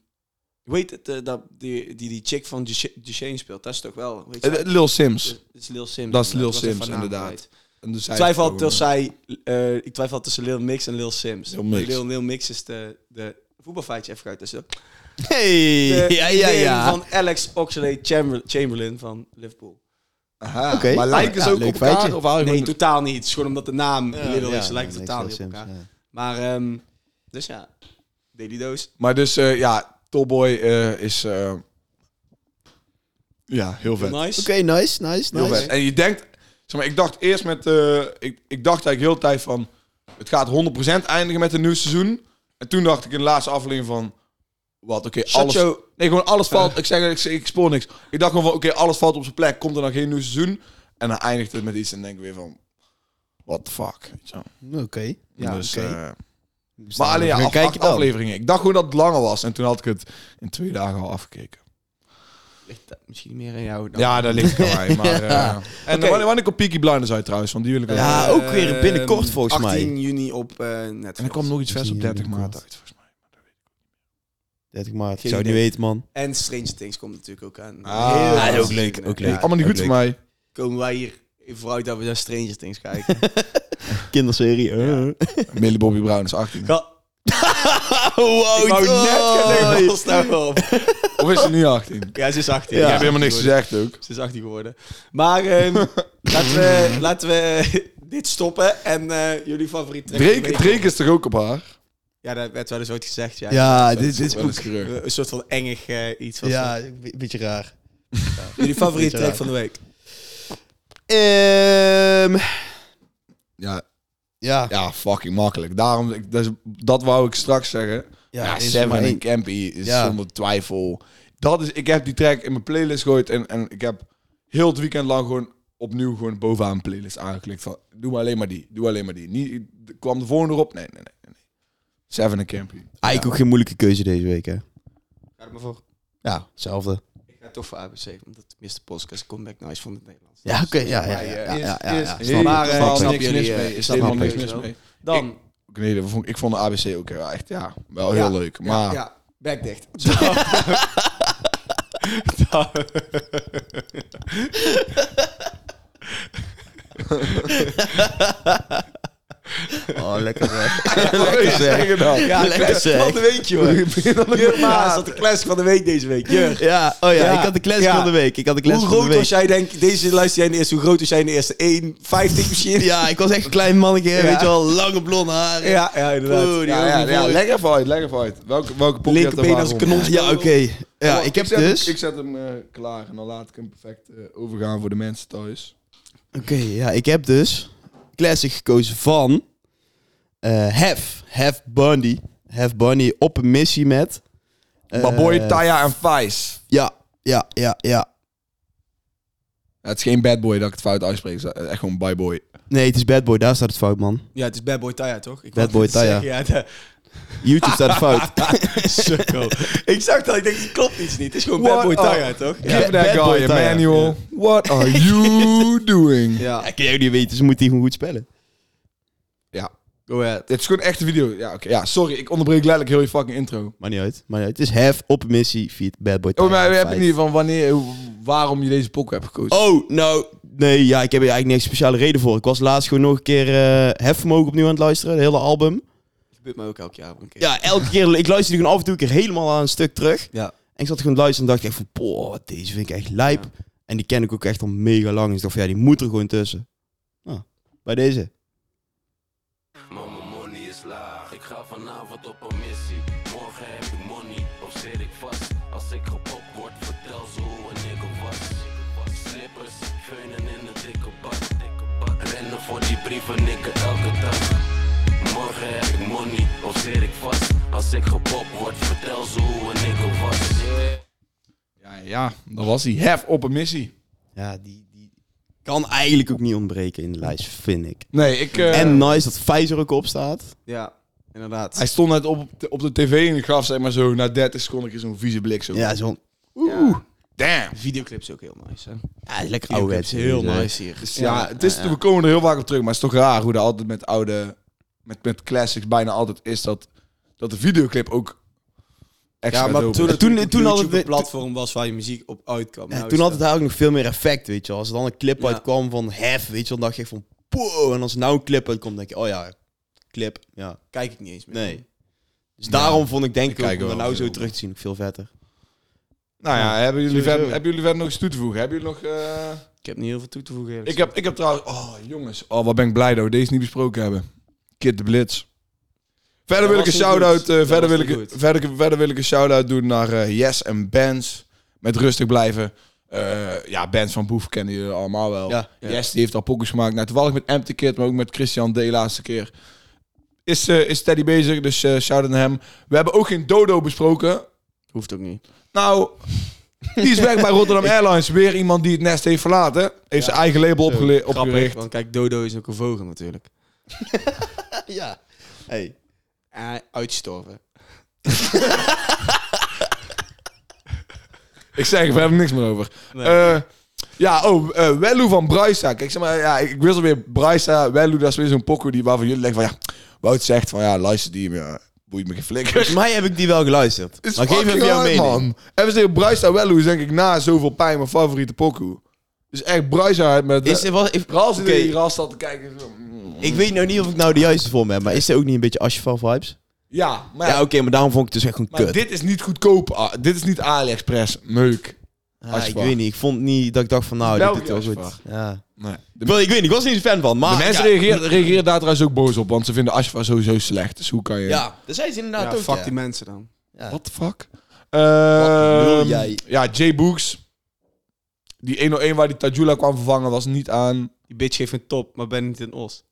[SPEAKER 3] weet het, eh, dat die, die die chick van Duchesne speelt, dat is toch wel... Weet je,
[SPEAKER 1] Eh,
[SPEAKER 3] dat
[SPEAKER 1] Lil Sims.
[SPEAKER 3] is Lil Sims.
[SPEAKER 1] Dat is Lil
[SPEAKER 3] Ik was even
[SPEAKER 1] Sims,
[SPEAKER 3] haar naam
[SPEAKER 1] inderdaad.
[SPEAKER 3] kwijt.
[SPEAKER 1] En dus
[SPEAKER 3] Ik
[SPEAKER 1] hij-
[SPEAKER 3] twijfel tussen zij... eh, ik twijfel tussen Lil Mix en Lil Sims.
[SPEAKER 1] Lil Mix.
[SPEAKER 3] Lil, Lil Mix is de, de voetbalfeitje even uit. Dus de,
[SPEAKER 2] Hey,
[SPEAKER 3] de
[SPEAKER 2] ja, ja, ja.
[SPEAKER 3] van Alex Oxlade-Chamberlain van Liverpool.
[SPEAKER 1] Aha,
[SPEAKER 2] Oké.
[SPEAKER 1] Maar lijken ze
[SPEAKER 2] Ja,
[SPEAKER 1] dus ook
[SPEAKER 2] leuk
[SPEAKER 1] op elkaar?
[SPEAKER 2] feitje.
[SPEAKER 1] Of haal je
[SPEAKER 3] Nee,
[SPEAKER 1] gewoon-
[SPEAKER 3] totaal niet. Het is gewoon omdat de naam Lil
[SPEAKER 2] Ja,
[SPEAKER 3] is. Ze lijken
[SPEAKER 2] ja,
[SPEAKER 3] totaal
[SPEAKER 2] niks,
[SPEAKER 3] niet op
[SPEAKER 2] Sims,
[SPEAKER 3] elkaar.
[SPEAKER 2] ja.
[SPEAKER 3] Maar, ehm, dus ja. Daily Dose.
[SPEAKER 1] Maar dus eh, ja, Topboy eh, is eh, ja heel vet.
[SPEAKER 3] Nice.
[SPEAKER 2] Oké, nice, nice,
[SPEAKER 1] Heel vet.
[SPEAKER 2] nice.
[SPEAKER 1] En je denkt, zeg maar, ik dacht eerst met, eh, ik, ik dacht eigenlijk heel de tijd van, het gaat 100% eindigen met een nieuw seizoen. En toen dacht ik in de laatste aflevering van, wat, oké, alles.
[SPEAKER 3] Sancho.
[SPEAKER 1] Nee, gewoon alles valt. Ik zeg, ik, ik spoor niks. Ik dacht gewoon van, oké, alles valt op zijn plek. Komt er dan geen nieuw seizoen? En dan eindigt het met iets en denk ik weer van, what the fuck. Weet je wel.
[SPEAKER 2] Oké. Ja,
[SPEAKER 1] dus,
[SPEAKER 2] oké.
[SPEAKER 1] eh,
[SPEAKER 2] Dus
[SPEAKER 1] maar
[SPEAKER 2] dan
[SPEAKER 1] alleen ja,
[SPEAKER 2] gaan
[SPEAKER 1] af,
[SPEAKER 2] we kijken
[SPEAKER 1] acht
[SPEAKER 2] dan.
[SPEAKER 1] afleveringen. Ik dacht gewoon dat het langer was. En toen had ik het in twee dagen al afgekeken.
[SPEAKER 3] Ligt dat misschien meer aan jou dan.
[SPEAKER 1] Ja, daar ligt het aan mij. Maar, eh,
[SPEAKER 2] Ja.
[SPEAKER 1] En wanneer, wanneer komt Peaky Blinders uit trouwens? Want die wil ik wel.
[SPEAKER 2] Ja, ook weer binnenkort, volgens mij.
[SPEAKER 3] 18 eh, juni op eh Netflix.
[SPEAKER 1] en er kwam nog iets vers op 30 maart
[SPEAKER 2] Binnenkort.
[SPEAKER 1] uit, volgens mij.
[SPEAKER 2] 30 maart.
[SPEAKER 3] Geen
[SPEAKER 2] Zou ik niet
[SPEAKER 3] idee.
[SPEAKER 2] weten, man.
[SPEAKER 3] En Strange Things komt natuurlijk ook aan.
[SPEAKER 1] Ah,
[SPEAKER 3] Heel
[SPEAKER 1] dat is
[SPEAKER 3] veel
[SPEAKER 1] ook
[SPEAKER 2] leuk,
[SPEAKER 3] seizoenen.
[SPEAKER 2] ook leuk.
[SPEAKER 3] Ja,
[SPEAKER 1] Allemaal niet goed voor mij.
[SPEAKER 3] komen wij hier vooruit dat we naar Stranger Things kijken.
[SPEAKER 2] Kinderserie. eh.
[SPEAKER 1] Millie Bobby Brown is 18.
[SPEAKER 3] Ga-
[SPEAKER 2] Oh, wow, oh.
[SPEAKER 3] ik wou net gaan zeggen,
[SPEAKER 2] Toy.
[SPEAKER 3] pas Oh, nou op.
[SPEAKER 1] Of is ze nu 18?
[SPEAKER 3] Ja, ze is 18.
[SPEAKER 2] Ja.
[SPEAKER 1] Ik
[SPEAKER 3] Ja,
[SPEAKER 1] heb helemaal niks gezegd ook.
[SPEAKER 3] Ze is 18 geworden. Maar ehm, laten, we, laten we dit stoppen en eh, jullie favoriet.
[SPEAKER 1] Drake, Drake is toch ook op haar?
[SPEAKER 3] Ja, dat werd wel eens ooit gezegd. Ja,
[SPEAKER 2] Ja, dit dit is
[SPEAKER 1] Wel eens
[SPEAKER 2] ook...
[SPEAKER 1] gerug.
[SPEAKER 3] Een soort van engig eh, iets. was
[SPEAKER 2] Ja,
[SPEAKER 3] dat.
[SPEAKER 2] een be- beetje raar.
[SPEAKER 3] Jullie
[SPEAKER 2] Beetje
[SPEAKER 3] favoriete
[SPEAKER 2] raar.
[SPEAKER 3] track van de week?
[SPEAKER 2] Ehm,
[SPEAKER 1] Ja,
[SPEAKER 2] ja.
[SPEAKER 1] ja, fucking makkelijk. Daarom, ik- dat, is- dat wou ik straks zeggen. Ja,
[SPEAKER 2] er is maar
[SPEAKER 1] Seven
[SPEAKER 2] één.
[SPEAKER 1] en Campy is
[SPEAKER 2] Ja.
[SPEAKER 1] zonder twijfel. Dat is, ik heb die track in mijn playlist gegooid en, en ik heb heel het weekend lang gewoon opnieuw gewoon bovenaan mijn playlist aangeklikt van doe maar alleen maar die, doe alleen maar die. Niet, kwam de volgende erop? Nee, nee, nee. nee. Seven en Campy.
[SPEAKER 2] Eigenlijk ook geen moeilijke keuze deze week, hè?
[SPEAKER 3] Ga er maar voor.
[SPEAKER 2] Ja, hetzelfde.
[SPEAKER 3] Ik ga toch voor ABC, omdat de meeste podcast comeback nice van het Nederlands.
[SPEAKER 2] Ja, oké. ja, ja, ja. ja, ja, ja, ja.
[SPEAKER 1] Is-
[SPEAKER 2] Snap
[SPEAKER 1] is-
[SPEAKER 2] ik,
[SPEAKER 3] Maar, eh,
[SPEAKER 2] snap
[SPEAKER 1] helemaal
[SPEAKER 2] ik.
[SPEAKER 3] snap
[SPEAKER 1] niks
[SPEAKER 3] jullie,
[SPEAKER 1] mis
[SPEAKER 3] eh,
[SPEAKER 1] mee. Is
[SPEAKER 3] snap
[SPEAKER 1] helemaal
[SPEAKER 2] ik.
[SPEAKER 1] niks mis mee.
[SPEAKER 3] Dan,
[SPEAKER 1] Ik- Nee, dat vond, ik- ik vond de ABC ook heel- echt, ja, wel
[SPEAKER 2] Oh,
[SPEAKER 1] heel
[SPEAKER 3] Ja,
[SPEAKER 1] leuk.
[SPEAKER 3] ja,
[SPEAKER 1] Maar
[SPEAKER 3] ja, bek dicht.
[SPEAKER 2] Oh, lekker zeg.
[SPEAKER 1] lekker zeggen dan.
[SPEAKER 2] Ja, lekker
[SPEAKER 3] Van
[SPEAKER 2] zeg.
[SPEAKER 3] de week, joh. Jur Maas had de classic van de week deze week. Jur.
[SPEAKER 2] Ja, oh ja,
[SPEAKER 3] Ja,
[SPEAKER 2] ik had de classic
[SPEAKER 3] ja.
[SPEAKER 2] van de week. Ik had de
[SPEAKER 3] Hoe
[SPEAKER 2] classic van de
[SPEAKER 3] groot
[SPEAKER 2] week.
[SPEAKER 3] was jij, denk Deze luister jij in de eerste. Hoe groot was jij in de eerste? 1,50 misschien?
[SPEAKER 2] Ja, ik was echt een klein mannetje,
[SPEAKER 3] Ja.
[SPEAKER 2] weet je wel. Lange blonde haar.
[SPEAKER 3] ja, ja, inderdaad.
[SPEAKER 2] Oeh, die
[SPEAKER 1] Ja,
[SPEAKER 2] ook
[SPEAKER 1] ja,
[SPEAKER 2] niet
[SPEAKER 1] ja,
[SPEAKER 2] voor-
[SPEAKER 1] lekker vooruit, lekker vooruit. Welke, welke pocket
[SPEAKER 3] Linkerbeen
[SPEAKER 1] ervaar
[SPEAKER 3] als
[SPEAKER 1] om?
[SPEAKER 3] een kanon.
[SPEAKER 2] Ja, oké. Ja,
[SPEAKER 1] Oh,
[SPEAKER 2] ik heb
[SPEAKER 1] zet,
[SPEAKER 2] dus...
[SPEAKER 1] Ik zet hem eh, klaar en dan laat ik hem perfect eh, overgaan voor de mensen thuis.
[SPEAKER 2] Oké, ja, ik heb dus classic gekozen van eh Hef. Hef Bundy. Hef Bundy op een missie met... eh,
[SPEAKER 1] Taya en Vice.
[SPEAKER 2] Ja, ja, ja, ja.
[SPEAKER 1] Het is geen bad boy dat ik het fout uitspreek. Het is echt gewoon bye boy.
[SPEAKER 2] Nee, het is Bad Boy. Daar staat het fout, man.
[SPEAKER 3] Ja, het is Bad Boy Taya, toch? Ik
[SPEAKER 2] Bad
[SPEAKER 3] wou
[SPEAKER 2] Boy
[SPEAKER 3] het zeggen, Ja, de-
[SPEAKER 2] YouTube staat het fout.
[SPEAKER 3] Sukkel. ik zag dat, ik denk, dit klopt iets niet. Het is gewoon
[SPEAKER 1] What
[SPEAKER 3] Bad Boy
[SPEAKER 1] a-
[SPEAKER 3] Taya, toch?
[SPEAKER 1] Give
[SPEAKER 2] Bad
[SPEAKER 1] that
[SPEAKER 2] Boy
[SPEAKER 1] guy a
[SPEAKER 2] Taya.
[SPEAKER 1] manual. What are you doing?
[SPEAKER 3] Ja.
[SPEAKER 2] Ja, ik kan jou niet weten. Ze moeten die gewoon goed spellen.
[SPEAKER 1] Ja.
[SPEAKER 2] Go ahead.
[SPEAKER 1] Dit is gewoon een echte video. Ja, oké. Ja, sorry, ik onderbreek letterlijk heel je fucking intro.
[SPEAKER 2] Maar niet uit. Maar niet uit. Het is Hef op missie feat Bad Boy.
[SPEAKER 1] Oh, maar we
[SPEAKER 2] Tyler,
[SPEAKER 1] hebben het
[SPEAKER 2] feit.
[SPEAKER 1] niet van wanneer, hoe- waarom je deze pokken hebt gekozen.
[SPEAKER 2] Oh, nou, nee, ja, ik heb er eigenlijk niks speciale reden voor. Ik was laatst gewoon nog een keer eh hefvermogen opnieuw aan het luisteren, het hele album.
[SPEAKER 3] gebeurt mij ook elk jaar. Een keer.
[SPEAKER 2] Ja, elke keer, ik luisterde gewoon af en toe een keer helemaal aan een stuk terug.
[SPEAKER 3] Ja.
[SPEAKER 2] En ik zat gewoon te luisteren en dacht ik echt van, boah, deze vind ik echt lijp. En die ken ik ook echt al mega lang. Dus ik dacht van, ja, die moet er gewoon tussen. Nou, bij deze.
[SPEAKER 6] Maar mijn money is laag, ik ga vanavond op een missie. Morgen heb ik money, of zit ik vast? Als ik gepopt word, vertel ze hoe een nigger was. Slippers, veunen in een dikke bad. Rennen voor die brieven, nikken elke dag. Morgen heb ik money, of zit ik vast? Als ik gepopt word, vertel ze hoe een nigger was.
[SPEAKER 1] Ja, ja, dat was die. Hef op een missie.
[SPEAKER 2] Ja, die, die kan eigenlijk ook niet ontbreken in de lijst, vind ik.
[SPEAKER 1] Nee, ik... eh,
[SPEAKER 2] En nice dat Pfizer ook op staat.
[SPEAKER 3] Ja, inderdaad.
[SPEAKER 1] Hij stond net op, de- op de tv en ik gaf zeg maar zo na 30 seconden een keer zo'n vieze blik zo.
[SPEAKER 2] Ja, zo'n...
[SPEAKER 3] Oeh.
[SPEAKER 1] Damn.
[SPEAKER 3] Videoclips ook heel nice, hè?
[SPEAKER 2] Ja, lekker ouderwets.
[SPEAKER 3] Videoclips heel
[SPEAKER 2] Dus, eh,
[SPEAKER 3] nice hier.
[SPEAKER 1] Dus ja, het is, we komen er heel vaak op terug, maar het is toch raar hoe dat altijd met oude, met, met classics bijna altijd is dat, dat de videoclip ook extra
[SPEAKER 3] Ja, maar
[SPEAKER 1] dope
[SPEAKER 3] toen,
[SPEAKER 1] is.
[SPEAKER 3] het toen,
[SPEAKER 2] toen
[SPEAKER 3] toen
[SPEAKER 2] had
[SPEAKER 3] al
[SPEAKER 2] het-
[SPEAKER 3] het een platform was waar je muziek op uitkwam.
[SPEAKER 2] Ja,
[SPEAKER 3] Nou
[SPEAKER 2] toen
[SPEAKER 3] is
[SPEAKER 2] had
[SPEAKER 3] dat-
[SPEAKER 2] het eigenlijk nog veel meer effect, weet je wel. Als er dan een clip
[SPEAKER 3] Ja.
[SPEAKER 2] uitkwam van hef, weet je wel, dan dacht je echt van poeh. En als er nou een clip uitkomt, denk je, oh ja, clip, ja.
[SPEAKER 3] kijk ik niet eens meer.
[SPEAKER 2] Nee. Dus daarom vond ik denk
[SPEAKER 1] Ik
[SPEAKER 2] ik ook,
[SPEAKER 1] kijk
[SPEAKER 2] om dat
[SPEAKER 1] wel
[SPEAKER 2] nou
[SPEAKER 1] veel.
[SPEAKER 2] zo terug te zien, ook veel vetter.
[SPEAKER 1] nou ja, hebben jullie,
[SPEAKER 2] Sowieso.
[SPEAKER 1] verder, hebben jullie verder nog iets toe te voegen? Hebben jullie nog... eh,
[SPEAKER 3] Ik heb niet heel veel toe te voegen. eerlijk
[SPEAKER 1] Ik, heb, ik heb trouwens... Oh, jongens. Oh, wat ben ik blij dat we deze niet besproken hebben. Kid de Blitz. Verder
[SPEAKER 3] Dat
[SPEAKER 1] wil ik een
[SPEAKER 3] was niet goed.
[SPEAKER 1] shout-out... eh,
[SPEAKER 3] Dat
[SPEAKER 1] verder,
[SPEAKER 3] was
[SPEAKER 1] wil ik,
[SPEAKER 3] niet
[SPEAKER 1] een-
[SPEAKER 3] goed.
[SPEAKER 1] verder, verder wil ik een shout-out doen naar eh, Yes en Bands. Met rustig blijven. Eh, ja, Bands van Boef kennen jullie allemaal wel.
[SPEAKER 2] Ja, ja.
[SPEAKER 1] Yes, die heeft al pokus gemaakt. Nou, toevallig met Empty Kid, maar ook met Christian D. laatste keer. Is, eh, is Teddy bezig, dus eh shout-out naar hem. We hebben ook geen Dodo besproken.
[SPEAKER 3] Hoeft ook niet.
[SPEAKER 1] Nou, die is weg bij Rotterdam Airlines. Weer iemand die het nest heeft verlaten. Heeft zijn eigen label opgele-
[SPEAKER 3] Grappig,
[SPEAKER 1] opgericht.
[SPEAKER 3] want kijk, Dodo is ook een vogel natuurlijk.
[SPEAKER 2] ja. Hey.
[SPEAKER 3] Eh, uitstorven.
[SPEAKER 1] Ik zeg er verder niks meer over. Eh, ja, oh, eh Wellu van Bruisa. Kijk, zeg maar, ja, ik wist alweer Bruisa. Wellu, dat is weer zo'n pokoe die waarvan jullie denken van, ja, Wout zegt van, ja, luister die, maar ja, boeit me geen flikker.
[SPEAKER 2] Volgens mij heb ik die wel geluisterd.
[SPEAKER 1] Is
[SPEAKER 2] maar Nou, geef
[SPEAKER 1] fucking
[SPEAKER 2] even jouw
[SPEAKER 1] hard,
[SPEAKER 2] mening.
[SPEAKER 1] Man. Even zeggen, Bruisa Wellu is denk ik na zoveel pijn mijn favoriete pokoe. Dus echt Bruisa met...
[SPEAKER 2] Is er wel, if,
[SPEAKER 1] Rals die
[SPEAKER 2] oké,
[SPEAKER 1] tegen Ras staat te kijken. zo, mm.
[SPEAKER 2] Ik weet nou niet of ik nou de juiste vorm heb, maar is er ook niet een beetje Ashfall vibes?
[SPEAKER 1] Ja, maar
[SPEAKER 2] Ja, oké, maar daarom vond ik het dus echt gewoon
[SPEAKER 1] Maar
[SPEAKER 2] kut.
[SPEAKER 1] dit is niet goedkoop. Ah, dit is niet AliExpress. Meuk.
[SPEAKER 2] Ah, ik
[SPEAKER 1] Ashfall.
[SPEAKER 2] weet niet, ik vond niet dat ik dacht van nou,
[SPEAKER 1] België
[SPEAKER 2] dit doet wel goed.
[SPEAKER 1] Ashfall.
[SPEAKER 2] Ja.
[SPEAKER 1] Nee. Ah, De,
[SPEAKER 2] Ik, wil- ik weet niet, ik was niet zo'n fan van, maar...
[SPEAKER 1] de mensen
[SPEAKER 2] ja,
[SPEAKER 1] reageren, reageren daar trouwens ook boos op, want ze vinden Ashfa sowieso slecht. Dus hoe kan je...
[SPEAKER 2] Ja, dat zijn ze inderdaad
[SPEAKER 3] ja,
[SPEAKER 2] ook,
[SPEAKER 3] fuck
[SPEAKER 2] ja.
[SPEAKER 3] die mensen dan.
[SPEAKER 1] What the fuck?
[SPEAKER 2] bedoel
[SPEAKER 1] Ehm,
[SPEAKER 2] jij?
[SPEAKER 1] Ja, Jay Books. Die 101 waar die Tajula kwam vervangen was niet aan.
[SPEAKER 3] Die bitch geeft een top, maar ben niet een os.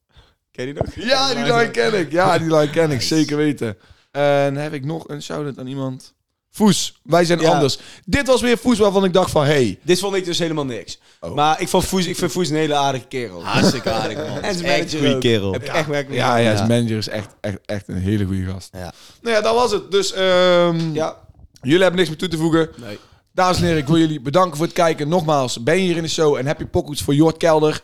[SPEAKER 3] Ken je die nog?
[SPEAKER 1] Ja, die line ken ik. Ja, die line ken ik. Zeker weten. En heb ik nog een shout-out aan iemand? Foes, wij zijn
[SPEAKER 3] Ja.
[SPEAKER 1] anders. Dit was weer Foes waarvan ik dacht van... Hey,
[SPEAKER 3] Dit vond ik dus helemaal niks.
[SPEAKER 1] Oh.
[SPEAKER 3] Maar ik, vond Foes, ik vind Foes een hele aardige kerel.
[SPEAKER 2] Hartstikke aardig, man.
[SPEAKER 3] en zijn
[SPEAKER 2] Echt
[SPEAKER 3] manager
[SPEAKER 2] een goede
[SPEAKER 3] ook.
[SPEAKER 2] kerel.
[SPEAKER 3] Heb ik echt werk mee
[SPEAKER 1] Ja,
[SPEAKER 3] gedaan.
[SPEAKER 1] ja,
[SPEAKER 2] Ja.
[SPEAKER 1] zijn manager is echt, echt, echt een hele goede gast.
[SPEAKER 2] Ja.
[SPEAKER 1] Nou ja, dat was het. Dus ehm,
[SPEAKER 3] Ja.
[SPEAKER 1] jullie hebben niks meer toe te voegen.
[SPEAKER 3] Nee.
[SPEAKER 1] Dames en heren, ik wil jullie bedanken voor het kijken. Nogmaals, ben je hier in de show en heb je pockets voor Jort Kelder?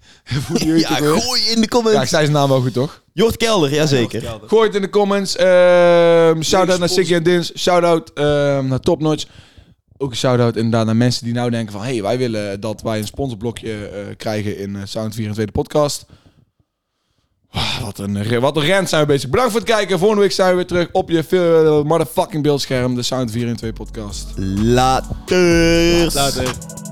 [SPEAKER 1] Hoe die heet
[SPEAKER 2] Ja,
[SPEAKER 1] ook weer?
[SPEAKER 2] gooi in de
[SPEAKER 1] ja, ik
[SPEAKER 2] comments.
[SPEAKER 1] zei zijn naam wel goed, toch?
[SPEAKER 2] Jort Kelder, jazeker.
[SPEAKER 1] Gooi het in de comments. Ehm shout-out naar
[SPEAKER 3] sponsor.
[SPEAKER 1] Siggy en Dins. Shout-out ehm, naar Top Notch. Ook een shout-out inderdaad naar mensen die nou denken van... hey, wij willen dat wij een sponsorblokje eh, krijgen in eh, Sound 24 podcast. Ah, Wat een, re- wat een rant zijn we bezig. Bedankt voor het kijken. Volgende week zijn we weer terug op je eh, veel- motherfucking beeldscherm. De Sound 24 podcast.
[SPEAKER 2] Laters.
[SPEAKER 3] Later.